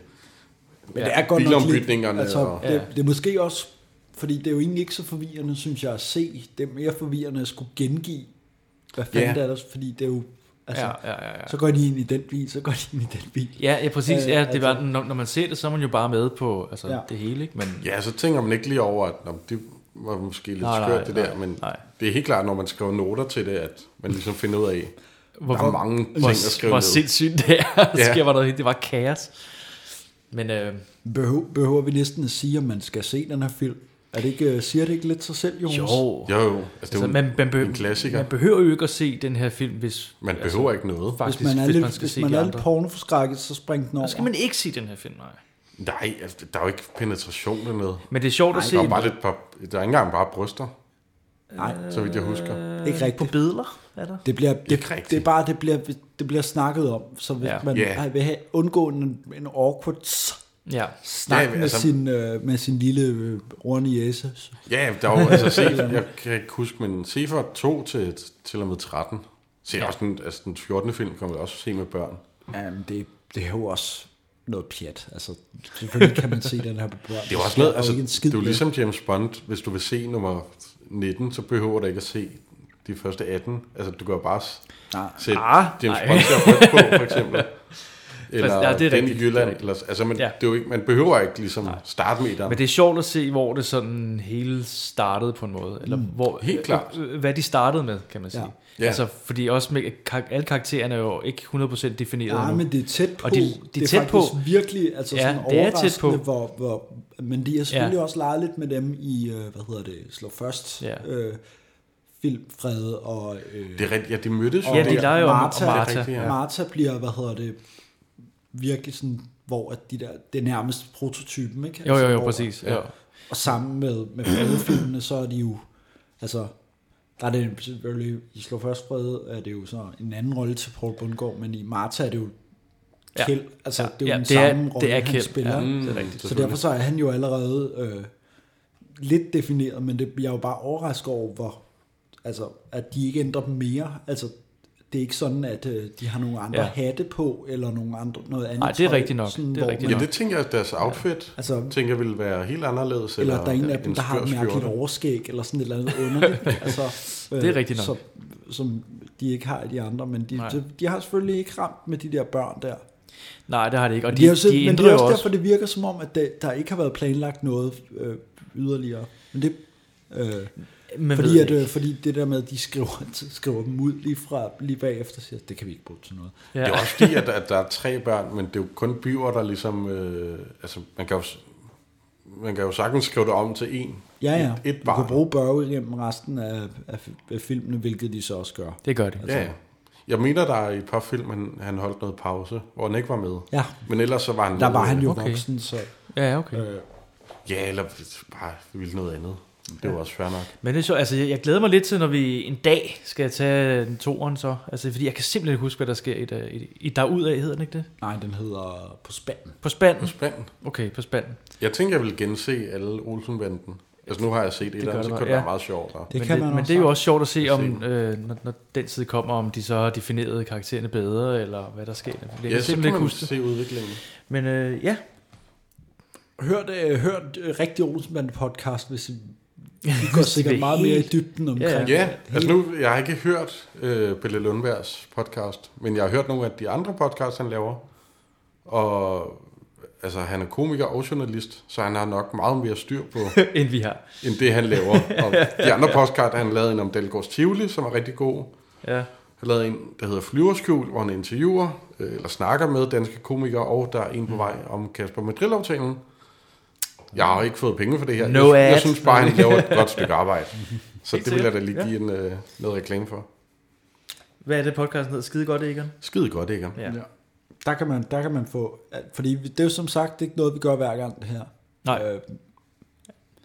Men det er godt nok lidt, bilombytningerne. altså, og, det, det er måske også, fordi det er jo egentlig ikke så forvirrende, synes jeg, at se. Det er mere forvirrende at skulle gengive, hvad fanden Ja. yeah. det er der, fordi det er jo, altså, Ja, ja, ja, ja. så går de ind i den bil, så går de ind i den bil. Ja, ja præcis. Øh, Ja, det var, når, når man ser det, så er man jo bare med på altså, Ja. ja. det hele. Ikke? Men Ja, så tænker man ikke lige over, at nå, det var måske lidt Nej, nej, nej, skørt det nej, der, men nej. det er helt klart, når man skriver noter til det, at man ligesom finder ud af, hvor, der er mange ting hvor, at skrive hvor ned. sindssygt det er. Ja. Ja. Sker var der, det var kaos. Men øh, Behøver, behøver vi næsten at sige, om man skal se den her film? Er det ikke, siger det ikke lidt sig selv, Jonas? jo. Altså, man, man behøver, Man behøver jo ikke at se den her film, hvis... Man behøver ikke noget. Faktisk, hvis man er lidt, man skal hvis se man de er lidt andre. pornoforskrækket, så spring den over. Så skal man ikke se den her film, nej. Nej, altså, der er jo ikke penetration eller noget. Men det er sjovt at Nej, se Der er, en- bare lidt par, der er ikke engang bare bryster. Nej. Så vidt jeg husker. Ikke rigtigt. På billeder er der? Det bliver, det, det er bare, det bliver, det bliver snakket om, så hvis ja. Ja. man Ja. yeah. vil have undgående en, en awkward s- Ja. snak Ja, med, altså- sin, øh, med sin lille øh, runde jæse. Ja, der var altså se, jeg kan ikke huske, men Sefer 2 til, til og med 13. Se, ja. også den, altså, den 14. film kommer jeg også se med børn. Jamen, det, det er jo også noget pjat. Altså, selvfølgelig kan man se den her på børn. Det er jo også sker noget, jo altså, ikke en det skid er jo med. ligesom James Bond. Hvis du vil se nummer 19, så behøver du ikke at se de første 18. Altså, du kan jo bare s- Nej. sætte Ah, James nej. Bond til at rykke på, for eksempel. Eller Ja, ja, det er den rigtigt, det i er Jylland. rigtigt. Eller, altså, man, Ja. ja. det er jo ikke, man behøver ikke ligesom startmeteren. Men det er sjovt at se, hvor det sådan hele startede på en måde. Eller Mm. hvor, Helt klart. øh, øh, Hvad de startede med, kan man sige. Ja. Ja. Altså, fordi også med, kar- alle karaktererne er jo ikke 100% defineret Ja, endnu. men det er tæt på. Og de, de det er er tæt på. faktisk virkelig altså Ja, sådan det er tæt overraskende, på. Hvor, hvor, men de har selvfølgelig Ja. også leget lidt med dem i, øh, hvad hedder det, Slå Først, Ja. øh, Filmfred og... Øh, Det er rigtigt, ja, de mødtes jo og Ja, de der. leger jo om- om Martha, Martha. Det er rigtigt, ja. Martha bliver, hvad hedder det, virkelig sådan, hvor at de der, det er nærmest prototypen, ikke? Altså, Jo, jo, jo, hvor- præcis, ja. Og sammen med, med fredefilmene, så er de jo, altså, der er det selvfølgelig, i Slå Først Brede, er det jo så en anden rolle til Paul Bundgaard, men i Martha er det jo Ja. Kjeld, altså Ja, det er jo ja, den det er- samme rolle, det er han Kjeld, spiller. ja, ikke? det er rigtigt, så selvfølgelig. derfor så er han jo allerede øh, lidt defineret, men det, jeg er jo bare overrasket over, hvor, altså, at de ikke ændrer dem mere. Altså, det er ikke sådan, at øh, de har nogle andre ja. Ja. hatte på, eller nogle andre, noget andet Nej, det er tøj, rigtigt nok. Sådan, Det er hvor rigtigt man- Ja, det tænker jeg, at deres outfit altså, tænker jeg ville være helt anderledes. Eller der er en af dem, der har et skør mærkeligt skjorte. overskæg, eller sådan et eller andet underligt. altså, Det er rigtigt nok. Som, som de ikke har i de andre, men de, Nej. de, de har selvfølgelig ikke ramt med de der børn der. Nej, det har det ikke. Og Men de, det er jo så, de men ændrer det jo er også, også. derfor, det virker som om, at det, der ikke har været planlagt noget øh, yderligere. Men det, øh, Man fordi, ved at, det øh, fordi det der med, at de skriver, skriver dem ud lige, fra, lige bagefter, siger, det kan vi ikke bruge til noget. Ja. Det er også fordi, at, at der er tre børn, men det er jo kun byer, der ligesom... Øh, altså, man kan, jo, s- man kan jo sagtens skrive det om til en. Ja, ja. Et, et Du kan barn. bruge børge igennem resten af, af, af filmene, hvilket de så også gør. Det altså. gør de. Ja, ja. Jeg mener, der er i et par film, han, han holdt noget pause, hvor han ikke var med. Ja. Men ellers så var han... Der med. var han jo Okay. voksen, så- Ja, okay. Øh, ja, eller bare ville noget andet. Det var også fair nok. Men det er sjovt, altså jeg, jeg glæder mig lidt til, når vi en dag skal tage den toeren så. Altså, fordi jeg kan simpelthen ikke huske, hvad der sker i, der- i, i derudaf, hedder den ikke det? Nej, den hedder På Spanden. På Spanden? På Spanden. Okay, på Spanden. Jeg tænker, jeg vil gense alle Olsenbanden. Altså, nu har jeg set et eller gør andet, så det kan bare, det være meget sjovt. der. men det, Men det er jo også sjovt at se, om, øh, når, når den tid kommer, om de så har defineret karaktererne bedre, eller hvad der sker. Jeg kan Ja, så kan simpelthen man ikke huske det. se udviklingen. Men øh, ja, Hørt, øh, hørt øh, rigtig Olsenband podcast, hvis I, I går sikkert meget mere i dybden omkring. Ja, altså nu, jeg har ikke hørt øh, Pelle Lundbergs podcast, men jeg har hørt nogle af de andre podcasts, han laver. Og altså, han er komiker og journalist, så han har nok meget mere styr på... end vi har. End det, han laver. Og de andre Ja. podcasts, han lavede en om Dalgårds Tivoli, som er rigtig god. Ja. Han lavede en, der hedder Flyverskjul, hvor han interviewer, øh, eller snakker med danske komikere, og der er en Mm. på vej om Kasper Madrid-aftalen. Jeg har ikke fået penge for det her. No jeg, ad. jeg synes bare, han laver et godt stykke arbejde. Så Helt det vil jeg da sikkert, lige give en, øh, noget reklame for. hvad er det podcasten hedder? Skide godt, Egon? Skide godt, Egon. Ja. ja. Der kan man, der kan man få, alt, fordi vi- det er jo som sagt ikke noget, vi gør hver gang det her. Nej. Øh,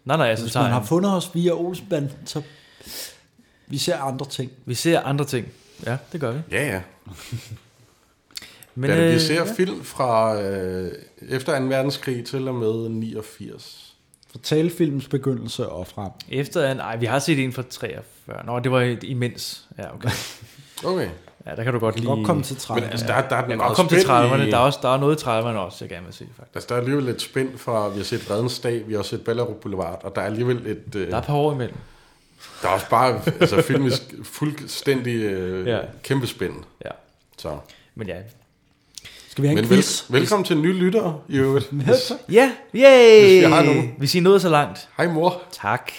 Nej, nej, altså, Hvis tager man har han- fundet os via Olsenband, så vi ser andre ting. Vi ser andre ting. Ja, det gør vi. Ja, ja. Men, Men, da vi øh, ser ja. film fra øh, efter 2. verdenskrig til og med 89. Fra talefilms begyndelse og frem. Efter en, nej, vi har set en fra 43. Nå, det var et imens. Ja, okay. okay. Ja, der kan du godt Kan lige... godt komme til 30'erne. øh, Men altså, der- der er den Jeg kan meget godt komme til spænd i- 30'erne. Der er, også, der er noget i 30'erne også, jeg gerne vil se, faktisk. Altså, der er alligevel lidt spænd fra, vi har set Redens Dag, vi har også set Ballerup Boulevard, og der er alligevel et... Øh, Der er et par år imellem. Der er også bare altså, filmisk fuldstændig øh, Ja. ja. kæmpe spænd. Ja. Så. Men ja. Skal vi have en vel- quiz? velkommen til nye lyttere, i øvrigt. Hvis- Ja, yay! Hvis vi har nogen. Hvis I nåede så langt. Hej mor. Tak.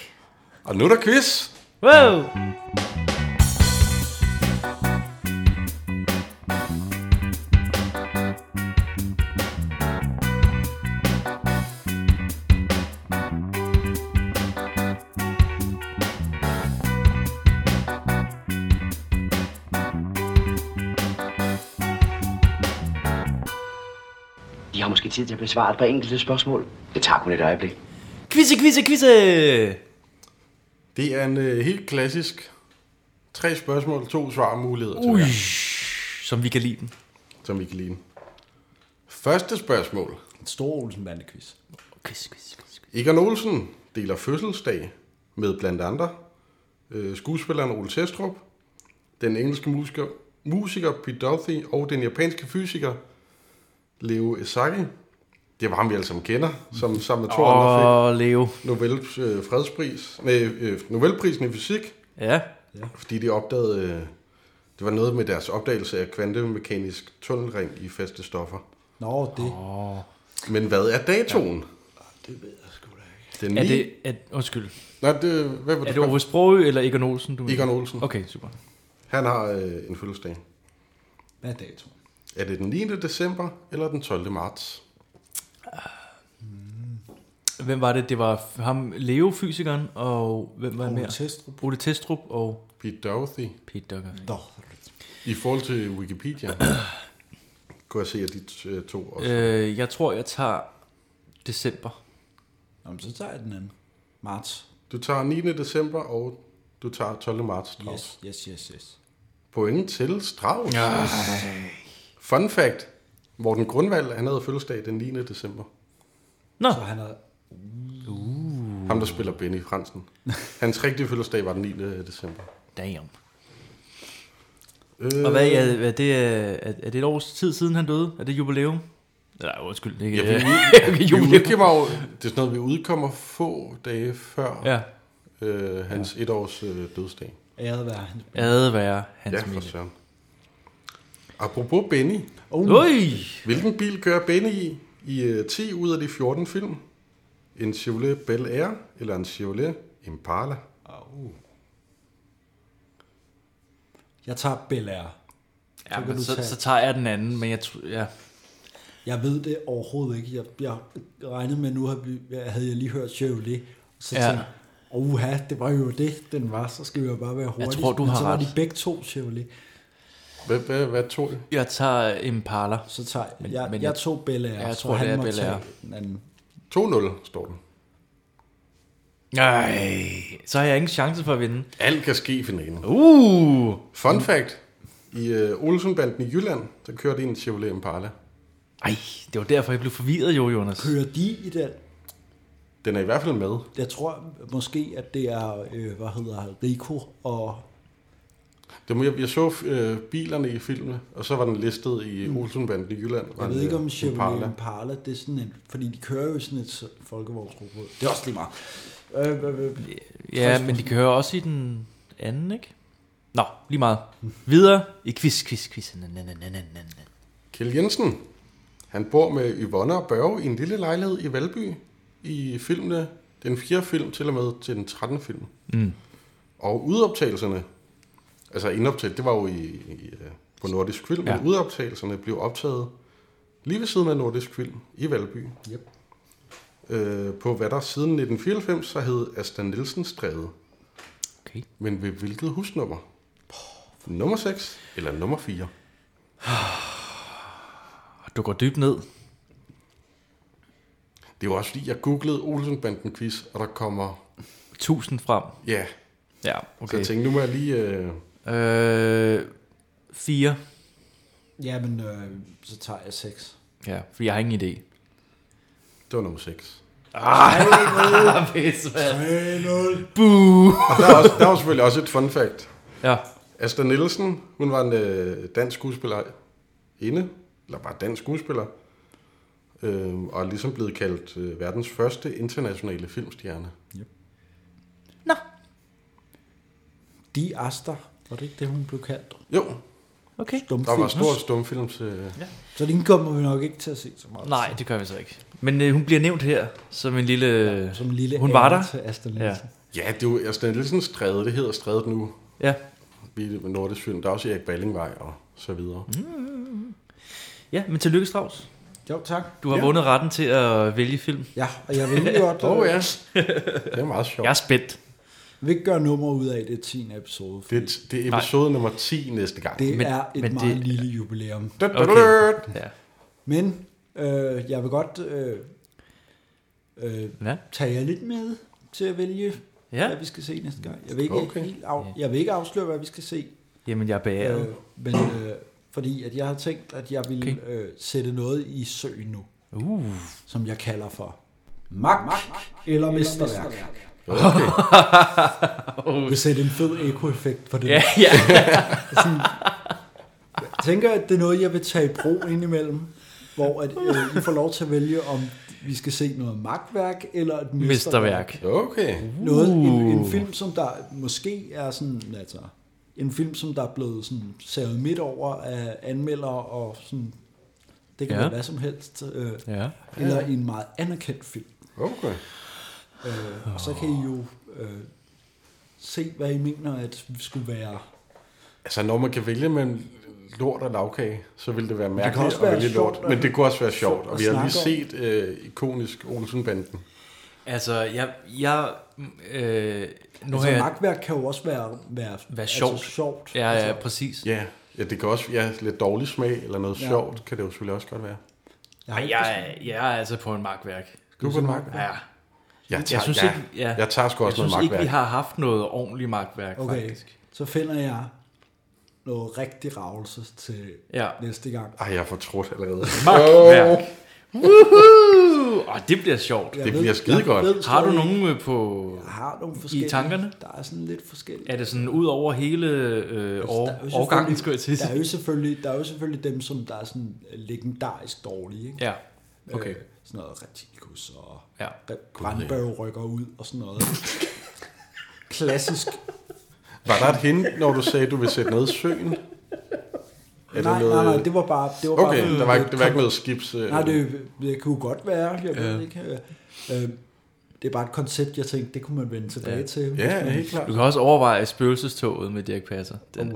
Og nu er der quiz. Wow! De har måske tid til at besvare et par enkelte spørgsmål. Det tager kun et øjeblik. Quizze, quizze, quizze! Det er en øh, helt klassisk tre spørgsmål, to svarmuligheder. til Ui. hver. Som vi kan lide den. Som vi kan lide den. Første spørgsmål. En stor Olsen quiz. Quiz, quiz, quiz. Egon Olsen deler fødselsdag med blandt andre øh, skuespilleren Ole Testrup, den engelske musiker, musiker Pete Doughty og den japanske fysiker Leo Esaki. Det var ham, vi alle sammen kender, som sammen med to Åh, andre fik Leo. Nobels øh, fredspris, nej, øh, Nobelprisen i fysik. Ja. Fordi de opdagede, øh, det var noget med deres opdagelse af kvantemekanisk tunnelring i faste stoffer. Nå, det. Oh. Men hvad er datoen? Ja. Det ved jeg sgu da Er ikke. Den 9. det... Er, undskyld. Nej, det, hvad var Er det Ove Sprogø eller Egon Olsen? Du Egon Olsen. Mm. Okay, super. Han har øh, en fødselsdag. Hvad er datoen? Er det den 9. december eller den 12. marts? Hvem var det? Det var f- ham, Leo, fysikeren, og hvem var Ole mere? Testrup. Ole Testrup og... Pete Doughty. Pete Doughty. I forhold til Wikipedia, kunne jeg se, at de øh, to også... Øh, jeg tror, jeg tager december. Nå, men så tager jeg den anden. Marts. Du tager 9. december, og du tager 12. marts. Strauss. Yes, yes, yes, yes. Pointen til Strauss. Ej. Fun fact. Morten Grundvald, han havde fødselsdag den 9. december. Nå. Så han havde... Uh. Ham, der spiller Benny Fransen. Hans rigtige fødselsdag var den 9. december. Damn. Øh, Og hvad, er, er, det, øh, er, er det et års tid siden, han døde? Er det jubilæum? Nej, undskyld. Det er ikke, Ja, vi, okay, vi, vi jubilæum. udgiver jo, det er sådan noget, vi udkommer få dage før Ja. øh, hans ja. etårs øh, dødsdag. Æret være hans Æret være hans ja, for minde. søren. Apropos Benny. Oh. Ui! Hvilken bil kører Benny i i øh, 10 ud af de 14 film? En Chevrolet Bel Air eller en Chevrolet Impala? Oh. Jeg tager Bel Air. Ja, kan men du så, tage- så, tager jeg den anden, men jeg tror... Ja. Jeg ved det overhovedet ikke. Jeg, jeg regnede med, nu havde vi- havde jeg lige hørt Chevrolet. Så Ja. ja. tænkte jeg, uha, det var jo det, den var. Så skal vi jo bare være hurtige. tror, du Men har så var ret. de begge to Chevrolet. Hvad, hvad, hvad tog I? Jeg tager Impala. Så tager jeg- jeg tog Bel Air, Ja, jeg så tror, han det er må Bel Air. tage den anden. 2-0 står den. Nej, så har jeg ingen chance for at vinde. Alt kan ske i finalen. Uh! Fun fact. I øh, Olsenbanden i Jylland, der kørte en Chevrolet Impala. Ej, det var derfor, jeg blev forvirret, jo, Jonas. Kører de i den? Den er i hvert fald med. Jeg tror måske, at det er, øh, hvad hedder Rico og... Det må, jeg, jeg så øh, bilerne i filmene, og så var den listet i Mm. mm. Olsenbanden i Jylland. var Jeg en, ved ikke, øh, om Chevrolet Impala. Impala, det er sådan en... Fordi de kører jo i sådan et folkevognsrobot. Det er også lige meget. Øh, øh, øh, Ja, men de kører også i den anden, ikke? Nå, lige meget. Videre i quiz, quiz, quiz. Na, na, na, na, na, na. Kjell Jensen, han bor med Yvonne og Børge i en lille lejlighed i Valby i filmene, den fjerde film til og med til den 13. film. Mm. Og udoptagelserne, altså indoptaget, det var jo i, i, øh, på Nordisk Film, ja. Ja. men udoptagelserne blev optaget lige ved siden af Nordisk Film i Valby. Yep. Øh, på hvad der siden 1994 så hed Asta Nielsen Stræde. Okay. Men ved hvilket husnummer? Nummer 6 eller nummer 4? Du går dybt ned. Det var også fordi, jeg googlede Olsenbanden quiz, og der kommer... 1000 frem. Ja. Ja, Så okay. jeg tænkte, nu må jeg lige... Øh... Øh, fire. Ja, men øh, så tager jeg seks. Ja, for jeg har ingen idé. Det var nummer 6. Ah, pis, mand. Boo. Og der, er også, der var selvfølgelig også et fun fact. Ja. Asta Nielsen, hun var en øh, dansk skuespiller inde, eller var dansk skuespiller, øh, og er ligesom blevet kaldt øh, verdens første internationale filmstjerne. De Aster, var det ikke det, hun blev kaldt? Jo. Okay. Der var stor øh, stumfilm til... Ja. Så den kommer vi nok ikke til at se så meget. Nej, det gør vi så ikke. Men øh, hun bliver nævnt her som en lille... Ja, som en lille hun var ære der. til Asta ja. Nielsen. Ja, det er jo Asta Nielsens stræde, det hedder strædet nu. Ja. Vi er med Nordisk Film, der er også Erik Ballingvej og så videre. Mm. ja, men tillykke, Strauss. Jo, tak. Du har Ja. ja. vundet retten til at vælge film. Ja, og jeg vil godt... øh, Åh, ja. Det er meget sjovt. Jeg er spændt. Vi vil ikke gøre nummer ud af at det er 10. episode. Det, er- det er episode Nej. nummer 10 næste gang. Det men, er et men meget det... lille jubilæum. Dut, dut, Okay. dut. Ja. Men øh, jeg vil godt øh, øh, ja. tage jer lidt med til at vælge, Ja. ja. hvad vi skal se næste gang. Jeg vil ikke, Okay. okay. helt af, jeg vil ikke afsløre, hvad vi skal se. Jamen, jeg er beæret. men, øh, fordi at jeg har tænkt, at jeg vil okay. øh, sætte noget i søen nu, uh. som jeg kalder for magt, magt eller mesterværk. Okay. Okay. Vil sætte en fed ekoeffekt på det. Ja, ja. Sådan, jeg tænker, at det er noget, jeg vil tage i brug indimellem, hvor at, øh, I får lov til at vælge, om vi skal se noget magtværk eller et mesterværk. Mesterværk. Okay. Noget, en, en Uh. film, som der måske er sådan, altså, en film, som der er blevet sådan savet midt over af anmeldere og sådan, det kan Ja. ja. være hvad som helst. Øh, Ja. Eller Ja. en meget anerkendt film. Okay. Øh, og så kan I jo øh, se, hvad I mener, at skulle være Altså, når man kan vælge mellem lort og lavkage, så vil det være det kan mærkeligt også at være vælge sjovt lort. at- Men det kunne også være sjovt. sjovt Og at vi har lige snakke set øh, ikonisk Olsenbanden. Altså, jeg... jeg øh, nu Nu har altså, jeg... magtværk kan jo også være, være, Være sjovt. Altså, sjovt. Ja, ja, Altså, præcis. Ja. ja, det kan også være lidt dårlig smag eller noget Ja. ja. sjovt, kan det jo selvfølgelig også godt være. Jeg, Ej, jeg, jeg er altså på en magtværk. Du er på en magtværk? Ja. Jeg tager- ja. Jeg tager sgu også jeg noget synes ikke, magtværk. vi har haft noget ordentligt magtværk, okay. okay, faktisk. så finder jeg noget rigtig ravelse til Ja. næste gang. Ej, jeg er for trådt allerede. Magtværk. Woohoo! Og det bliver sjovt. Jeg Det ved- bliver skidegodt. jeg ved Har du stadig nogen øh, på Jeg har nogle i forskellige. tankerne? Der er sådan lidt forskellige. Er det sådan ud over hele øh, år, Der er jo årgangen, selvfølgelig- skulle jeg til at Der er sige? jo selvfølgelig, der er jo selvfølgelig dem, som der er sådan legendarisk dårlige. Ikke? Ja, okay. Øh, sådan noget Reticus og ja. Brandbørg rykker ud og sådan noget. Klassisk. Var der et hint, når du sagde, du ville sætte noget i søen? Er nej, noget... nej, nej, det var bare... Det var okay, bare der var, ikke, det var ikke noget skibs... øh, Nej, det, det kunne godt være, jeg ved Ja. ikke. Øh, øh, det er bare et koncept, jeg tænkte, det kunne man vende tilbage Ja. til. Ja, Hvis man- helt klart. Du kan også overveje spøgelsestoget med Dirk Passer. Den er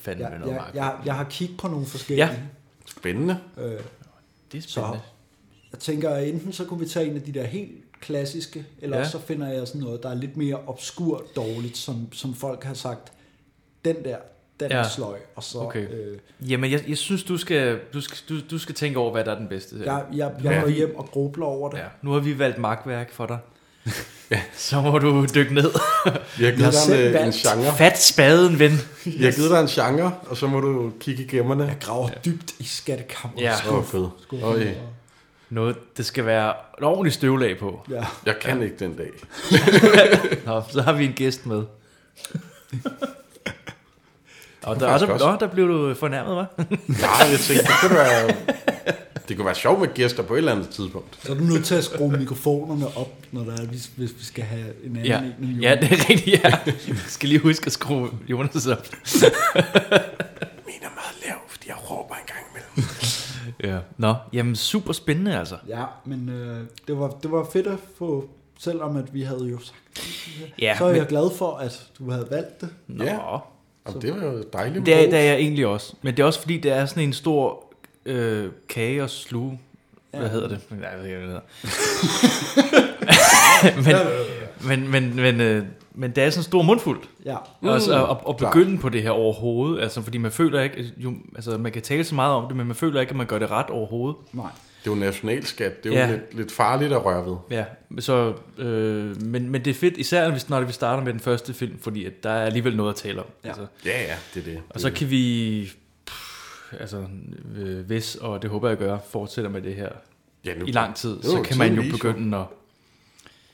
fandme Jeg, noget jeg, magtværk. jeg, jeg har kigget på nogle forskellige. Ja. Spændende. Øh, det er spændende. Så jeg tænker, at enten så kunne vi tage en af de der helt klassiske, eller Ja. ja. så finder jeg sådan noget, der er lidt mere obskur dårligt, som, som folk har sagt, den der, den ja. er sløj, og så... Okay. Øh, Jamen, jeg, jeg synes, du skal, du, skal, du, du skal tænke over, hvad der er den bedste. jeg, jeg, jeg går hjem og grubler over det. Ja. Nu har vi valgt magtværk for dig. ja. Så må du dykke ned. Jeg har givet dig øh, en, en genre. Fat spaden, ven. Jeg har givet dig en genre, og så må du kigge i gemmerne. Jeg graver ja. dybt i skattekammeret. Ja. Åh, fed. Øj. Noget, det skal være et ordentligt støvlag på. Ja. Jeg kan ikke den dag. Nå, så har vi en gæst med. Og der, og Det var der, faktisk også- nå, der blev du fornærmet, hva'? Nej, jeg tænkte, det kunne være... Det kunne være sjovt med gæster på et eller andet tidspunkt. Så er du nødt til at skrue mikrofonerne op, når der er, hvis, hvis vi skal have en anden Ja. en end Jonas. ja, det er rigtigt, ja. Jeg skal lige huske at skrue Jonas op. Min er meget lav, fordi jeg råber en gang imellem. ja. Nå, jamen super spændende altså. Ja, men øh, det, var, det var fedt at få, selvom at vi havde jo sagt det. Ja, så er men- jeg glad for, at du havde valgt det. Nå. Jamen, det var jo dejligt. Det er, med det er jeg egentlig også. Men det er også fordi, det er sådan en stor øh, kage og sluge. Hvad Ja. hedder det? Nej, jeg ved ikke, hvad det hedder. men, men, men, men, øh, men det er sådan en stor mundfuld. Ja. Også Mm. at, at- at Klart. begynde på det her overhovedet. Altså, fordi man føler ikke, jo, altså, man kan tale så meget om det, men man føler ikke, at man gør det ret overhovedet. Nej. Det er jo nationalskat. Det er jo Ja. lidt, lidt farligt at røre ved. Ja, så, øh, men, men det er fedt, især hvis, når vi starter med den første film, fordi at der er alligevel noget at tale om. altså. Ja. Ja, ja, det er det. Og så kan vi, pff, altså øh, hvis, og det håber jeg gør, fortsætter med det her Ja, nu- i lang tid, Det var så jo kan man jo tidlig, begynde at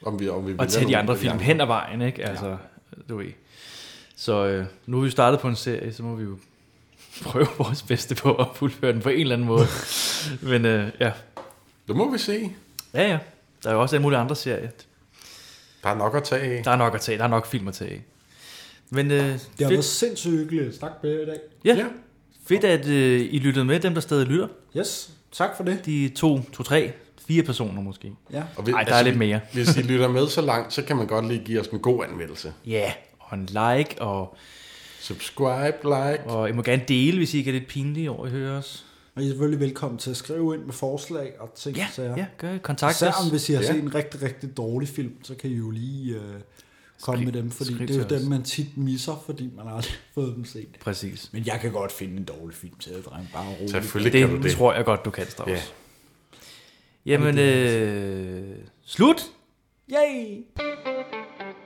Om vi, om vi vælger og tage nogle de af andre film hen ad vejen, ikke? Altså, du ved. Så øh, nu er vi startet på en serie, så må vi jo prøve vores bedste på at fuldføre den på en eller anden måde. Men øh, ja. Det må vi se. Ja, ja. Der er jo også alle mulige andre serier. Der er nok at tage af. Der er nok at tage Der er nok film at tage af. Men øh, det Det har været sindssygt hyggeligt at snakke med jer i dag. Ja. ja. Fedt, at øh, I lyttede med, dem der stadig lytter. Yes, tak for det. De to, to, tre, fire personer måske. Ja. Og vi, Ej, der altså, er lidt mere. hvis I lytter med så langt, så kan man godt lige give os en god anmeldelse. Ja, og en like, og... Subscribe, like. Og I må gerne dele, hvis I ikke er lidt pinlige over at høre os. Og I er selvfølgelig velkommen til at skrive ind med forslag og ting. Ja, ja, gør I. Kontakt Især os. om hvis I har Ja. set en rigtig, rigtig dårlig film, så kan I jo lige øh, komme Skriv- med dem, fordi skriv det er jo til os. dem, man tit misser, fordi man aldrig har fået dem set. Præcis. Men jeg kan godt finde en dårlig film til at drenge, bare roligt. Selvfølgelig kan du det. tror jeg godt, du kan, Strauss. Ja. Jamen, Ej, øh, slut! Yay!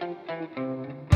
Thank you.